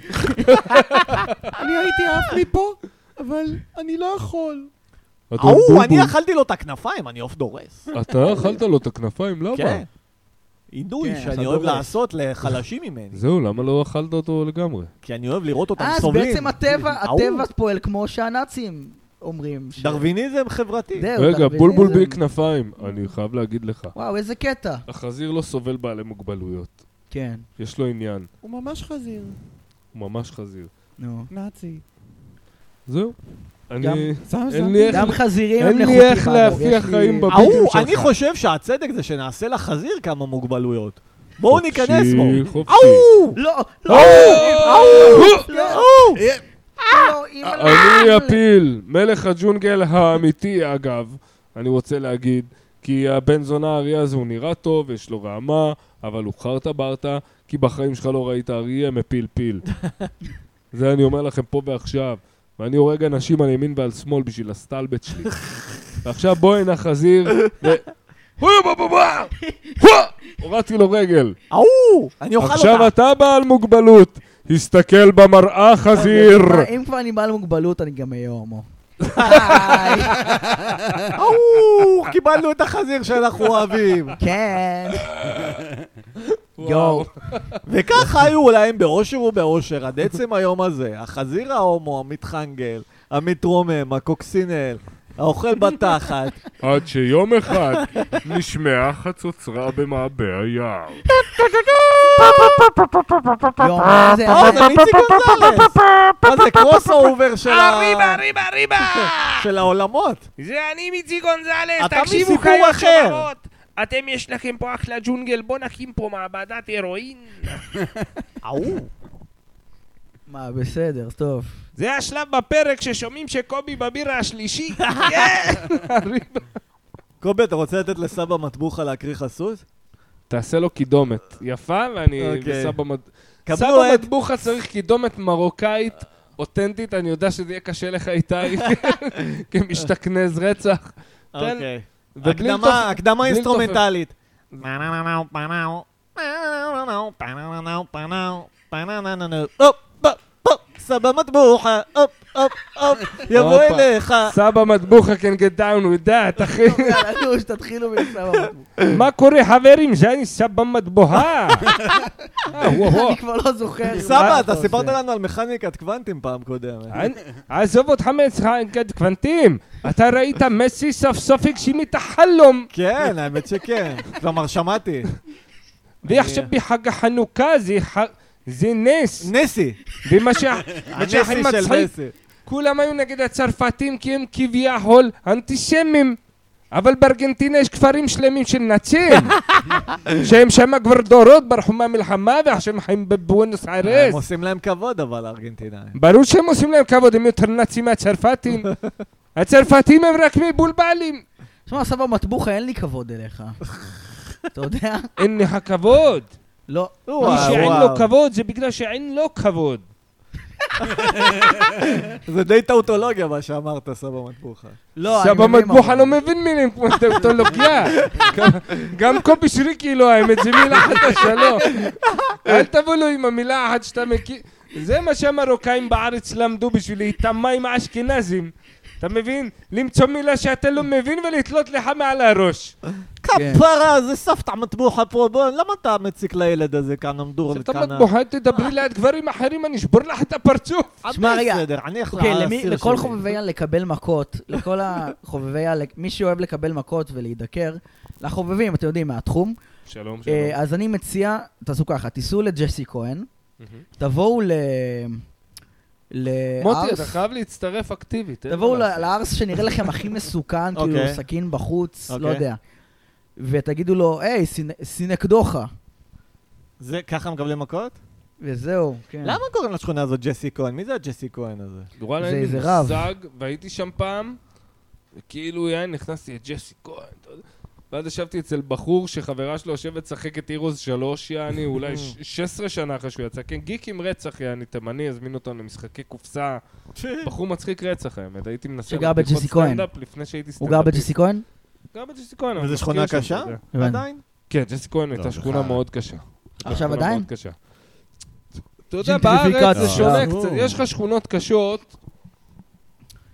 S5: אני הייתי עף מפה, אבל אני לא יכול.
S3: ההוא, אני אכלתי לו את הכנפיים, אני עוף דורס.
S2: אתה אכלת לו את הכנפיים,
S3: כן.
S2: למה?
S3: עינוי
S1: לא כן,
S3: שאני
S1: אתה
S3: אוהב
S1: דורס.
S3: לעשות לחלשים ממני,
S2: זהו, למה לא אכלת אותו לגמרי?
S3: כי אני אוהב לראות אותם
S1: אז
S3: סובלים.
S1: בעצם הטבע,
S3: ההוא.
S1: הטבע פועל כמו שהנאצים אומרים. ש-
S3: דרוויניזם חברתי.
S1: זהו,
S2: רגע,
S1: דרוויניזם.
S2: בולבול בלי כנפיים, אני חייב להגיד לך.
S1: וואו, איזה קטע.
S2: החזיר לא סובל בעלי מוגבלויות.
S1: כן,
S2: יש לו עניין,
S5: הוא ממש חזיר.
S2: הוא ממש חזיר.
S1: נו.
S5: נאצי.
S2: זהו.
S1: גם-
S2: אני...
S5: סתם
S2: אין
S5: שמתי.
S2: לי איך-
S1: גם חזירים הם
S2: אין
S1: נחותים.
S2: לי איך
S1: אגב,
S2: להפיח
S1: יש לי-
S2: חיים בבידיום
S3: ההוא,
S2: שלך.
S3: אני חושב שהצדק זה שנעשה לחזיר כמה מוגבלויות. בואו ניכנס בו.
S2: חופשי, חופשי.
S3: ההוא!
S1: לא, לא,
S2: אה!
S3: ההוא!
S1: לא, לא,
S3: ההוא!
S2: אה!
S1: אימא'לה.
S2: אני הפיל, מלך הג'ונגל האמיתי אגב, אני רוצה להגיד, כי הבן זונה האריה הזה הוא נראה טוב, יש לו רעמה, אבל הוא חרטה ברטה, כי בחיים שלך לא ראית אריה מפיל פיל. זה אני אומר לכם פה ועכשיו, ואני הורג אנשים על ימין ועל שמאל בשביל הסטלבט שלי. ועכשיו בוא הנה חזיר, ו... "הויה, בוא, בוא, בוא! הויה!" הורדתי לו רגל.
S3: ההוא! אני אוכל
S2: עכשיו
S3: אותה.
S2: אתה בעל מוגבלות, הסתכל במראה חזיר.
S3: אוקיי,
S1: לא, אם כבר אני בעל מוגבלות, אני גם אהיה הומו. היי,
S3: ההוא! קיבלנו את החזיר שאנחנו אוהבים.
S1: כן. יואו.
S3: וכך היו להם באושר ובאושר עד עצם היום הזה. החזיר ההומו, המתחנגל, המתרומם, הקוקסינל, האוכל בתחת.
S2: עד שיום אחד נשמעה חצוצרה במעבה היער.
S1: יואו, מה זה,
S3: אה,
S1: אבל-
S3: זה איציק גונזלס! מה זה קרוס אובר של ה... ריבה, ריבה, ריבה! של העולמות.
S6: זה אני מיצי גונזלס,
S3: אתה
S6: תקשיבו
S3: מסיפור
S6: חיים
S3: אחר.
S6: שובבות. אתם יש לכם פה אחלה ג'ונגל, בוא נקים פה מעבדת הירואין.
S3: ההוא.
S1: מה, בסדר, טוב.
S6: זה השלב בפרק ששומעים שקובי בבירה השלישי.
S3: כן. קובי, אתה רוצה לתת לסבא מטבוחה להקריא חסות?
S2: תעשה לו קידומת. יפה, ואני...
S3: אוקיי.
S2: וסבא מד-
S3: קבלו
S2: סבא
S3: את...
S2: מטבוחה צריך קידומת מרוקאית אותנטית, אני יודע שזה יהיה קשה לך איתי, כמשתכנז רצח. תן-
S3: אוקיי.
S2: ובלי לתופ-
S3: הקדמה, הקדמה
S2: בלי לתופף.
S3: אינסטרומנטלית. הופ, הופ, הופ, סבא מטבוחה, הופ, הופ, הופ,
S2: הופה.
S3: יבוא אליך.
S2: סבא מטבוחה can get down with that, אחי.
S1: טוב, אוקיי, יאללה, נו, שתתחילו מלסבא בקבוק.
S2: מה קורה חברים? שאני סבא מטבוחה. אה, וואו, וואו.
S1: אני כבר לא זוכר.
S3: סבא,
S1: מה
S3: אתה
S1: עושה?
S3: סיפרת לנו על מכניקת קוונטים פעם קודמת.
S2: אני- עזוב אותך מנגד קוונטים, אתה ראית מסי סוף סוף הגשים את החלום,
S3: כן, האמת שכן. כלומר, שמעתי. أيوه.
S2: ועכשיו בחג החנוכה זה ח- זה נס,
S3: נסי,
S2: ומה שה- מה שהכי
S3: הנסי של
S2: מצחיק,
S3: נסי.
S2: כולם היו נגד הצרפתים כי הם כביכול אנטישמים, אבל בארגנטינה יש כפרים שלמים של נאצים, שהם שם כבר דורות ברחו מהמלחמה ועכשיו הם חיים בבואנוס
S3: הם
S2: איירס.
S3: עושים להם כבוד, אבל הארגנטינאים.
S2: ברור שהם עושים להם כבוד, הם יותר נאצים מהצרפתים. הצרפתים הם רק מבולבלים.
S1: שמע, סבא מטבוחה, אין לי כבוד אליך. אתה יודע?
S2: אין לך כבוד.
S1: לא.
S2: מי
S3: וואו,
S2: שאין
S3: וואו.
S2: לו כבוד זה בגלל שאין לו כבוד.
S3: זה די טאוטולוגיה מה שאמרת, סבא מטבוחה.
S1: לא, אני
S2: סבא
S1: מבין מה הוא
S2: מטבוחה
S1: אומר.
S2: לא מבין מילים כמו טאוטולוגיה. גם- גם קובי שריקי לא האמת, זה מילה חדשה, לא. אל תבוא לו עם המילה האחת שאתה מכיר. זה מה שהמרוקאים בארץ למדו בשביל להיטמע עם האשכנזים. אתה מבין? למצוא מילה שאתה לא מבין ולתלות לך מעל הראש.
S1: כן.
S3: כפרה, זה סבתא מטבוחה פה, בוא, למה אתה מציק לילד הזה כאן, אמדור
S2: אתה
S3: כאן?
S2: מטבוחה, תדברי ליד גברים אחרים, אני אשבור לך את הפרצוף.
S3: אה,
S1: שמע, רגע.
S3: בסדר, אני אחלה
S1: אוקיי, למי-
S3: האסיר
S1: לכל
S3: שלי.
S1: חובבי ה... לקבל מכות, לכל החובבי ה... מי שאוהב לקבל מכות ולהידקר, לחובבים, אתם יודעים, מהתחום,
S2: שלום,
S1: אה, אז אני מציע, תעשו ככה, תיסעו לג'סי כהן, תבואו ל... לארס,
S2: מוטי, אתה חייב להצטרף אקטיבית. אין מה
S1: אה, תבואו
S2: לעשות.
S1: ל- לארס שנראה לכם הכי מסוכן, כאילו
S3: אוקיי.
S1: סכין בחוץ, לא
S3: אוקיי.
S1: יודע. ותגידו לו, היי, סינ- סינקדוחה.
S3: זה, ככה מקבלים מכות?
S1: וזהו, כן.
S3: למה קוראים לשכונה הזאת ג'סי כהן? מי זה הג'סי כהן הזה?
S2: כאילו, וואלה,
S1: זה-
S2: אין לי
S1: זה רב.
S2: מושג, והייתי שם פעם, וכאילו, יאי, נכנסתי לג'סי כהן, אתה יודע, ואז ישבתי אצל בחור שחברה שלו יושבת לשחקת הירוז שלוש, יעני, אולי ש- 16 שנה אחרי שהוא יצא. כן, גיק עם רצח, יעני, תימני, הזמינו אותנו למשחקי קופסה. בחור מצחיק רצח, האמת. הייתי מנסה...
S1: שגר
S2: בבדיחות
S1: בג'סי כהן.
S2: סטנדאפ לפני שהייתי
S1: הוא גר
S2: סטנדאפיסט.
S1: בג'סי כהן?
S2: גר בג'סי כהן. אבל
S3: וזה
S2: מזכיר
S3: שכונה
S2: שם, אתה
S3: קשה?
S2: יודע.
S1: הבנתי.
S3: עדיין?
S2: כן, ג'סי כהן הייתה
S4: לא,
S2: שכונה
S4: בכלל.
S2: מאוד קשה.
S1: עכשיו
S2: שכונה
S1: עדיין?
S2: מאוד קשה. אתה יודע,
S1: ג'נטריפיקציה.
S2: בארץ זה שונה
S1: לא.
S2: קצת, יש לך שכונות קשות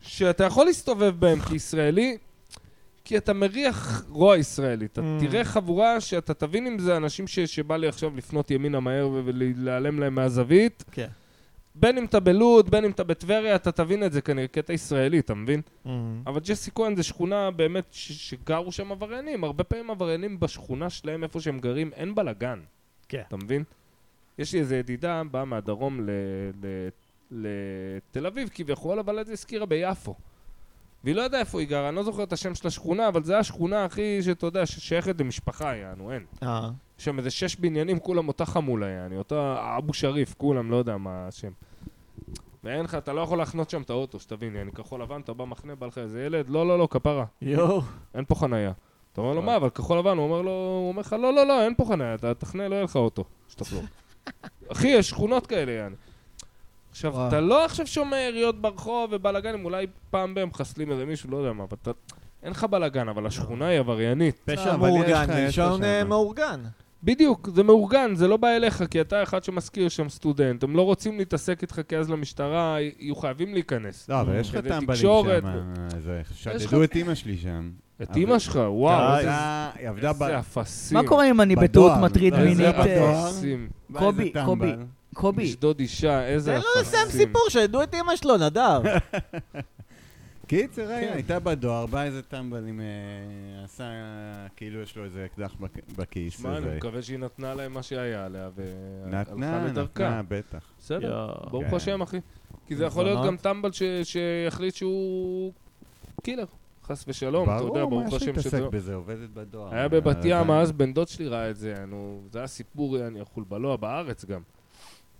S2: שאתה יכול להסתובב בהן כישראלי, כי אתה מריח רוע ישראלי. אתה
S3: Mm.
S2: תראה חבורה שאתה תבין אם זה אנשים ש- שבא לי עכשיו לפנות ימינה מהר ו- ולהיעלם להם מהזווית.
S3: כן.
S2: בין אם אתה בלוד, בין אם אתה בטבריה, אתה תבין את זה כנראה, כי אתה ישראלי, אתה מבין?
S3: Mm.
S2: אבל ג'סי כהן זה שכונה באמת ש- שגרו שם עבריינים. הרבה פעמים עבריינים בשכונה שלהם, איפה שהם גרים, אין בלאגן.
S3: כן.
S2: אתה מבין? יש לי איזו ידידה, באה מהדרום ל- ל- לתל אביב כביכול, אבל אז היא הזכירה ביפו. והיא לא ידעה איפה היא גרה, אני לא זוכר את השם של השכונה, אבל זו השכונה הכי, שאתה יודע, ששייכת למשפחה, יענו, אין.
S3: אה.
S2: יש שם איזה שש בניינים, כולם אותה חמולה, יעני, אותה אבו שריף, כולם, לא יודע מה השם. ואין לך, אתה לא יכול להחנות שם את האוטו, שתבין, יעני, כחול לבן, אתה במחנה, בא לך איזה ילד, לא, לא, לא, כפרה,
S3: יואו.
S2: אין פה חנייה. אתה אומר לו, מה, אבל כחול לבן, הוא אומר לו, הוא אומר לך, לא, לא, לא, אין פה חנייה, אתה תחנה, לא יהיה לך אוטו, שתחזור. אחי, יש שכונות כאלה, יעני. עכשיו,
S1: וואו.
S2: אתה לא עכשיו שומע יריות ברחוב ובלאגנים, אולי פעם בהם מחסלים איזה מישהו, לא יודע מה, אבל אתה... אין לך בלאגן, אבל השכונה היא עבריינית.
S3: פשע
S4: אבל יש
S3: מאורגן,
S4: לך, יש לך
S3: ראשון אה,
S4: שם.
S3: מאורגן.
S2: בדיוק, זה מאורגן, זה לא בא אליך, כי אתה אחד שמזכיר שם סטודנט. הם לא רוצים להתעסק איתך, כי אז למשטרה י- יהיו חייבים להיכנס.
S4: לא, אבל יש לך
S2: כדי
S4: טמבלים
S2: תקשורת.
S4: שם. אה, זה-
S2: יש לך-
S4: שדדו את אימא שלי שם.
S2: את
S4: אבל-
S2: אימא שלך, וואו,
S3: די.
S2: איזה-
S4: עבדה- היא עבדה ב...
S2: איזה אפסים.
S1: מה קורה אם אני
S4: בדואר,
S1: בטעות
S4: בדואר.
S1: מטריד
S4: זה
S2: איזה
S1: מינית?
S4: בדואר.
S1: אה,
S2: אפסים.
S4: בא
S1: קובי,
S4: איזה טמבל.
S1: קובי, קובי,
S2: לשדוד אישה, איזה
S3: תן
S1: לא
S3: לו
S2: אפסים.
S3: לסיים לא סיפור, שידעו את אמא שלו, נדב.
S4: קיצר,
S2: כן.
S4: היה, הייתה בדואר, בא איזה טמבל עם... אה, עשה אה, כאילו יש לו איזה אקדח בק- בכיס.
S2: שמע, אני
S4: איזה-
S2: מקווה שהיא נתנה להם מה שהיה עליה, והלכה
S4: נתנה,
S2: לדרכה.
S4: נתנה, בטח.
S2: בסדר,
S3: יואו.
S2: ברוך
S4: כן. נכון.
S2: השם, אחי. כי זה יכול להיות גם
S3: מזונות.
S2: טמבל ש- שיחליט שהוא קילר, חס ושלום, לא, אתה יודע,
S4: ברור, מה
S2: ברוך
S4: יש
S2: השם שזה
S4: להתעסק
S2: לא...
S4: בזה, עובדת אה, בדואר.
S2: היה בבת ים, אז בן דוד שלי ראה את זה, נו, זה היה סיפור, אני אכול בלוע בארץ גם.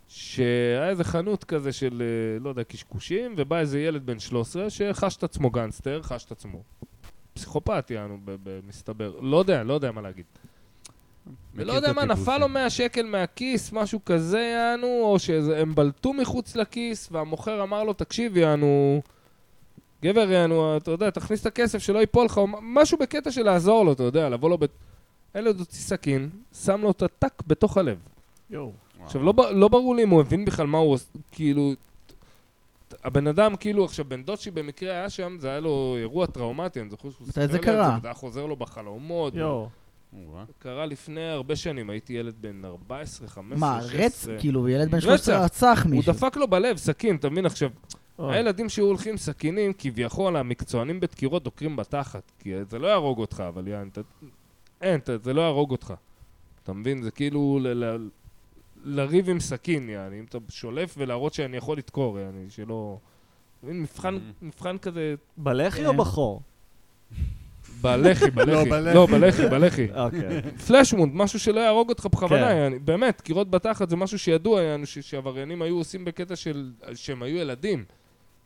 S2: שהיה איזה חנות כזה של, אה, לא יודע, קשקושים, ובא איזה ילד בן 13 שחש את עצמו גנגסטר, חש את עצמו. פסיכופת, יענו, ב- ב- מסתבר. לא יודע, לא יודע מה להגיד. ולא יודע מה,
S4: אה?
S2: נפל לו 100 שקל מהכיס, משהו כזה, יענו, או שהם בלטו מחוץ לכיס, והמוכר אמר לו, תקשיב, יענו, גבר, יענו, אתה יודע, תכניס את הכסף שלא ייפול לך, או מ- משהו בקטע של לעזור לו, אתה יודע, לבוא לו ב... הילד הוציא סכין, שם לו את הטאק בתוך הלב.
S3: יואו.
S2: עכשיו, לא, ב- לא ברור לי אם הוא הבין בכלל מה הוא עושה, כאילו... ת- הבן אדם, כאילו, עכשיו, בן דוד שלי במקרה היה שם, זה היה לו אירוע טראומטי, אני זוכר שהוא
S1: מתי זה
S2: לי על
S1: קרה?
S2: וזה היה חוזר לו בחלומות.
S3: יואו.
S2: קרה לפני הרבה שנים, הייתי ילד בן 14, 15,
S1: מה,
S2: 16.
S1: רץ? כאילו, ילד בן
S2: רצח.
S1: 13 רצח
S2: הוא
S1: מישהו. אה.
S2: דפק לו בלב סכין, אתה מבין? עכשיו,
S3: אוי.
S2: הילדים שהיו הולכים עם סכינים, כביכול, המקצוענים בדקירות דוקרים בתחת. כי זה לא יהרוג אותך, אבל יען, אתה... אין, אתה, זה לא יהרוג אותך. אתה מבין? זה כאילו ל... ל... לריב עם סכין, יעני, אם אתה שולף ולהראות שאני יכול לדקור, יעני, שלא... אתה מבין? מבחן, מבחן כזה...
S3: בלחי או
S1: כן.
S3: בחור?
S2: בלחי, בלחי.
S4: בלחי.
S2: לא, בלחי, בלחי.
S3: אוקיי.
S2: פלאשמונד, משהו שלא יהרוג אותך בכוונה,
S3: כן.
S2: יעני. באמת, קירות בתחת זה משהו שידוע, יענו, ש- שעבריינים היו עושים בקטע של... שהם היו ילדים.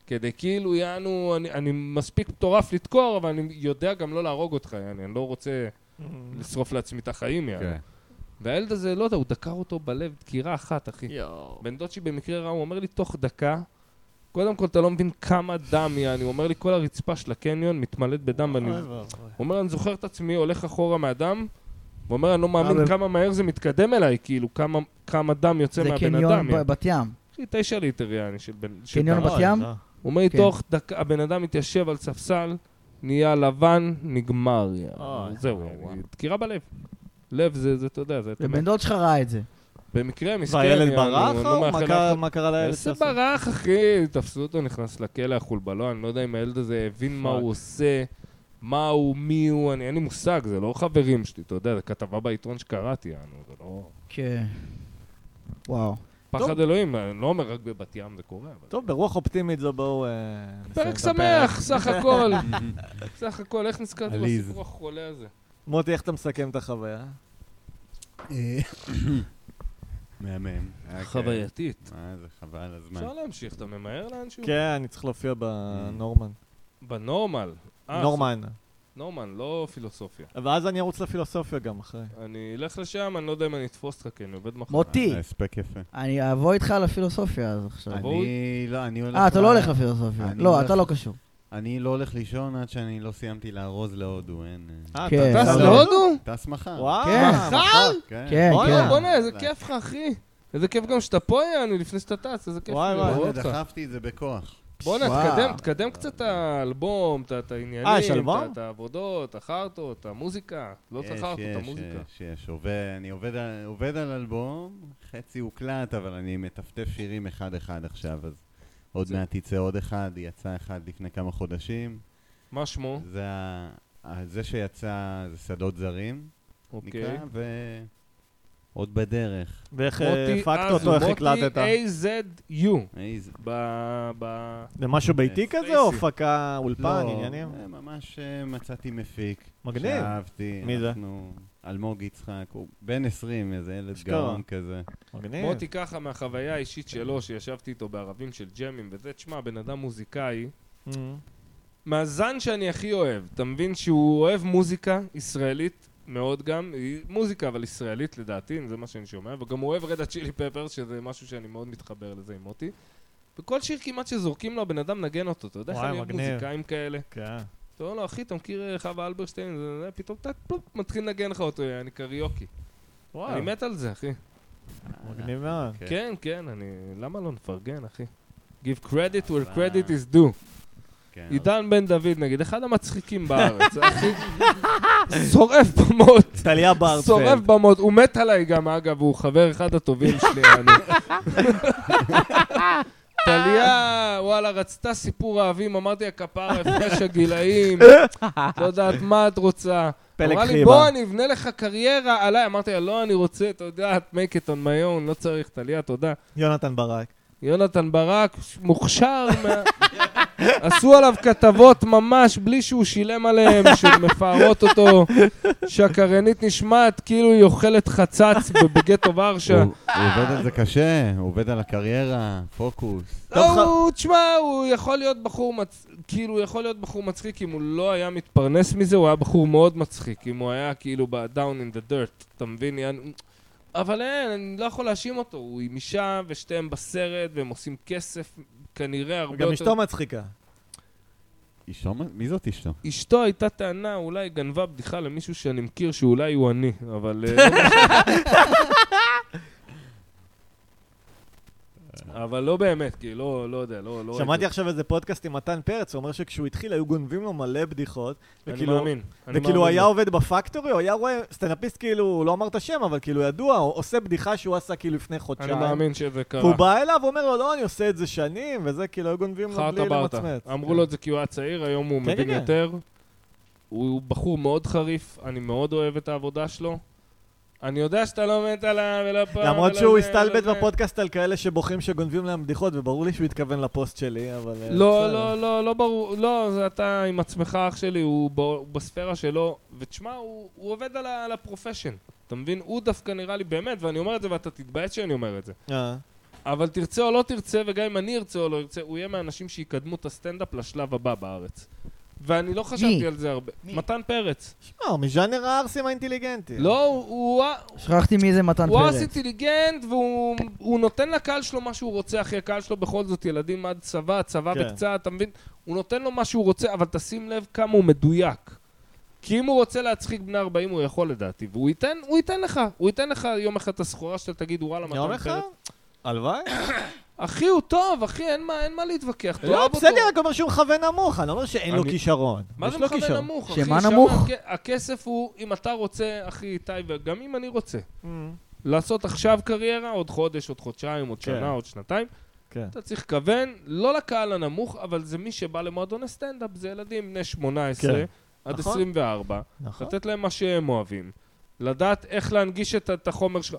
S2: כדי כאילו, יענו, אני, אני מספיק מטורף לדקור, אבל אני יודע גם לא להרוג אותך, יעני, אני לא רוצה
S3: Mm.
S2: לשרוף לעצמי את החיים,
S4: כן.
S2: יעני. והילד הזה, לא יודע, הוא דקר אותו בלב דקירה אחת, אחי.
S3: יואו.
S2: בן דוד שלי במקרה רע, הוא אומר לי, תוך דקה, קודם כל, אתה לא מבין כמה דם, יעני, הוא אומר לי, כל הרצפה של הקניון מתמלאת בדם, ואני
S3: אוי ואבוי.
S2: הוא אומר, אני זוכר את עצמי הולך אחורה מהדם, הוא אומר, אני לא מאמין
S1: אבל-
S2: כמה מהר זה מתקדם אליי, כאילו, כמה- כמה דם יוצא
S1: זה
S2: מהבן
S1: קניון
S2: אדם.
S1: ב- בת ים.
S2: אחי, תשע ליטר יעני של בן... של
S1: קניון
S2: דם.
S1: בת ים?
S3: אוי, אה.
S2: הוא אומר לי,
S1: כן.
S2: תוך דקה, הבן אדם מתיישב על ספסל, נהיה לבן, נגמר. יעני.
S3: אוי,
S2: זהו,
S3: וואי,
S2: יעני,
S3: וואי.
S2: דקירה בלב. לב זה, זה, אתה יודע, זה... אתה
S1: ובן
S2: מת.
S1: דוד שלך ראה את זה.
S2: במקרה, מסכן.
S3: והילד
S2: יעני,
S3: ברח
S2: אני לא
S3: או מה
S2: מאחל
S3: קרה-
S2: אף
S3: מה קרה לילד?
S2: איזה אה, ברח, אחי? תפסו אותו, נכנס לכלא החולבלו, אני לא יודע אם הילד הזה הבין מה
S3: פאק.
S2: הוא עושה, מה הוא, מי הוא, אני- אין לי מושג, זה לא חברים שלי, אתה יודע, זו כתבה בעיתון שקראתי, אנו, זה לא...
S1: כן. וואו.
S2: פחד אלוהים, אני לא אומר רק בבת ים זה קורה, אבל...
S3: טוב, ברוח אופטימית זו בואו... אה, נסיים
S2: פרק
S3: את הפרק.
S2: שמח, סך הכל. סך הכל, איך נזכרתי
S4: עליז.
S2: בסיפור החולה הזה?
S3: מוטי, איך אתה מסכם את החוויה?
S4: מהמם. היה כיף.
S2: חווייתית.
S4: מה זה, חבל על הזמן.
S2: אפשר להמשיך, אתה ממהר לאנשהו?
S3: כן, אני צריך להופיע בנורמן.
S2: בנורמל. אה,
S3: נורמן.
S2: נורמן, לא פילוסופיה.
S3: ואז אני ארוץ לפילוסופיה גם אחרי.
S2: אני אלך לשם, אני לא יודע אם אני אתפוס אותך, כי אני עובד מחר.
S1: מוטי,
S4: הספק יפה.
S1: אני אבוא איתך לפילוסופיה אז עכשיו.
S2: בואו-
S4: אני לא, אני הולך...
S1: אה, אתה
S4: ל-
S1: לא הולך לפילוסופיה.
S4: אני
S1: לא,
S4: הולך-
S1: אתה לא קשור.
S4: אני לא הולך לישון עד שאני לא סיימתי לארוז להודו, אין... אה,
S3: אה,
S1: כן.
S3: אתה
S1: טס
S3: טס
S4: לא.
S3: להודו?
S4: טס מחר.
S3: וואו.
S1: כן.
S3: מחר?
S1: כן,
S3: בואנה,
S1: כן.
S2: בואנה, איזה כיף לך, אחי. איזה כיף גם שאתה פה, יענו, לפני שאתה טס, איזה כיף.
S3: וואי,
S2: לי
S3: וואי,
S2: לראות
S4: בואנה,
S2: אותך.
S4: אה, דחפתי את זה בכוח.
S2: בואנה,
S1: וואו.
S2: תקדם, תקדם קצת את האלבום, את- את
S3: אה, יש
S2: העניינים,
S3: אלבום?
S2: את- את העבודות, החרטות, המוזיקה. לא את
S4: יש,
S2: החרטות,
S4: יש,
S2: המוזיקה.
S4: יש, יש, עובד, אני עובד על, עובד על אלבום, חצי הוקלט, אבל אני מטפטף שירים אחד-אחד עכשיו, אז עוד
S2: זה-
S4: מעט יצא עוד אחד, יצא אחד לפני כמה חודשים.
S2: מה שמו?
S4: זה, ה- ה- זה שיצא, זה שדות זרים,
S2: אוקיי.
S4: נקרא, ועוד בדרך.
S3: ואיך אה,
S2: מוטי
S3: הפקת
S2: אז,
S3: אותו, איך
S2: מוטי אה,
S3: הקלטת?
S2: AZU.
S4: איזה...
S2: ב- ב-
S3: זה משהו ביתי כזה, או הפקה, אולפן,
S4: לא,
S3: עניינים?
S4: אה, ממש אה, מצאתי מפיק.
S3: מגניב.
S4: שאהבתי.
S3: מי זה?
S4: אנחנו... אלמוג יצחק, הוא בן 20, איזה ילד
S3: אשכרה.
S4: גאון כזה.
S3: מגניב.
S2: מוטי ככה מהחוויה האישית שלו, שישבתי איתו בערבים של ג'מים וזה, תשמע, בן אדם מוזיקאי,
S3: Mm.
S2: מהזן שאני הכי אוהב, אתה מבין שהוא אוהב מוזיקה ישראלית מאוד גם, היא מוזיקה אבל ישראלית לדעתי, זה מה שאני שומע, וגם הוא אוהב רד צ'ילי פפר, שזה משהו שאני מאוד מתחבר לזה עם מוטי. וכל שיר כמעט שזורקים לו, הבן אדם נגן אותו, אתה יודע איך
S3: וואי,
S2: אני אוהב
S3: מגניב.
S2: מוזיקאים כאלה?
S3: כן.
S2: אתה אומר לו, אחי, אתה מכיר אה, חווה אלברשטיין, זה- זה, פתאום טק, פלופ, מתחיל לנגן לך אותו, אה, אני קריוקי. אני
S3: וואו,
S2: מת על זה, אחי.
S3: מגניב מאוד.
S4: כן.
S2: כן, כן, אני... למה לא נפרגן, אחי? Give credit where credit is due.
S4: כן,
S2: עידן בן דוד, נגיד, אחד המצחיקים בארץ, אחי. שורף במות,
S3: טליה
S2: שורף
S3: בארצל.
S2: במות. הוא מת עליי גם, אגב, הוא חבר אחד הטובים שלי. אני. טליה, וואלה, רצתה סיפור אהבים, אמרתי לה, כפרה, הפרש הגילאים, לא יודעת מה את רוצה.
S3: פלג
S2: אמרה לי,
S3: חיבה.
S2: בוא, אני אבנה לך קריירה עליי. אמרתי לה, לא, אני רוצה, אתה יודע, את make it on my own, לא צריך, טליה, תודה.
S3: יונתן ברק.
S2: יונתן ברק, מוכשר, מה... עשו עליו כתבות ממש בלי שהוא שילם עליהן, שמפארות אותו, שהקרנית נשמעת כאילו היא אוכלת חצץ בגטו ורשה.
S4: הוא הוא עובד על זה קשה, הוא עובד על הקריירה, פוקוס.
S2: לא,
S3: טוב, ח-
S2: הוא, תשמע, הוא יכול להיות בחור מצ... כאילו, הוא יכול להיות בחור מצחיק אם הוא לא היה מתפרנס מזה, הוא היה בחור מאוד מצחיק, אם הוא היה כאילו ב-down in the dirt, אתה מבין? יעני- אבל אין, אני לא יכול להאשים אותו, הוא עם אישה ושתיהם בסרט והם עושים כסף כנראה הרבה
S3: גם
S2: יותר
S3: אשתו מצחיקה.
S4: אשתו? מי זאת אשתו?
S2: אשתו הייתה טענה, אולי גנבה בדיחה למישהו שאני מכיר שאולי הוא אני, אבל... אה, לא משנה. אבל לא באמת, כי לא, לא יודע, לא... לא
S3: שמעתי
S2: ראיתי
S3: עכשיו איזה פודקאסט עם מתן פרץ, הוא אומר שכשהוא התחיל היו גונבים לו מלא בדיחות.
S2: אותו. אני
S3: וכאילו-
S2: מאמין. אני
S3: וכאילו
S2: מאמין
S3: כאילו- היה
S2: לו.
S3: עובד בפקטורי, הוא היה רואה, סטנדאפיסט כאילו, הוא לא אמר את השם, אבל כאילו ידוע, הוא עושה בדיחה שהוא עשה כאילו לפני חודשיים.
S2: אני מאמין שזה קרה.
S3: והוא בא אליו, אומר לו, לא, אני עושה את זה שנים, וזה כאילו, היו גונבים לו
S2: חרטה
S3: בלי
S2: ברטה.
S3: למצמץ.
S2: אמרו לו את זה כי הוא היה צעיר, היום הוא
S3: כן,
S2: מבין
S3: כן, כן.
S2: יותר. הוא בחור מאוד חריף, אני מאוד אוהב את העבודה שלו. אני יודע שאתה לא מת עליו, ולא פעם...
S3: כן. למרות
S2: ולא
S3: שהוא
S2: זה, לא
S3: הסתלבט
S2: ולא זה.
S3: בפודקאסט על כאלה שבוכים שגונבים להם בדיחות, וברור לי שהוא התכוון לפוסט שלי, אבל... אה,
S2: לא,
S3: בסדר.
S2: לא, לא, לא ברור, לא, זה אתה עם עצמך, אח שלי, הוא, ב, הוא בספירה שלו, ותשמע, הוא, הוא עובד על, ה- על הפרופשן, אתה מבין? הוא דווקא נראה לי באמת, ואני אומר את זה ואתה תתבייש שאני אומר את זה.
S3: אה,
S2: אבל תרצה או לא תרצה, וגם אם אני ארצה או לא ארצה, הוא יהיה מהאנשים שיקדמו את הסטנדאפ לשלב הבא בארץ. ואני לא חשבתי
S1: מי?
S2: על זה הרבה.
S1: מי? כן.
S2: מתן פרץ.
S3: שמע, הוא מז'אנר הערסים האינטליגנטי.
S2: לא, הוא, הוא,
S1: שכחתי מי זה מתן
S2: הוא ארס
S1: פרץ.
S2: אינטליגנט, והוא הוא נותן לקהל שלו מה שהוא רוצה, אחי, הקהל שלו בכל זאת ילדים עד צבא, צבא
S3: כן.
S2: וקצת, אתה מבין? הוא נותן לו מה שהוא רוצה, אבל תשים לב כמה הוא מדויק. כי אם הוא רוצה להצחיק בני 40, הוא יכול לדעתי, והוא ייתן, הוא ייתן לך, הוא ייתן לך יום אחד את הסחורה שאתה תגיד, וואלה,
S3: אני אומר
S2: מתן
S3: לך?
S2: פרץ.
S3: הלוואי.
S2: אחי, הוא טוב, אחי, אין מה, אין מה להתווכח,
S3: לא,
S2: תאהב אותו.
S3: בסדר, רק אומר שהוא מכוון נמוך, אני לא אומר שאין לו
S2: אני-
S3: כישרון.
S2: מה
S3: יש
S2: זה
S3: לו
S2: מכוון
S3: כישרון.
S2: נמוך, אחי?
S1: שמה
S2: שם
S1: נמוך?
S2: הכ- הכסף הוא, אם אתה רוצה, אחי איתי, וגם אם אני רוצה,
S3: אמ,
S2: לעשות עכשיו קריירה, עוד חודש, עוד חודשיים, עוד
S3: כן.
S2: שנה, עוד שנתיים,
S3: כן.
S2: אתה צריך לכוון, לא לקהל הנמוך, אבל זה מי שבא למועדוני סטנדאפ, זה ילדים בני 18
S3: כן.
S2: עד
S3: נכון.
S2: 24,
S3: נכון.
S2: לתת להם מה שהם אוהבים, לדעת איך להנגיש את, את החומר שלך.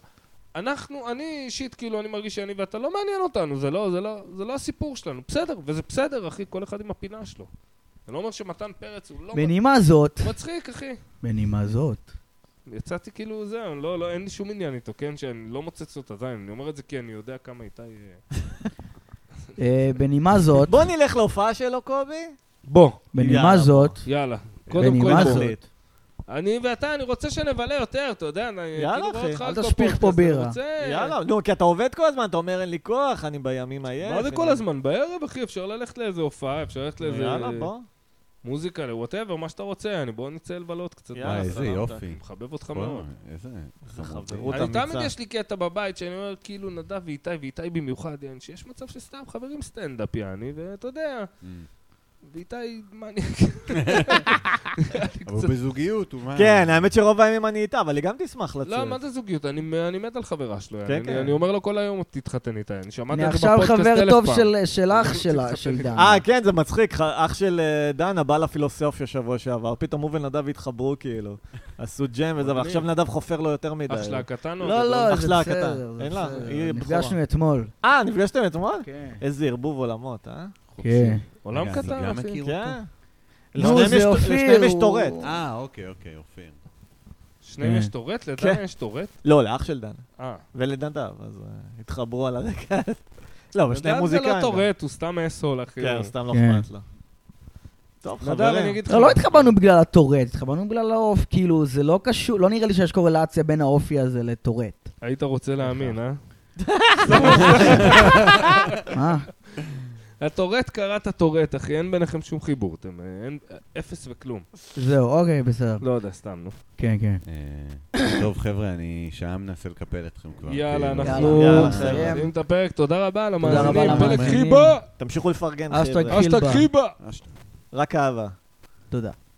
S2: אנחנו, אני אישית, כאילו, אני מרגיש שאני ואתה לא מעניין אותנו, זה לא, זה, לא, זה לא הסיפור שלנו, בסדר, וזה בסדר, אחי, כל אחד עם הפינה שלו. זה לא אומר שמתן פרץ הוא לא
S1: בנימה זאת,
S2: מצ- מצחיק, אחי.
S1: בנימה זאת,
S2: יצאתי כאילו זהו, לא, לא, אין לי שום עניין איתו, כן? שאני לא מוצץ לו את הזין, אני אומר את זה כי אני יודע כמה איתי... אה,
S1: אה, בנימה זאת,
S3: בוא נלך להופעה שלו, קובי.
S2: בוא,
S1: בנימה
S3: יאללה,
S1: זאת,
S2: יאללה. קודם
S1: בני,
S2: כל,
S1: מה
S2: נכון.
S1: זאת?
S2: אני ואתה, אני רוצה שנבלה יותר, אתה יודע, אני
S3: יאללה,
S2: כאילו רואה
S3: אחי.
S2: אותך
S1: אל
S2: על אותו
S1: תשפיך
S2: פודקאסט,
S1: פה
S2: אני
S1: בירה.
S2: רוצה-
S3: יאללה, נו, כי אתה עובד כל הזמן, אתה אומר אין לי כוח, אני בימים עייף.
S2: מה זה
S1: כן,
S3: אני-
S2: כל הזמן? בערב, אחי, אפשר ללכת לאיזה הופעה, אפשר ללכת לאיזה
S3: יאללה, בוא.
S2: מוזיקה, לווטאבר, מה שאתה רוצה, אני בוא נצא לבלות קצת.
S3: יאללה, וואי,
S4: איזה
S2: סלמת,
S4: יופי.
S2: אני מחבב אותך
S4: בוא,
S2: מאוד.
S4: איזה...
S3: איזה
S4: חמוד.
S3: חברות
S2: אני
S3: אמיצה.
S2: תמיד יש לי קטע בבית שאני אומר, כאילו, נדב ואיתי, ואיתי במיוחד, יעני, שיש מצב שסתם חברים סטנדאפ, יעני, ואתה יודע,
S4: Mm.
S2: ואיתי, מה אני...
S4: אבל בזוגיות,
S1: אה.
S4: הוא מה...
S3: כן, האמת שרוב הימים אני איתה, אבל היא גם תשמח לצאת.
S2: לא, מה זה זוגיות? אני אני מת על חברה שלו, יעני.
S3: כן,
S2: אני-
S3: כן.
S2: אני אומר לו כל היום, תתחתן איתי, אני שמעתי
S1: אני
S2: את זה
S1: עכשיו
S2: בפודקאסט
S1: חבר
S2: אלף
S1: טוב
S2: פעם.
S1: של- של אח שלה, של דן.
S3: אה, כן, זה מצחיק, ח- אח של אה, דנה בא לפילוסופיה שבוע שעבר, פתאום הוא ונדב התחברו כאילו, עשו ג'ם וזה,
S2: מגניב.
S3: ועכשיו נדב חופר לו יותר מדי.
S2: אח שלה הקטן או
S1: לא,
S2: הגדול?
S1: לא,
S3: אח
S1: זה
S3: שלה
S1: בסדר.
S3: הקטן.
S1: זה
S3: אין לה,
S1: בסדר.
S3: היא בכורה.
S1: נפגשנו אתמול.
S3: אה, נפגשתם אתמול?
S1: כן.
S3: איזה ערבוב עולמות, אה?
S1: כן.
S2: עולם
S4: רגע, אני
S2: קטן,
S4: גם
S2: אחי.
S4: מכיר אותו.
S3: כן.
S1: נו,
S3: לשניהם
S1: זה
S3: יש-
S1: אופיר,
S3: לשניהם יש
S1: הוא-
S3: טורט.
S4: אה, אוקיי, אוקיי, אופיר.
S2: שניהם
S1: כן.
S2: יש טורט? לדן
S3: כן.
S2: יש טורט?
S3: לא, לאח של דן.
S2: אה.
S3: ולנדב, אז אה, התחברו על הרקע. לא, אבל שניהם
S2: לדן זה
S3: מוזיקאים.
S2: לא
S3: גם.
S2: טורט, הוא סתם אסול, אחי.
S3: כן, סתם לא
S1: כן.
S3: אכפת לו. טוב,
S2: כאילו. נדב, אני
S3: חברים.
S2: אגיד לך.
S1: לא התחברנו בגלל הטורט, התחברנו בגלל העוף, כאילו, זה לא קשור, לא נראה לי שיש קורלציה בין האופי הזה לטורט.
S2: היית רוצה
S3: אוקיי.
S2: להאמין, אה?
S1: מה?
S2: הטורט קרא את הטורט, אחי, אין ביניכם שום חיבור, אתם אה, אין אפס וכלום.
S1: זהו, אוקיי, בסדר.
S2: לא יודע, סתם, נו.
S1: כן, כן.
S4: אה, טוב, חבר'ה, אני שעה מנסה לקפל אתכם כבר.
S2: יאללה,
S4: כאילו.
S2: אנחנו
S3: יאללה,
S1: נסיים.
S2: מסיימים את הפרק, תודה רבה
S1: רבה
S2: למאזינים. פרק
S1: למאזינים.
S2: חיבה!
S3: תמשיכו לפרגן,
S1: אשטג.
S3: חבר'ה.
S1: חיבה.
S2: אשתג חיבה!
S4: אה, שת-
S3: רק אהבה.
S1: תודה.